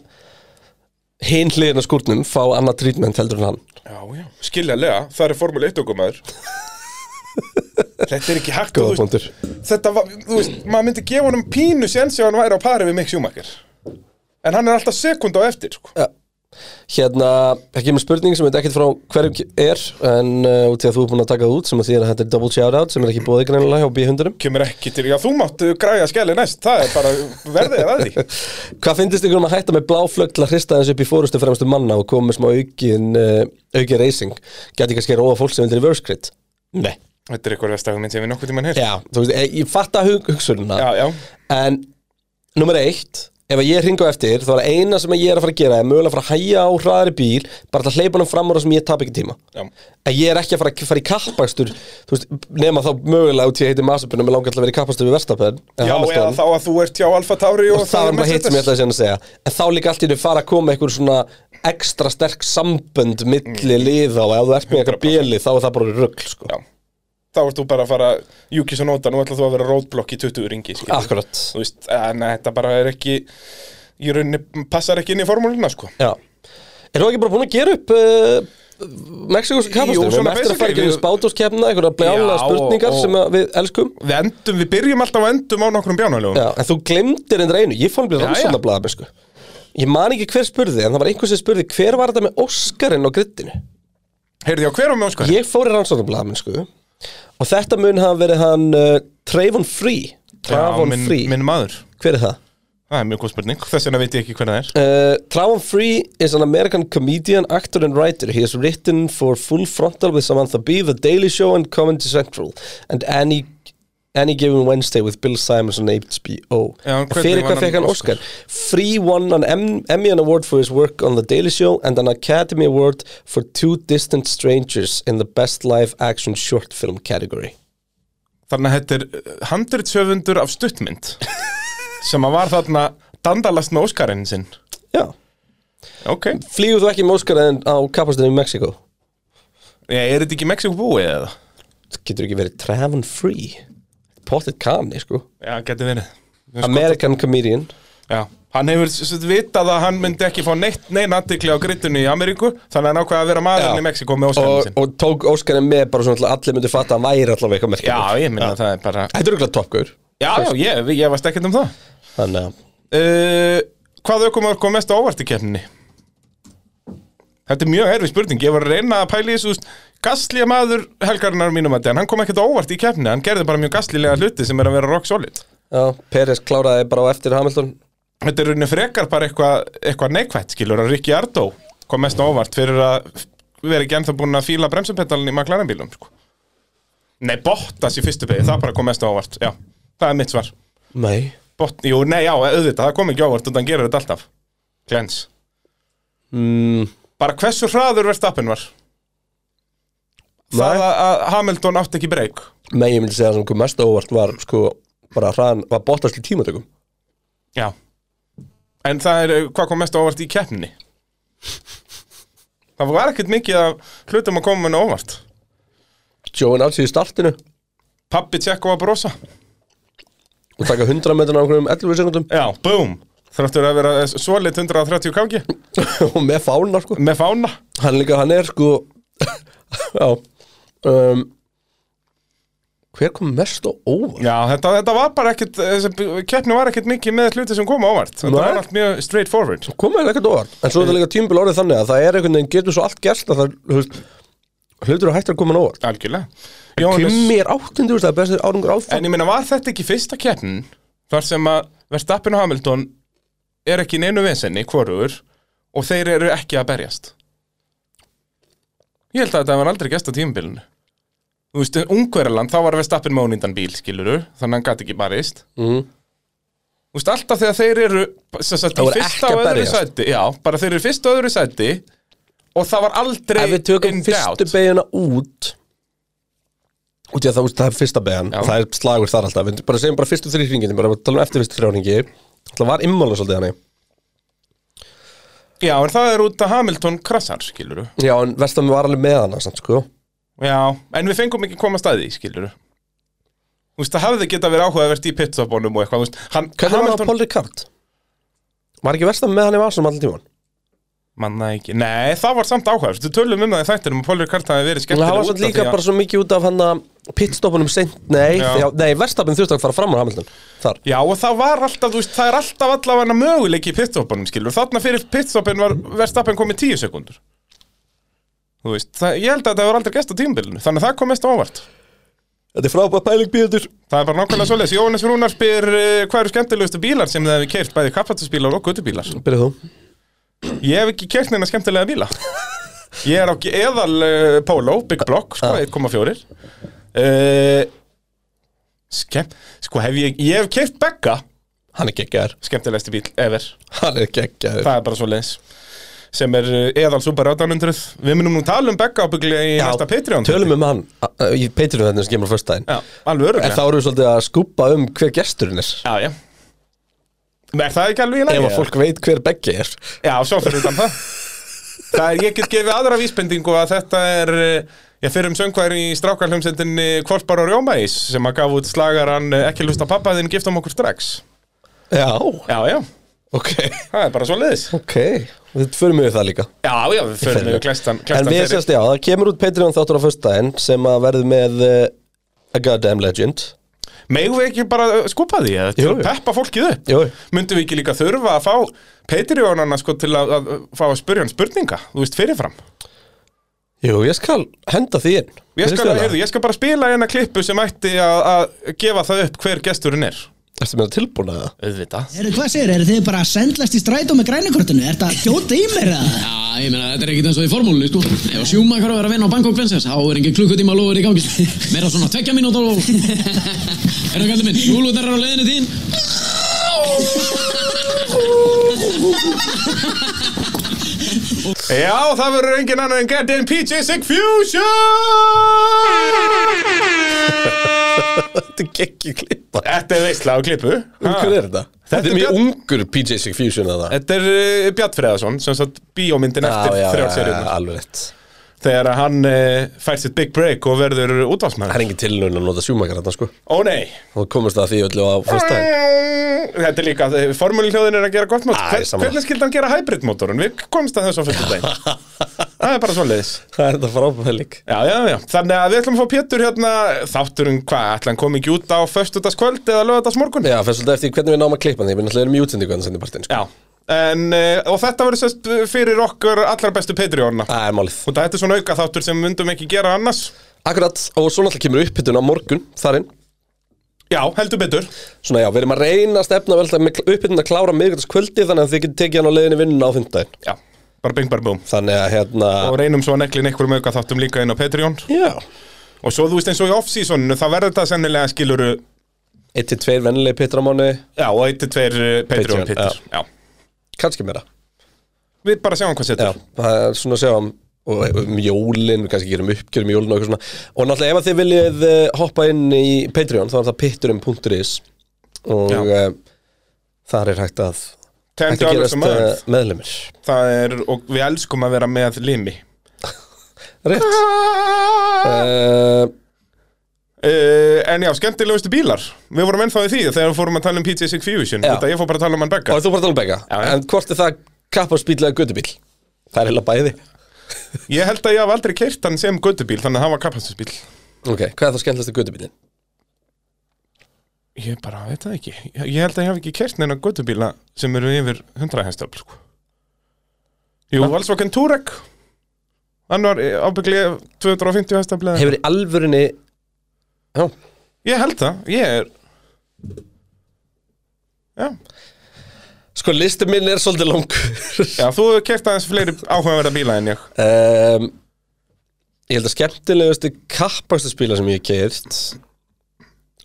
hinn hliðina skúrnum fá annað treatment heldur en hann
Já, já, skiljalega, það er formúl 1 okkur maður Þetta er ekki hakka,
góða punktur
þetta var, þú veist, maður myndi gefa honum pínu séns ef hann væri á pari við Mick Schumacher en hann er alltaf sekund á eftir sko.
Hérna, ekki með spurning sem þetta ekkert frá hverjum er en uh, út í að þú er búin að taka það út sem að því að þetta er double shoutout sem er ekki búið greinilega hjá B100-um
kemur ekki til, já þú mátt uh, græja skelli næst það er bara, verðið er að því
Hvað finnst ykkur um að hætta með bláflögg til að hrista þessu upp í fórustu fremstu manna og koma með smá aukin, uh, aukin racing Gæti kannski að róa fólk sem vildir reverse grid? Nei
þetta er eitthvað vestagum minn sem við nokkuð tímann hér já,
Já, þú veist, eh, ég, ég fatta hug, hugsununa
já,
En nummer eitt Ef að ég hringa á eftir, þá er það eina sem ég er að fara að gera er mögulega að fara að hæja á hraðari bíl bara til að hleypa hann fram úr það sem ég tap ekki tíma
já.
að ég er ekki að fara, fara í kappakstur þú veist, nema þá mögulega út í heiti Masabunum og langar til að vera í kappakstur við Verstapen
já eða þá að þú ert hjá Alfa Tauri
og
og,
það er bara hitt sem ég ætlaði síðan að segja en þá líka allt í þetta fara að koma einhver svona ekstra sterk sambönd milli liða og ef þú ert með eitthvað bíli þá er það bara rugl sko.
Mm. já. þá ert þú bara að fara Júkis og Nóta, nú ætlaði þú að vera roadblock í 20 ringi skilur.
akkurat
þú veist, eh, en þetta bara er ekki í rauninni passar ekki inn í formúluna sko
já. er þú ekki bara búin að gera upp uh, Mexikos
Jú,
kappakstur við erum
svona
eftir að fara
basically,
ekki við
við-
spátóskefna einhverja
Já,
bljála spurningar
og-
sem að við elskum
Við endum, við byrjum alltaf að endum á nokkrum bjánalögum
Já, en þú glemdir endur einu, ég fór að bli
Já,
rannsóna blaða sko. Ég man ekki hver spurði, en það var einhver sem spurði hver var þetta með Óskarinn á grittinu
Heyrðu, já, hver var með Óskar?
Ég fór í rannsóna blaða sko, Og þetta mun hafa verið hann uh, Trayvon Free Travon
minn,
Free,
minn maður
hver er það?
Það er mjög góð spurning, þess vegna veit ég ekki hvernig það er
Uh, Travon Free is an American comedian, actor and writer. He has written for Full Frontal with Samantha Bee, The Daily Show and Comedy Central and Any, Any Given Wednesday with Bill Simons on HBO.
Já, en
En
hvernig
fyrir
vann
hvað fekk
hann
hann
Oscar?
Oscar? Free won an Em- Emmy Award for his work on The Daily Show and an Academy Award for Two Distant Strangers in the Best Live Action Short Film category.
Þannig að þetta er uh, 100 höfundur af stuttmynd sem að var þarna dandalast með Óskarinn sinn
Já.
Ok,
Flýgur þú ekki með Oscar en á kapastinu í Mexiko?
ég, er þetta ekki Mexiko búið eða?
Það getur ekki verið Travon Free. Pottet kanni, sko.
Já, getur verið Mér finnst
American comedian
gott- Já, hann hefur s- s- vitað að hann myndi ekki fá neitt neina aðtikli á grittinu í Ameríku þannig að hann ákvað að vera maðurinn í Mexiko með Óskarinn
og,
sinn
og tók Óskarinn með bara svona til að allir myndu fatta að hann væri allavega eitthvað merkjum
Já, ég minna það er bara
Þetta er auðvitað toppgur
Já, já, ég, ég varst ekkert um það
Þannig að
uh, Hvað aukumar kom mest á óvart í keppninni? Þetta er mjög erfið spurning Ég var að reyna að pæla í þessu Gastlíja maður helgarinnar mínum að En hann kom ekkert á óvart í keppninni Hann gerði bara mjög gastlílega hluti sem er að vera rock solid
já, Peres kláraði bara á eftir Hamilton
Þetta er rauninni frekar bara eitthvað eitthva neikvætt Skilur að Rikki Ardó kom mest á óvart Fyrir að vera ekki ennþá búin að fíla bremsupedalin í McLaren bílum sko. Nei, Bottas í fyrstu pegi Það bara kom mest á óvart Já, það er mitt svar
Nei
Bot, Jú, nei, já, auðvitað, það kom ekki á óvart Þannig hann gerir þetta alltaf Glens
mm,
bara hversu hraður Verstappen var það
Nei.
að að Hamilton átti ekki breyk
Nei, ég myndi segja að sem kom mest á óvart var sko bara hraðan, var bóttast í tímatökum
já en það er uh, hvað kom mest á óvart í keppninni það var ekkert mikið af hlutum að koma með óvart
Sjóin alls í startinu og
pappi tjekka að brosa
taka 100 metrin á einhverjum 11 sekundum
já, búm þráttur að vera svolít 130 káki
og með fána sko
með fána
Hann líka, hann er sko Já um, Hver kom mest á óvart?
já, þetta, þetta var bara ekkert þessi keppni var ekkert mikið með hluti sem kom á óvart þetta
Nei.
var allt mjög straight forward
komaði ekkert óvart en svo er það líka tímbil orðið þannig að það er einhvern veginn getur svo allt gerst að það þú veist, hlutur að hættur að koma hann óvart
algjörlega Jóhannes-
Kimi er áttundu, það er bestur árangur áfram
En ég meina, var þetta ekki fyrsta keppnin þar sem að Verstappen og Hamilton er ekki í neinu vesenni, hvorugur og þeir eru ekki að berjast Ég held að þetta var aldrei gest á tímabilinu Þú veist, um Ungverjaland, þá var Verstappen með ónýndan bíl, skiluru þannig að hann gæti ekki barist
Mhm.
Þú veist, alltaf þegar þeir eru sem sagt,
Það
í
voru
fyrsta
ekki
og
að
öðru
berjast.
sæti Já, bara þeir eru í fyrsta og öðru sæti og það var aldrei
ef við tökum
in doubt.
fyrstu beiguna út út í að það, þú veist, það er fyrsta beigan
Já.
og það er slagur þar alltaf við bara segjum bara fyrstu þrjir hringin bara tala um eftir fyrstu þrjá hringi það var immála svolítið hann
Já, en það er út að Hamilton krassar, skiluru
já en Vestam var alveg með hann samt, sko.
Já, en við fengum ekki koma staði, skilur Þú veist, það hafði geta verið áhugavert í pitstopunum og eitthvað, þú veist hann,
hvernig var
Hamilton-
Paul Ricard var ekki Vestam með hann í vasum allir tíman
Manna ekki, nei, það var samt áhugavert Þú tölum um það í þættinum og Pólur Kart hafi verið
En
skemmtileg
það var
út
samt
af
líka
því að-
bara svo mikið út af hann að pitstopunum seint, nei,
Já.
já. nei, verstapin þurfti að fara fram á Hamilton þar.
Já, og það var alltaf, þú veist, það er alltaf allavega möguleiki í pitstopunum, skilur Þarna fyrir pitstopin var verðstappin komið tíu sekundur Þú veist, það, ég held að það var aldrei gest á tímabilinu Þannig að það kom mest á óvart
Þetta er frábæð pæling bíður.
Það er bara nákvæmlega svoleiðis Jóhannes Rúnar spyr uh, hvað eru skemmtilegustu bílar sem þið hefði keirt bæði kappatusbílar og gutubílar
Byrjuð þú?
Ég hef ekki kert neina skemmtilega bíla Ég er á ge- eðal uh, Polo, Big Block, sko,
Ah.
1,4 uh, Skemm, sko hef ég Ég hef kert Begga,
Hann er geggjaður.
skemmtilegasti bíl ever
Hann er geggjaður.
Það er bara svo leins Sem er uh, eðal Super 800 Við munum nú tala um Begga ábygglega í
Já,
næsta Patreon
Tölum um hann uh, í Patreon þetta sem kemur á föstudaginn.
Já, alveg
En
öruglega
þá erum við svolítið að skúpa um hver gesturinn er.
Já, já Er það ekki alveg í
Ef
lagi?
að fólk veit hver beggi er.
Já, svo fyrir utan það Það er, ég get gefið aðra vísbendingu að þetta er eh, Ég fyrir um söngvar í strákarhljómsendinni Kvolpar og Rjómaís sem að gaf út slagaran eh, Ekki lusta pappa þinn, giftum okkur strax
Já,
Já, já,
ok.
það er bara svo leiðis
Ok, við förum yfir það líka.
Já, já, við fyrir með klestan,
En
klestan
við sérst, já, það kemur út Patreon þáttur á föstudaginn sem að verði með uh, A Goddamn Legend.
Megum við ekki bara eh, skúpa því eða til
Jú,
að
jú.
peppa fólkið upp
Jú.
Myndum við ekki líka þurfa að fá Patreonana sko til að, að fá að spurja hann spurninga Þú veist fyrirfram
Jú, ég skal henda því inn
Ég skal,
Veistu það?
heyrðu, ég skal bara spila eina klippu sem ætti að að gefa það upp hver gesturinn er
Ertu með það tilbúna það?
Auðvitað
Eru hvað segir, eru þið bara að sendlast í strætó með grænukortinu? Er þetta þjóta í mér eða?
Já, ég meina, þetta er ekkert eins og í formúlunni, sko. Ef sjúmakar verður að vinna á Bangkok Princess, þá er engin klukkutíma lofur í gangi. sko. Meira svona tvekja mínútur og... Er það kallið minn? Júlútar eru á leiðinni þín.
Já, það verður engin annar en Gerdin PJ Sigfusion
Þetta er ekki klippa
Þetta er veistla á klippu
Hver Um er þetta? Þetta
er
er mjög
Björn-
ungur PJ Sigfusion að það
Þetta er uh, Bjart Freðarsson, sem sagt bíómyndin eftir þrjálfserjum
alveg rétt
Þegar að hann uh, fær sitt big break og verður
Það er
útvarsmaður
engin tilnöðin að nota sjúmakar þarna sko
Ó nei
Og komast að því öllu á fyrsta
Þetta er líka, formúlhljóðin er að gera gott mót
Æ,
Hvern,
sammála.
Hvernig skildi hann gera hybrid mótorun? Við komst að þessu á fyrstu daginn Það er bara svoleiðis
Það er þetta frábæðlik
Já, já, já, þannig að við ætlum að fá Pétur hérna Þátturinn, hvað, ætla hann kom ekki út á Föstudagskvöld eða lögadagsmorgun?
Já, fyrst svolítið eftir hvernig við náum að klippa því Við náttúrulega erum í útsendingu þannig sendir partinn sko
já. En, eh, og þetta verður sérst fyrir okkur allra bestu Patreonna
Það er málið
Og þetta er svona auka þáttur sem við myndum ekki gera annars
Akkurat, og svo náttúrulega kemur upphittun á morgun Þarinn
Já, heldur betur
Svona já, við erum að reyna að stefna vel það með upphittun að klára miðgjöldskvöldi þannig að þið getur tekið hann á leiðinni vinnun á þundaginn
Já, bara bing bar búm
Þannig að hérna
Og reynum svo að neglin einhverjum auka þáttum líka inn á Patreon
Já
Og svo þú veist eins og í off-seasoninu, þá verður þetta sennilega skiluru
Eitt til tveir vennilegi pittur á mánu
Já, og eitt til tveir eh, Patreon
Patreon,
pittir já.
Kanski meira
Við bara sjáum hvað
Já,
setur
það er svona að segja um, og um jólin, við kannski gerum uppgjör um jólin og eitthvað svona og náttúrulega ef að þið viljið eh, hoppa inn í Patreon þá er það pitturum.is og
Já.
uh, þar er hægt að
Ten
hægt að
dollars a
gerast uh,
month
meðlumir
Það er, og við elskum að vera með limi
Rétt uh,
Uh, en já, skemmtilegustu bílar Við vorum ennþá í því þegar við fórum að tala um PJ Sig Fusion
Já.
Þetta ég fór bara að tala um
Og
hann Begga
er þú bara að tala um Begga?
Já, já.
En hvort er það kapparsbíl eða gödubíl? Það er heila bæði
Ég held að ég haf aldrei keirt hann sem göttubíl Þannig að það var kapastusbíl
Ok, hvað er það skemmtilegsta gödubílin?
Ég bara veit það ekki Ég ég held að ég hef ekki keirt neina göttubíla sem eru yfir 100 hestöfl sko. Jú, Valsvokken Turek Hann var eh, ábygglega 250 hestöfl eða-
Hefur í alvörinni Já,
Ég held það, ég er Já,
sko listum minn er svolítið langur
já þú hefur keirt aðeins fleiri áhugaverða bíla en ég
um, Ég held að skemmtilegustu kappastu spila sem ég hef keirt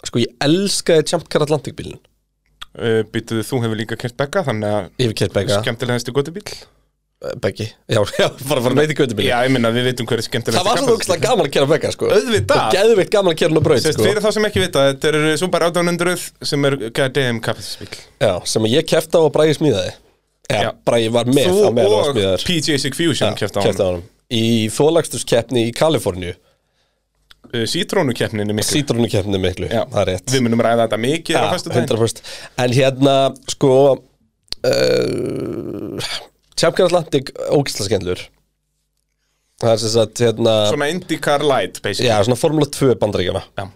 Sko ég elskaði Jump Car Atlantic bílun
uh, Býtuðu, þú hefur líka keirt Begga Þannig að
Ég hef keirt Begga
skemmtilegustu göttubíl
Eh, Beggi Já, já, bara að fara með í göttubíli
Já, ég minna, við vitum hver er skemmtilegast
Það var svo ógæslega gaman að kera Begga sko
Auðvitað.
Og geðveikt gaman að kera hann á braut
Sest,
sko
fyrir þá sem ekki vita, þetta eru Subaru 1800 sem er GDM kapastisbíl
Já, sem að ég kefti á að Bragi smíðaði
Já.
Já, Bragi var með
Þú
á meðan að
og
smíðaður
PJ Sig Fusion kæft á hann
honum Í þólagstuskeppni í Kaliforníu
Sítrónukeppnin er Eh, mikil
Sítrónukeppni miklu,
Já.
það er rétt
Við munum ræða þetta mikið á fyrstu daginn
100% En hérna, sko uh, Champion Atlantic ógisla skemmtlur Það er sem sagt, hérna
Svona IndyCar Light, basically
Já, svona Formula 2 bandaríkjana
Já.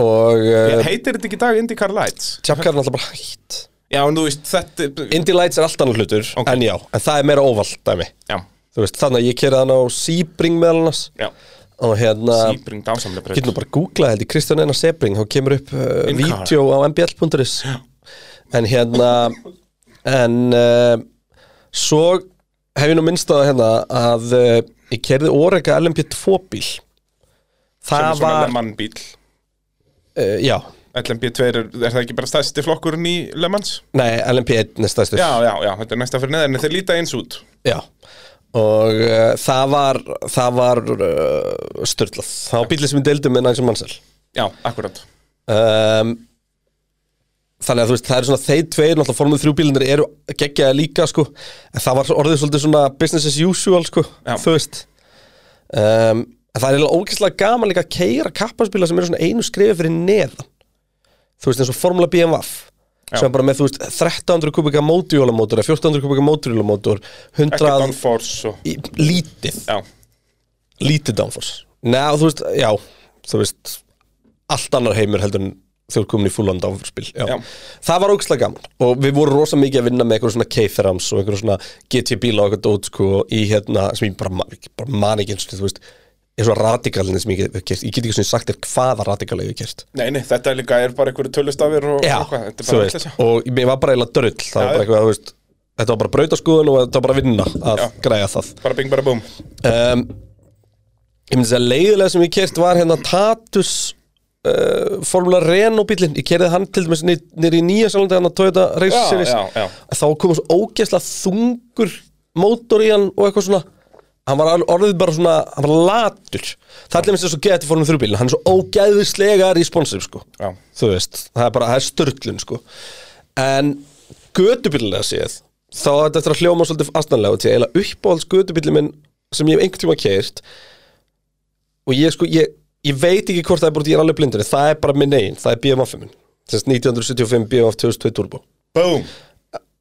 Og
Ég-
uh,
Heitir þetta ekki í dag IndyCar Lights?
Champion er alltaf bara hætt
Já, en þú veist, þetta
Indy Lights er allt annar hlutur,
Ok.
en já En það er meira óvald, dæmi
Já,
Þú veist, þannig að ég kerði hann á Sebring meðal annars
já,
Og hérna
Sebring dásamlega braut
Getur nú bara að googla þetta, Kristján Einar Sebring þá kemur upp uh,
In car.
vídeo á mbl.is En hérna En uh, Svo hef ég nú minnst á það hérna Að uh, ég kerði Orega LMP2 bíl
Sem
Það
er svona
var
Le Mans bíl
uh, Já,
LMP2 er, er það ekki bara stæsti flokkurinn í Le Mans?
nei, LMP1 er stæðstur
Já, já, já, þetta er næsta fyrir neðan en þeir líta eins út
Já Og uh, það var Það var uh, styrlað Það var bílið sem við deildum með Nigel Mansell
Já, akkurat
um, Þannig að þú veist, það eru svona þeir tveir, náttúrulega formúl þrjú bílinir eru geggjaði líka, sko En það var orðið svolítið svona business as usual, sko,
Já.
þú veist um, En það er eiginlega ógeðslega gaman líka að keira kappanspíla sem eru svona einu skrifi fyrir neðan Þú veist, eins og formúla BMWF
Já.
sem er bara með, þú veist, 1300 kubika mótorhjólamótor eða 1400 kubika mótorhjólamótor 100
Ekki downforce og
í- lítið
Já,
lítið downforce Nei, og þú veist, já, þú veist allt annar heimur heldur en þau eru komin í fullan downforce-spil já.
Já.
Það var ógslag gaman og við vorum rosa mikið að vinna með eitthvað svona K-Therams og eitthvað svona GT bíla og eitthvað dót sko í hérna, sem ég bara, man- bara man ekki eins og þú veist eins og radikalinn sem ég get, ég get ekki svona sagt þér hvaða radikalið ég gert
Nei, nei, þetta er líka er bara einhverju tölustafir og,
Já,
og hvað, þetta er
þú
bara
veist,
vitleysa.
og mér var bara eiginlega dörrull það var
Já,
bara
já.
eitthvað, þú veist, þetta var bara brautaskoðun og þetta var bara vinna að
Já.
græja það
Bara bing, bara búm
um, Ég myndi að leiðilega sem ég kert var hérna Tatus uh, Formula Renault bílinn, ég kerði hann til dæmis nýr í nýja sjálfandi hann að Toyota Race
Já,
Series
já, já.
þá kom svo ógeðslega þungur mótor í hann og eitthvað svona hann var al- orðið bara svona, hann var latur það er lemist þess að geta fórum þrjúbílinn hann er svo ógeðislega responsif sko
Já.
þú veist, það er bara, það er störtlun sko en gödubílina séð, þá er þetta eftir að hljóma svolítið astanlega til, eiginlega uppáhalds gödubílin minn sem ég hef einhvern tíma keirt og ég sko, ég, ég veit ekki hvort það er bara, því ég er alveg blindunni, það er bara minn eigin, það er BMF minn, semst 1975 BMF 2002 Turbo
Búm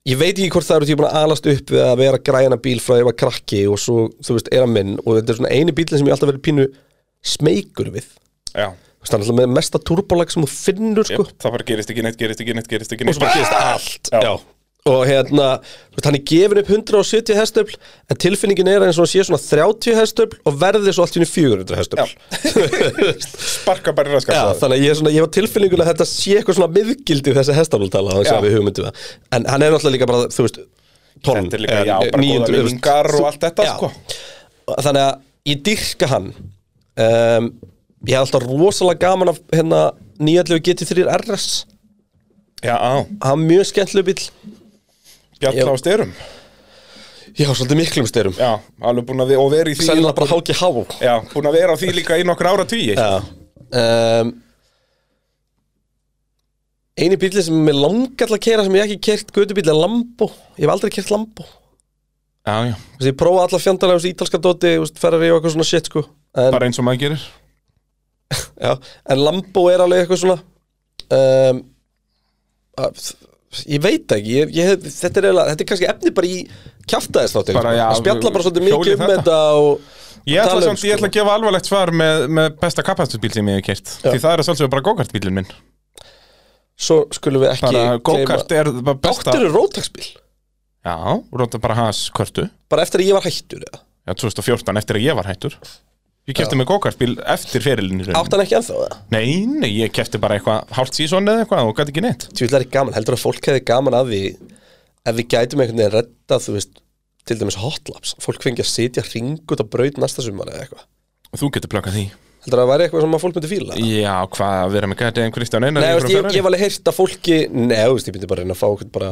ég veit ekki hvort það eru því búin að alast upp við að vera græna bíl frá ég var krakki og svo, þú veist, er að minn og þetta er svona eini bílinn sem ég hef alltaf verið pínu smeykur við, þú
Já
veist, það er alltaf með mesta turbolag sem þú finnur, sko
Jep, Það bara gerist ekki neitt, gerist ekki neitt, gerist ekki
og
neitt Ah!
svo bara gerist allt
Já.
já. og hérna, þú veist, hann er gefin upp 170 hestöfl, en tilfinningin er eins og hann sé svona 30 hestöfl og verði svo allt í einu 400 hestöfl
Sparka bara í
Já,
raskast
þannig að ég, er svona, ég var tilfinningun að þetta sé eitthvað svona miðgildi þessi hestamáltala þannig
Já.
að við hugmyndum það en hann er náttúrulega líka bara, þú veist, tonn
Þetta er líka,
eða
já, bara
900,
góða
þú veist,
mingar og
þú-
allt þetta,
já.
sko.
Þannig að ég dyrka hann um, Ég hef alltaf rosalega gaman af hérna 911 GT3 RS
Já, á
Hann er mjög skemmtlu bíl
Bjalla á styrum
Já, svolítið miklum styrum
Já, alveg búin að við, og verið í því
Sennilega bara háki há
Já, búin að vera á því líka í nokkur ára tugi
Já um, Einu bíli sem mér langar til að kera sem ég hef ekki kert gödubíli er Lambo Ég hef aldrei kert Lambo
já, já
Þessi, ég prófa alla fjandarlega þessi ítalska dóti þú veist, Ferrari og eitthvað svona shit sko en,
Bara eins og maður gerir
já, en Lambo er alveg eitthvað svona um, að, Ég veit ekki ég, ég, hef- þetta, er eiginlega, þetta er kannski efni bara í kjaftaðis þáttir
Bara, já,
Að spjalla bara svolítið mikið
hjólið
um
þetta.
þetta og
Ég
tala
ætla,
um,
samt,
sko.
ég ætla að gefa alvarlegt svar með, með besta kapastusbíl sem ég hef kert Því það er að sjálfsögum bara go-kartbílinn minn
Svo skulum við ekki
Bara
gleyma-
go-kart er bara besta
Gáttir eru rótaksbíl
Já, róta bara hans körtu
Bara eftir að ég var hættur eða
Já, 2014 eftir að ég var hættur Ég kefti með go-kartbíl eftir fyrirlinni
Átt hann ekki ennþá eða?
Nei, nei, ég kefti bara eitthvað hálft sísón eða eitthvað og gæti ekki neitt
Tjúvill er ekki gaman, heldur að fólk hefði gaman að því ef við gætum einhvern veginn redda þú veist, til dæmis hotlaps fólk fengi að sitja hring út á braut næsta sumar eða eitthvað,
Og þú getur plökkað því
heldur að það væri eitthvað sem að fólk myndi fíla Nei,
Já, hvað að vera með gæti en Kristján
þú
Einar í
veist,
einhverjum
ég, ég
Ferrari?
var alveg heyrt að fólki Nei, þú veist, ég myndi bara reyna að fá okkur bara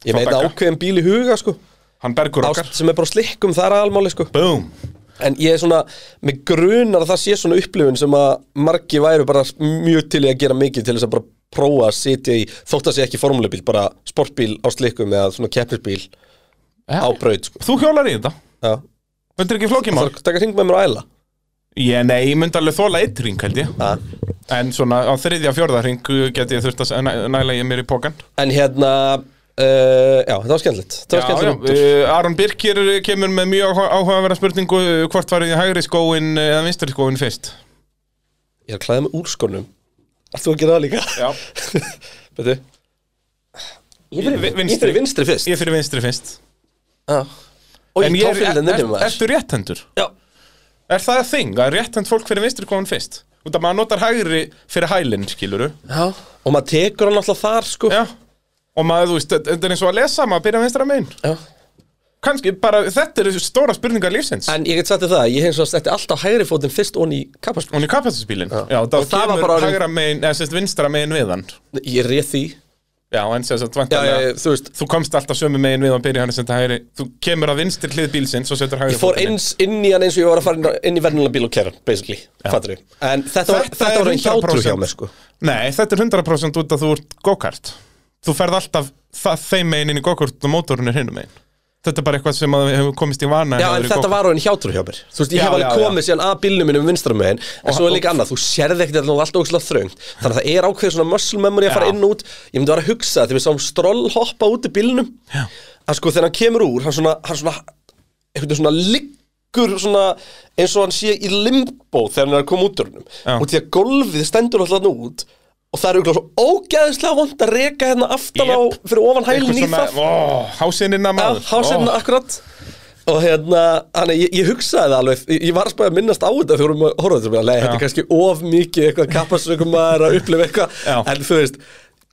Ég
Fá
meina
bagga.
ákveðin bíl í huga, sko
Hann bergur okkar
Ást sem er bara á slikkum, það er almáli, sko
Búm
En ég er svona, mig grunar að það sé svona upplifun sem að margi væru bara mjög til í að gera mikið til þess að bara prófa að sitja í, þótt að sé ekki formulebíl, bara sportbíl á slikkum eða svona keppnisbíl
Já.
á braut, sko.
Þú hjólar í þetta
Já.
Þetta er ekki flókimál
Það er að taka hring með mér og æla.
Ég, nei, ég myndi alveg þóla eitt ring held ég
Ja.
En svona á þriðja, fjórða ring geti ég þurft að s- næ- næla ég mér í pókan
En hérna, uh, já, það var skemmtilegt. Það var skemmtilegt. Já,
uh, Aron Birkir kemur með mjög áhuga- áhugaverða spurningu uh, Hvort farið í hægri skóin eða vinstri skóin fyrst
Ég er að klæða með úrskonum. Er þú að gera það líka?
Já
Betu? Ég
fyrir-
fyrir
ég fyrir
vinstri, vinstri fyrst.
Ég fyrir vinstri fyrst
Og ég,
En
ég
ég
tók fyrir
er,
þenni
er,
með maður.
ertu rétthendur?
Já.
Er það þing að rétthend fólk fyrir vinstri skóin fyrst? Út að maður notar hægri fyrir hælinn, skiluru
Já. Og maður tekur hann alltaf þar, sko.
Já Og maður, þú veist, þetta þetta er eins og að lesa, maður byrja vinstra megin
Já.
Kanski bara, þetta eru stóra spurningar lífsins
En ég get sagt þér það, ég hef eins og að setti alltaf hægri fótinn fyrst onni í kappaspil.
Hún er kapasitisbílinn Já, þá
Og það var
kemur
bara orðið-
hægra megin, eða sérst vinstra megin við hann
Ég réð því.
Já, en sérst,
Já, já,
vantarlega
já, þú veist,
Þú komst alltaf sömu megin við að byrja hann að setja hægri Þú kemur að vinstri hlið bílsins og setur hægri
ég fór
fótinn inn.
eins inn í hann eins og ég var að fara inn- inn í verðinlega bíl og kerran, basically, fattur ég. En þetta var,
Þetta
þetta
er
var einn hjátrú hjá
100%.
mér, sko.
Nei, þetta er 100% út að þú ert go-kart Þú ferð alltaf það, þeim megin inn í go-kart og mótorun er hinum megin Þetta er bara eitthvað sem að við hefum komist í vana
Já,
hjá
en
þér í
þetta
go-kart.
var orðin hjátrú hjá mér Þú veist, ég
Já,
hef alveg
já, já.
komið síðan að bílnum minnum vinstra megin En svo er líka annað, þú sérði ekkert þetta er alltaf ógslag þröngt Þannig að það er ákveð svona muscle memory að fara
Já.
inn og út Ég myndi vera að hugsa þegar við sáum stroll hoppa út í bílnum já. Að sko þegar hann kemur úr, hann svona, hann svona Einhvern veginn svona liggur svona Eins og hann sé í limbo þegar hann er að koma út úr
Já.
hennum Og því að golfið stendur alltaf hann út Og það er auðvitað svo ógeðslega vond að reka hérna aftan á
Jep.
fyrir ofan hælinn í
Eitthvað
það
svona, ó, hásinninna
Já,
maður
hásinn
Ó.
akkurat og hérna, hann, ég, ég hugsaði það alveg ég, ég var sko að spæða að minnast á þetta þegar við vorum að horfa á þetta leið, þetta er
Já.
kannski of mikið eitthvað kappasökum maður að upplifa eitthvað
Já.
en þú veist,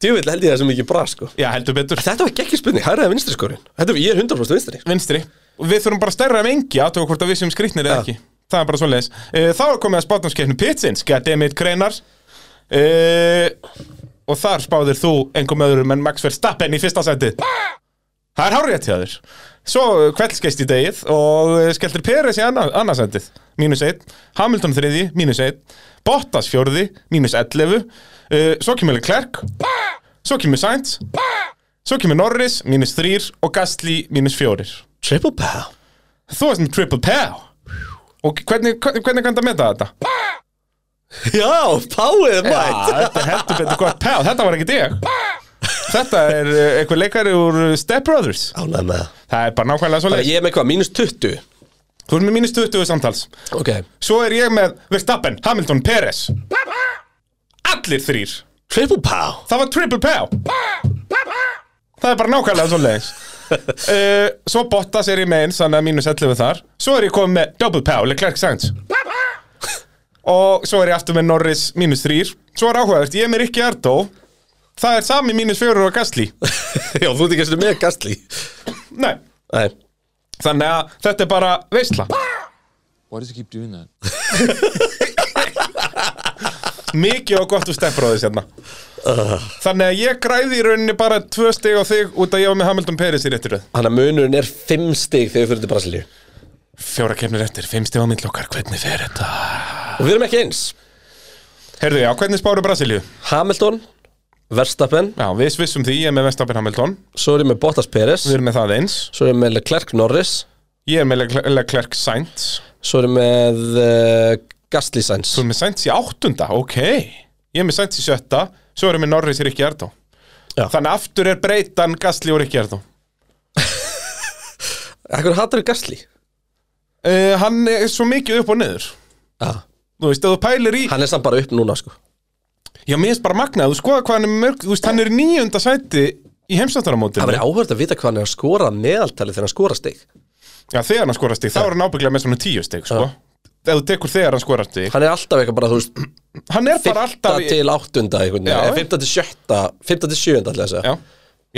djúvill held ég það sem ekki bra sko.
Já, heldur betur
þetta var ekki ekki spurning, hæraði vinstri skorinn þetta var, ég er 100% vinstri
Vinstri Og Við þurfum bara stærra mengi aðtöku hvort að við sem skrýtnir
Já.
eða ekki Það er bara svoleiðis Eh, Þá er komið að spátnámskeppnu Pitsins Goddammit Kreinar Eh, Og þar spáðir þú engum öðrum en Max Verstappen í fyrsta sæti Það er hárétt hjá þér Svo kveldskist í degið og eh, skelltir Peres í anna- annað sætið Mínus 1, Hamilton þriði, mínus 1 Bottas fjórði, mínus 11 uh, Svo kemur Leclerc Svo kemur Sainz Svo kemur Norris, mínus 3 og Gastli, mínus 4
triple pow
Þú varst með triple pow Og hvernig, hvernig, hvernig kanntu að meta þetta?
já, powið mætt
Þetta er heldur betur gott pow, þetta var ekki ég Þetta er eh, einhver leikari úr eh, Step Brothers
ánægð með það
Það er bara nákvæmlega svo
Bara ég er með hvað, mínus 20
Þú erum með mínus 20 samtals
ok,
Svo er ég með Verstappen, Hamilton, Peres Allir þrýr
triple pow
Það var triple pow Það er bara nákvæmlega svo leiðis Eh, Svo Bottas er ég með eins Þannig að mínus 11 þar Svo er ég komið með double pow, Leclerc Sainz Og svo er ég aftur með Norris mínus 3 Svo er áhugavert, ég er með Rikki Ardó Það er sami mínus 4 og Gasly
já, þú ert ekki einu sinni með gastli
Nei,
nei,
þannig að þetta er bara veisla
Why does he keep doing that?
Mikið og gott úr stefnbróðis hérna Þannig að ég græði í rauninni bara tvö stig á þig út að ég var með Hamilton Peris í réttir röð
hann að munurinn er 5 stig þegar við fyrir til Brasilíu
Fjóra kemur eftir, fimm stig á mill okkar, hvernig fer þetta?
og við erum ekki eins
Herðu já, hvernig spáru Brasilíu?
Hamilton, Verstappen
Já, við svissum því, ég er með Vestapin Hamilton
svo erum við Bottas Peres
Við erum með það eins
svo erum við Leclerc Norris
Ég er með Leclerc- Leclerc Sainz
svo erum við uh, Gastli Sainz
Þú erum með Sainz í áttunda, ok Ég er með Sainz í sjötta, svo erum við Norris í Rikki Ardó
Já.
Þannig aftur er breytan Gasly og Rikki Ardó
Akkur hattar við Gastli?
uh, Hann er svo mikið upp og niður
Já
Þú veist, ef þú pælir í
Hann er samt bara upp núna sko
Já, mér finnst bara magnað, þú skoða hvað hann er mörg Þú veist, hann er í níunda sæti í
Það
heimsvættaramótinu
verður áhverð að vita hvað hann er að skora meðaltali þegar hann skora stig
Já, þegar hann skorast í, þá er hann ábygglega með svona tíu stig, sko Ef þú tekur þegar hann skorast í
Hann er alltaf eitthvað bara, þú veist,
Hann er bara
5.
alltaf í
til 8. einhvern
Já,
veginn,
já.
5. til 7. 5. til 7. ætla ég að segja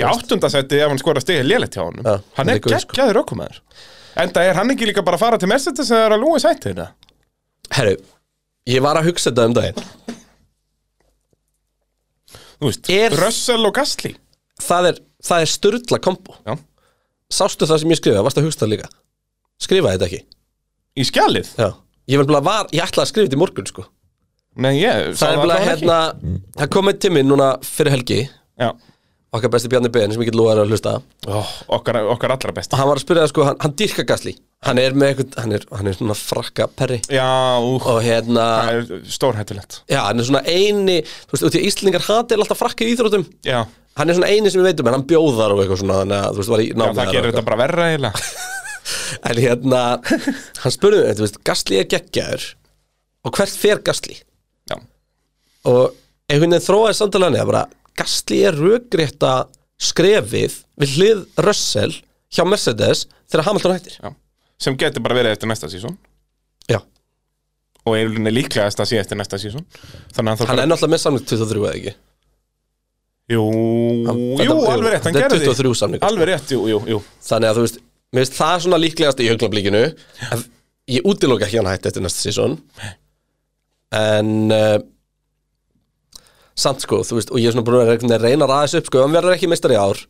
Já, í áttunda sæti ef hann skorast í er lélegt hjá honum
Já,
Hann
hann
er
er góð, sko.
geggjaður okkumæður Enda er hann ekki líka bara að fara til Mercedes eða er að lúi sæti þetta
Herru, ég var að hugsa þetta um daginn
Þú veist,
Er-
Russell og Gasly
Það er, það er styrla kombo
Já.
Sástu það sem ég skrifaði, varstu að hugsa það líka Skrifaði þetta ekki
Í skjalið?
Já Ég, var, var, ég ætlaði að skrifa þetta í morgun sko
Nei, ég sá
Það er bara
allavega Mm.
hérna, það komið tíminn núna fyrir helgi
ekki. Já,
Okkar besti Bjarni Ben sem ég get lofaði að hlusta
Ó,
Oh.
okkar, okkar allra best
og hann var að spyrja það sko, hann, hann dýrka gasli hann er með eitthvað, hann er, hann er svona frakka perri
Já, úh,
og hérna,
það er stórhættulegt
já, hann er svona eini þú veist, út í Íslendingar hatir alltaf frakka í íþrótum
Já,
hann er svona eini sem við veitum, en hann bjóðar og eitthvað svona, þannig að þú veist, var í
Já,
námi
það gerir þetta bara verra eiginlega
en hérna, hann spurði mig, þú veist, gasli er geggjaður og hvert fer gasli
Já,
og einhvern veginn þróaði samtalaðinni að bara Gastli er rökrétta skrefið við hlið Russell hjá Mercedes þegar Hamilton hættir
já Sem getur bara verið eftir næsta sísón
Já,
Og er líklega að það sé eftir næsta sísón Þannig að
hann
bara-
er náttúrulega með samning 23 eða ekki
Jú,
Hann-
jú,
þetta-
alveg rétt, hann
þetta er
gerði
23 samningur, sko.
Alveg rétt, jú, jú, jú
Þannig að þú veist, mér finnst það svona líklegast í huglablíkinu að ég útiloka ekki að hann hætti eftir næsta sísón en uh, samt sko, þú veist, og ég er svona búin að reyna- reyna að ræðis upp, sko, ef hann verður ekki meistari í ár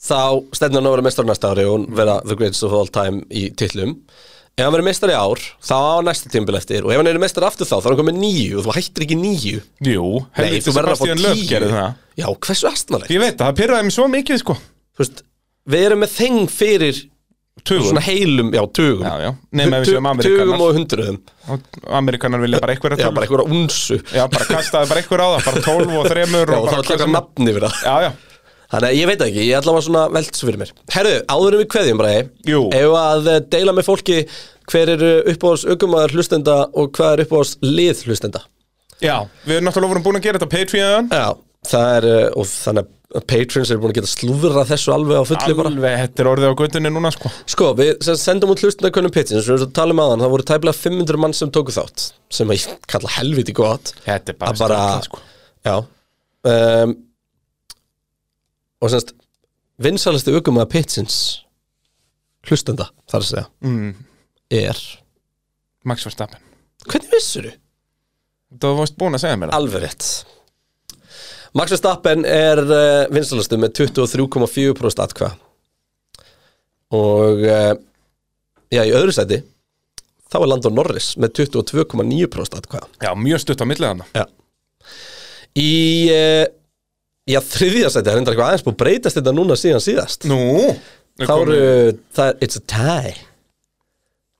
þá stefnir hann að vera meistari næsta ári og hann vera the greatest of all time í titlum ef hann verður meistari í ár, þá á hann næsta tímbil eftir og ef hann er meistari aftur þá, þá er hann komið nýju og þú hættir ekki nýju
Jú,
Nei,
helviti
þú verður að
Sebastian
fá
Löf gerði
tíu
það
Já, hversu astnalegt
Ég veit það, það pyrraði mig svo mikið, sko
Þú veist, við erum með þeng fyrir
Tugum
svona heilum, já, tugum
Já, já. Nema ef við
Tu-
séum
Tugum
Ameríkanar.
og hundruðum
Og Amerikanar vilja bara eitthvað
Já, bara einhverja unsu
Já, bara kastaði bara eitthvað á það, bara 12 og 3
Já,
og
og þá
bara
ætla
hvað
eitthvað
sem-
nafni fyrir það
Já, já,
Þannig að ég veit það ekki, ég ætla að maður svona velts fyrir mér Herðu, áður en við kveðjum bara
Jú.
Ef að eh, deila með fólki Hver eru uppáðs aukumæður hlustenda Og hvað er uppáðs lið hlustenda
já Við erum náttúrulega vorum búin að gera þetta á Patreon
Já, það er, eh, og þannig að Patrons eru búin að geta slúðra þessu alveg á fulli bara
Alveg, þetta er orðið á göttunni núna sko
Sko, við sem sagt sendum út hlustunarkönnum pitchin sem við talum um aðan, það voru tæplega 500 mann sem tóku þátt, sem að ég kalla helviti gott
Þetta er bara
að bara,
stjarnlega, sko.
já um, og semst vinsalisti aukumæða pitchins hlustenda, þar að segja mm. er,
Max Verstappen
hvernig vissur
Það varst búin að segja mér það
Alveg rétt Max Verstappen er uh, vinsalastu með 23,4% atkva og uh, já, í öðru sæti þá er Landon Norris með 22,9% atkva
Já, mjög stutt á millið hana
Já Í uh, já, þriðja sæti, það er enda eitthvað aðeins búið að breytast þetta núna síðan síðast
Nú við
Þá
komum-
eru, það er, it's a tie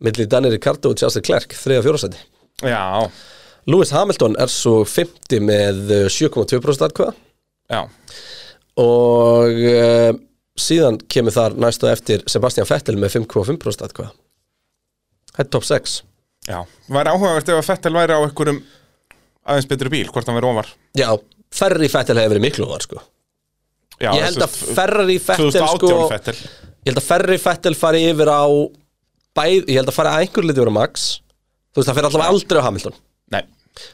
milli Danny Ricardo og Charles Leclerc þriðja og fjóra sæti
Já,
Lewis Hamilton er svo 50 með eh, 7,2% atkvæða
já,
og uh, síðan kemur þar næstu á eftir Sebastian Vettel með 5,5% atkvæða Þetta er top 6
já Væri áhugavert ef að Fettel væri á einhverjum aðeins betri bíl, hvort hann væri ofar
Já, Ferrari Vettel hefur verið miklu var sko
já,
Ég held að Ferrari Vettel
2018
sko
Fettel
Ég held að Ferrari Vettel fari yfir á bæð, ég held að fari að einhver liti yfir á Max Þú veist, það fer allavega aldrei á Hamilton
Nei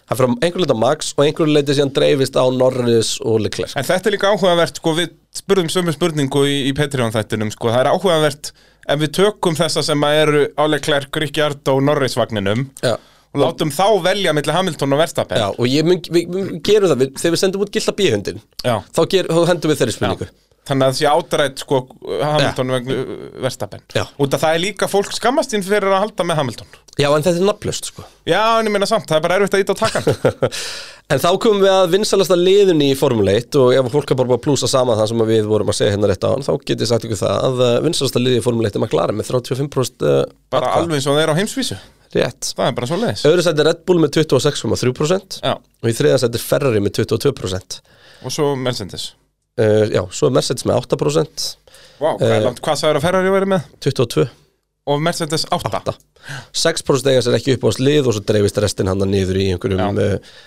Það fer á einhver liti á Max og einhver liti síðan dreifist á Norris og Leclerc
En þetta er líka áhugavert, sko, við spurðum sömu spurningu í, í Patreon-þættinum, sko, það er áhugavert ef við tökum þessa sem að eru áleiklar Gríkjard og Norrisvagninum
Já
og látum þá velja milli Hamilton og Verstappen.
Já, og ég mun, við, við gerum það, við, þegar við sendum út gilda bíhundin
Já.
þá, ger, þá hendum við þeirri spurningu
Þannig að það sé átrætt, sko, Hamilton vegna uh, Verstappen.
Já.
Út að það er líka fólk skammast þín fyrir að halda með Hamilton.
Já, en þetta er nafnlaust sko
Já, en ég meina samt, það er bara erfitt að íta á takkan.
En þá komum við að vinsalasta liðunni í Formule 1 og ef fólk er bara búið að plúsa saman það sem að við vorum að segja hérna rétt á hann þá get ég sagt ykkur það að vinsalasta liði í Formule 1 er McLaren með 35% uh,
bara
atkvæða.
alveg eins og það er á heimsvísu.
Rétt
Það er bara svo leiðis.
Öðru sætti Red Bull með 26,3%
Já,
og í þriða sætti Ferrari með 22% uh,
og svo Mercedes.
Eh, Já, svo er Mercedes með 8%
Vá, hvað
Eh,
er langt, hvað sagður að Ferrari verið með?
22
Og Mercedes 8.
8 6% eiga sér ekki upp á slið og svo dreifist restin hann niður í einhverjum
Já.
já.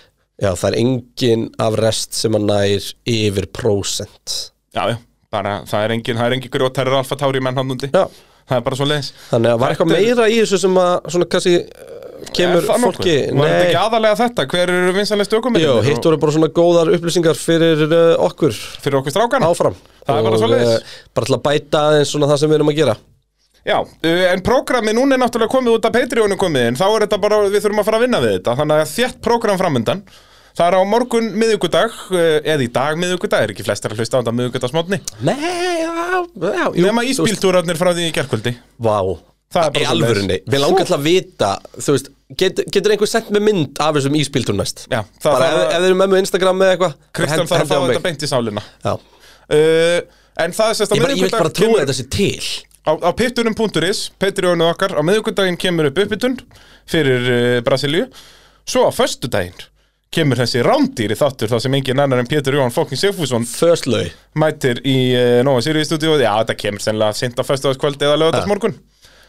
já, það er engin af rest sem að nær yfir prósent
Já, já, bara það er engin, það er engin grjótærir alfa tári menn hann úndi
Já.
Það er bara svo leiðis
Þannig að var eitthvað
Þetta er-
meira í þessu sem að svona kannski eh, kemur fólki
Var þetta
Nei,
ekki aðalega þetta? Hver eru vinsanlega stökumir?
Jó, hitt voru bara svona góðar upplýsingar fyrir uh, okkur
Fyrir okkur strákana?
áfram
Það er bara
Og,
svoleiðis.
eh, Bara til að bæta aðeins svona það sem við erum að gera
Já, uh, en prógrammi núna er náttúrulega komið út af Patreonu komið inn Þá er þetta bara, við þurfum að fara að vinna við þetta Þannig að þétt prógram framundan Það er á morgun miðugudag, eða í dag miðugudag, er ekki flestir að hlusta á þetta miðugudagsmótni
Nei, já, já jú,
Nefna
þú veist,
íspíltúrarnir frá því í gerkvöldi
Vá
Það er bara
Í
svoleiðis.
alvörunni, við langar til að vita Þú veist, get, getur einhver sent með mynd af þessum íspíltur næst
Já, það
Bara ef,
þarf að-
ef þeir eru með mig á Instagram eða eitthvað
Kristján
hend-
þarf að
hendið á
fá
mig.
þetta beint í sálina
Já,
uh, En það er sérst á
ég, bara, ég veit bara trúið að þetta sé til
á, á pittunum.is, Patreonu okkar á miðvikudaginn kemur upp uppbytun fyrir uh, Brasilíu svo á föstudaginn kemur þessi rándýri þáttur þar sem engin annar en Pétur Jóhann Fókn Sigfússon
Föslöi
mætir í uh, Nóa Sirius stúdíu já þetta kemur sennilega sint á föstudagskvöld eða lögadagsmorgun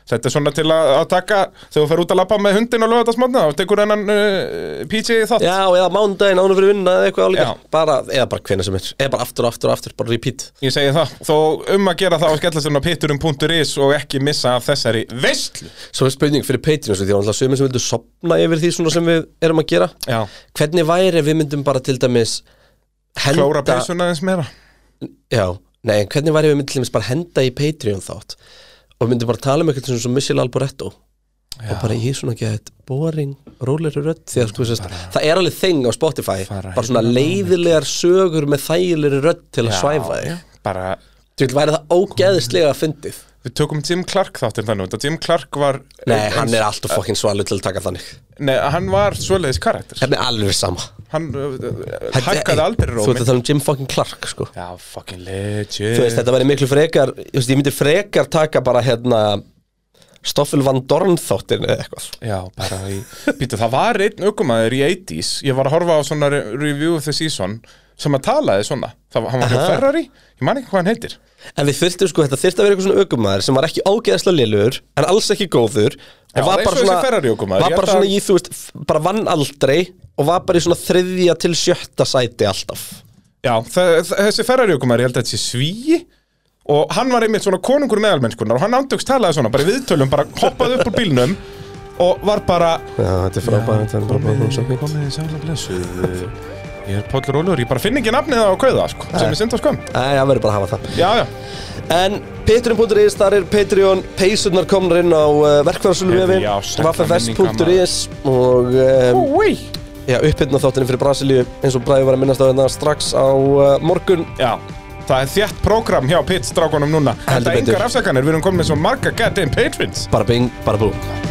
þetta er svona til að, að taka þegar þú fer út að lappa með hundin á lögadagsmorgun þá tekur hennan uh, PJ þátt
Já, eða mándaginn ánum fyrir vinna eða eitthvað álíka
Já.
bara, Eða bara hvenær sem er Eða bara aftur og aftur og aftur, bara repeat
Ég segi það, þó um að gera það á skellastunna pitturum.is og ekki missa af þessari veistlu
Svo er spurning fyrir Patreon svo Því að alltaf sömur sem vildu sopna yfir því svona sem við erum að gera
Já,
Hvernig væri ef við myndum bara til dæmis Henda
klóra peysuna eins meira
Já, nei, en hvernig væri ef við myndum til dæmis bara henda í Patreon þátt Og við myndum bara tala um eitthvað sem svo Michelle Alboretto Og bara ég svona get boring, róleri rödd Því að sko, sérst, það er alveg þing á Spotify
Fara
Bara svona leiðilegar sögur með þægilegri rödd til að svæfa þig
Bara
Þú vil væri það ógeðislega fyndið
Við tökum Jim Clark þáttinn þannig út að Jim Clark var
Nei, hann er alltaf fokkin svalur til að taka þannig
Nei, hann var svoleiðis karakter
Hérna er alveg sama
Hann uh, uh,
Þetta-
hækkaði aldrei
Þú ert
rómi
að tala um Jim fucking Clark, sko
Já, fucking
Þú veist,
legit
þetta væri miklu frekar Þú veist, ég myndi frekar taka bara hérna Stoffel Van Dorn þáttirinn eða eitthvað
Já, bara í Býtu, það var einn aukumæður í 80s Ég var að horfa á svona re- review of the season sem að talaði svona það, var- Hann var hjá Ferrari, ég man ekki hvað hann heitir
En við þurftum, sko, þetta þurfti að vera eitthvað svona aukumæður sem var ekki ógeðslega lélur, en alls ekki góður og var
Já, eins og
bara
þessi
svona,
Ferrari ökumaður,
var
ég
bara
held
svona
að-
í, þú veist, f- bara vann aldrei og var bara í svona þriðja til sjötta sæti alltaf
Já, þe- þe- þessi Ferrari ökumæður, ég held að þetta sé svíi og hann var einmitt svona konungur meðalmennskunar og hann andugst talaði svona, bara í viðtölum, bara hoppaði upp úr bílnum og var bara
Já, þetta er frábæð, þetta er bara bara hún svo fínt.
komið þið sæla blessuð Ég er Póllur Ólur, ég bara finn ekki nafnið á kauða, sko, sem er synd á skömm
Æ, það verður bara að hafa það.
Já, já,
En Patreon.is, þar er Patreon peysurnar komnar inn á uh, verkfæðarsöluvefin
Já, sækla
Vaffefest.is og um, já, upphyrna þáttinni fyrir Brasilíu eins og Bræði var að minnast á hérna strax á uh, morgun
já Það er þétt prógram hjá Pitts-drákunum núna
Heldur
Þetta er
betur.
engar afsakanir, við erum komin með svo marga goddamn patrons
bara bing, bara bú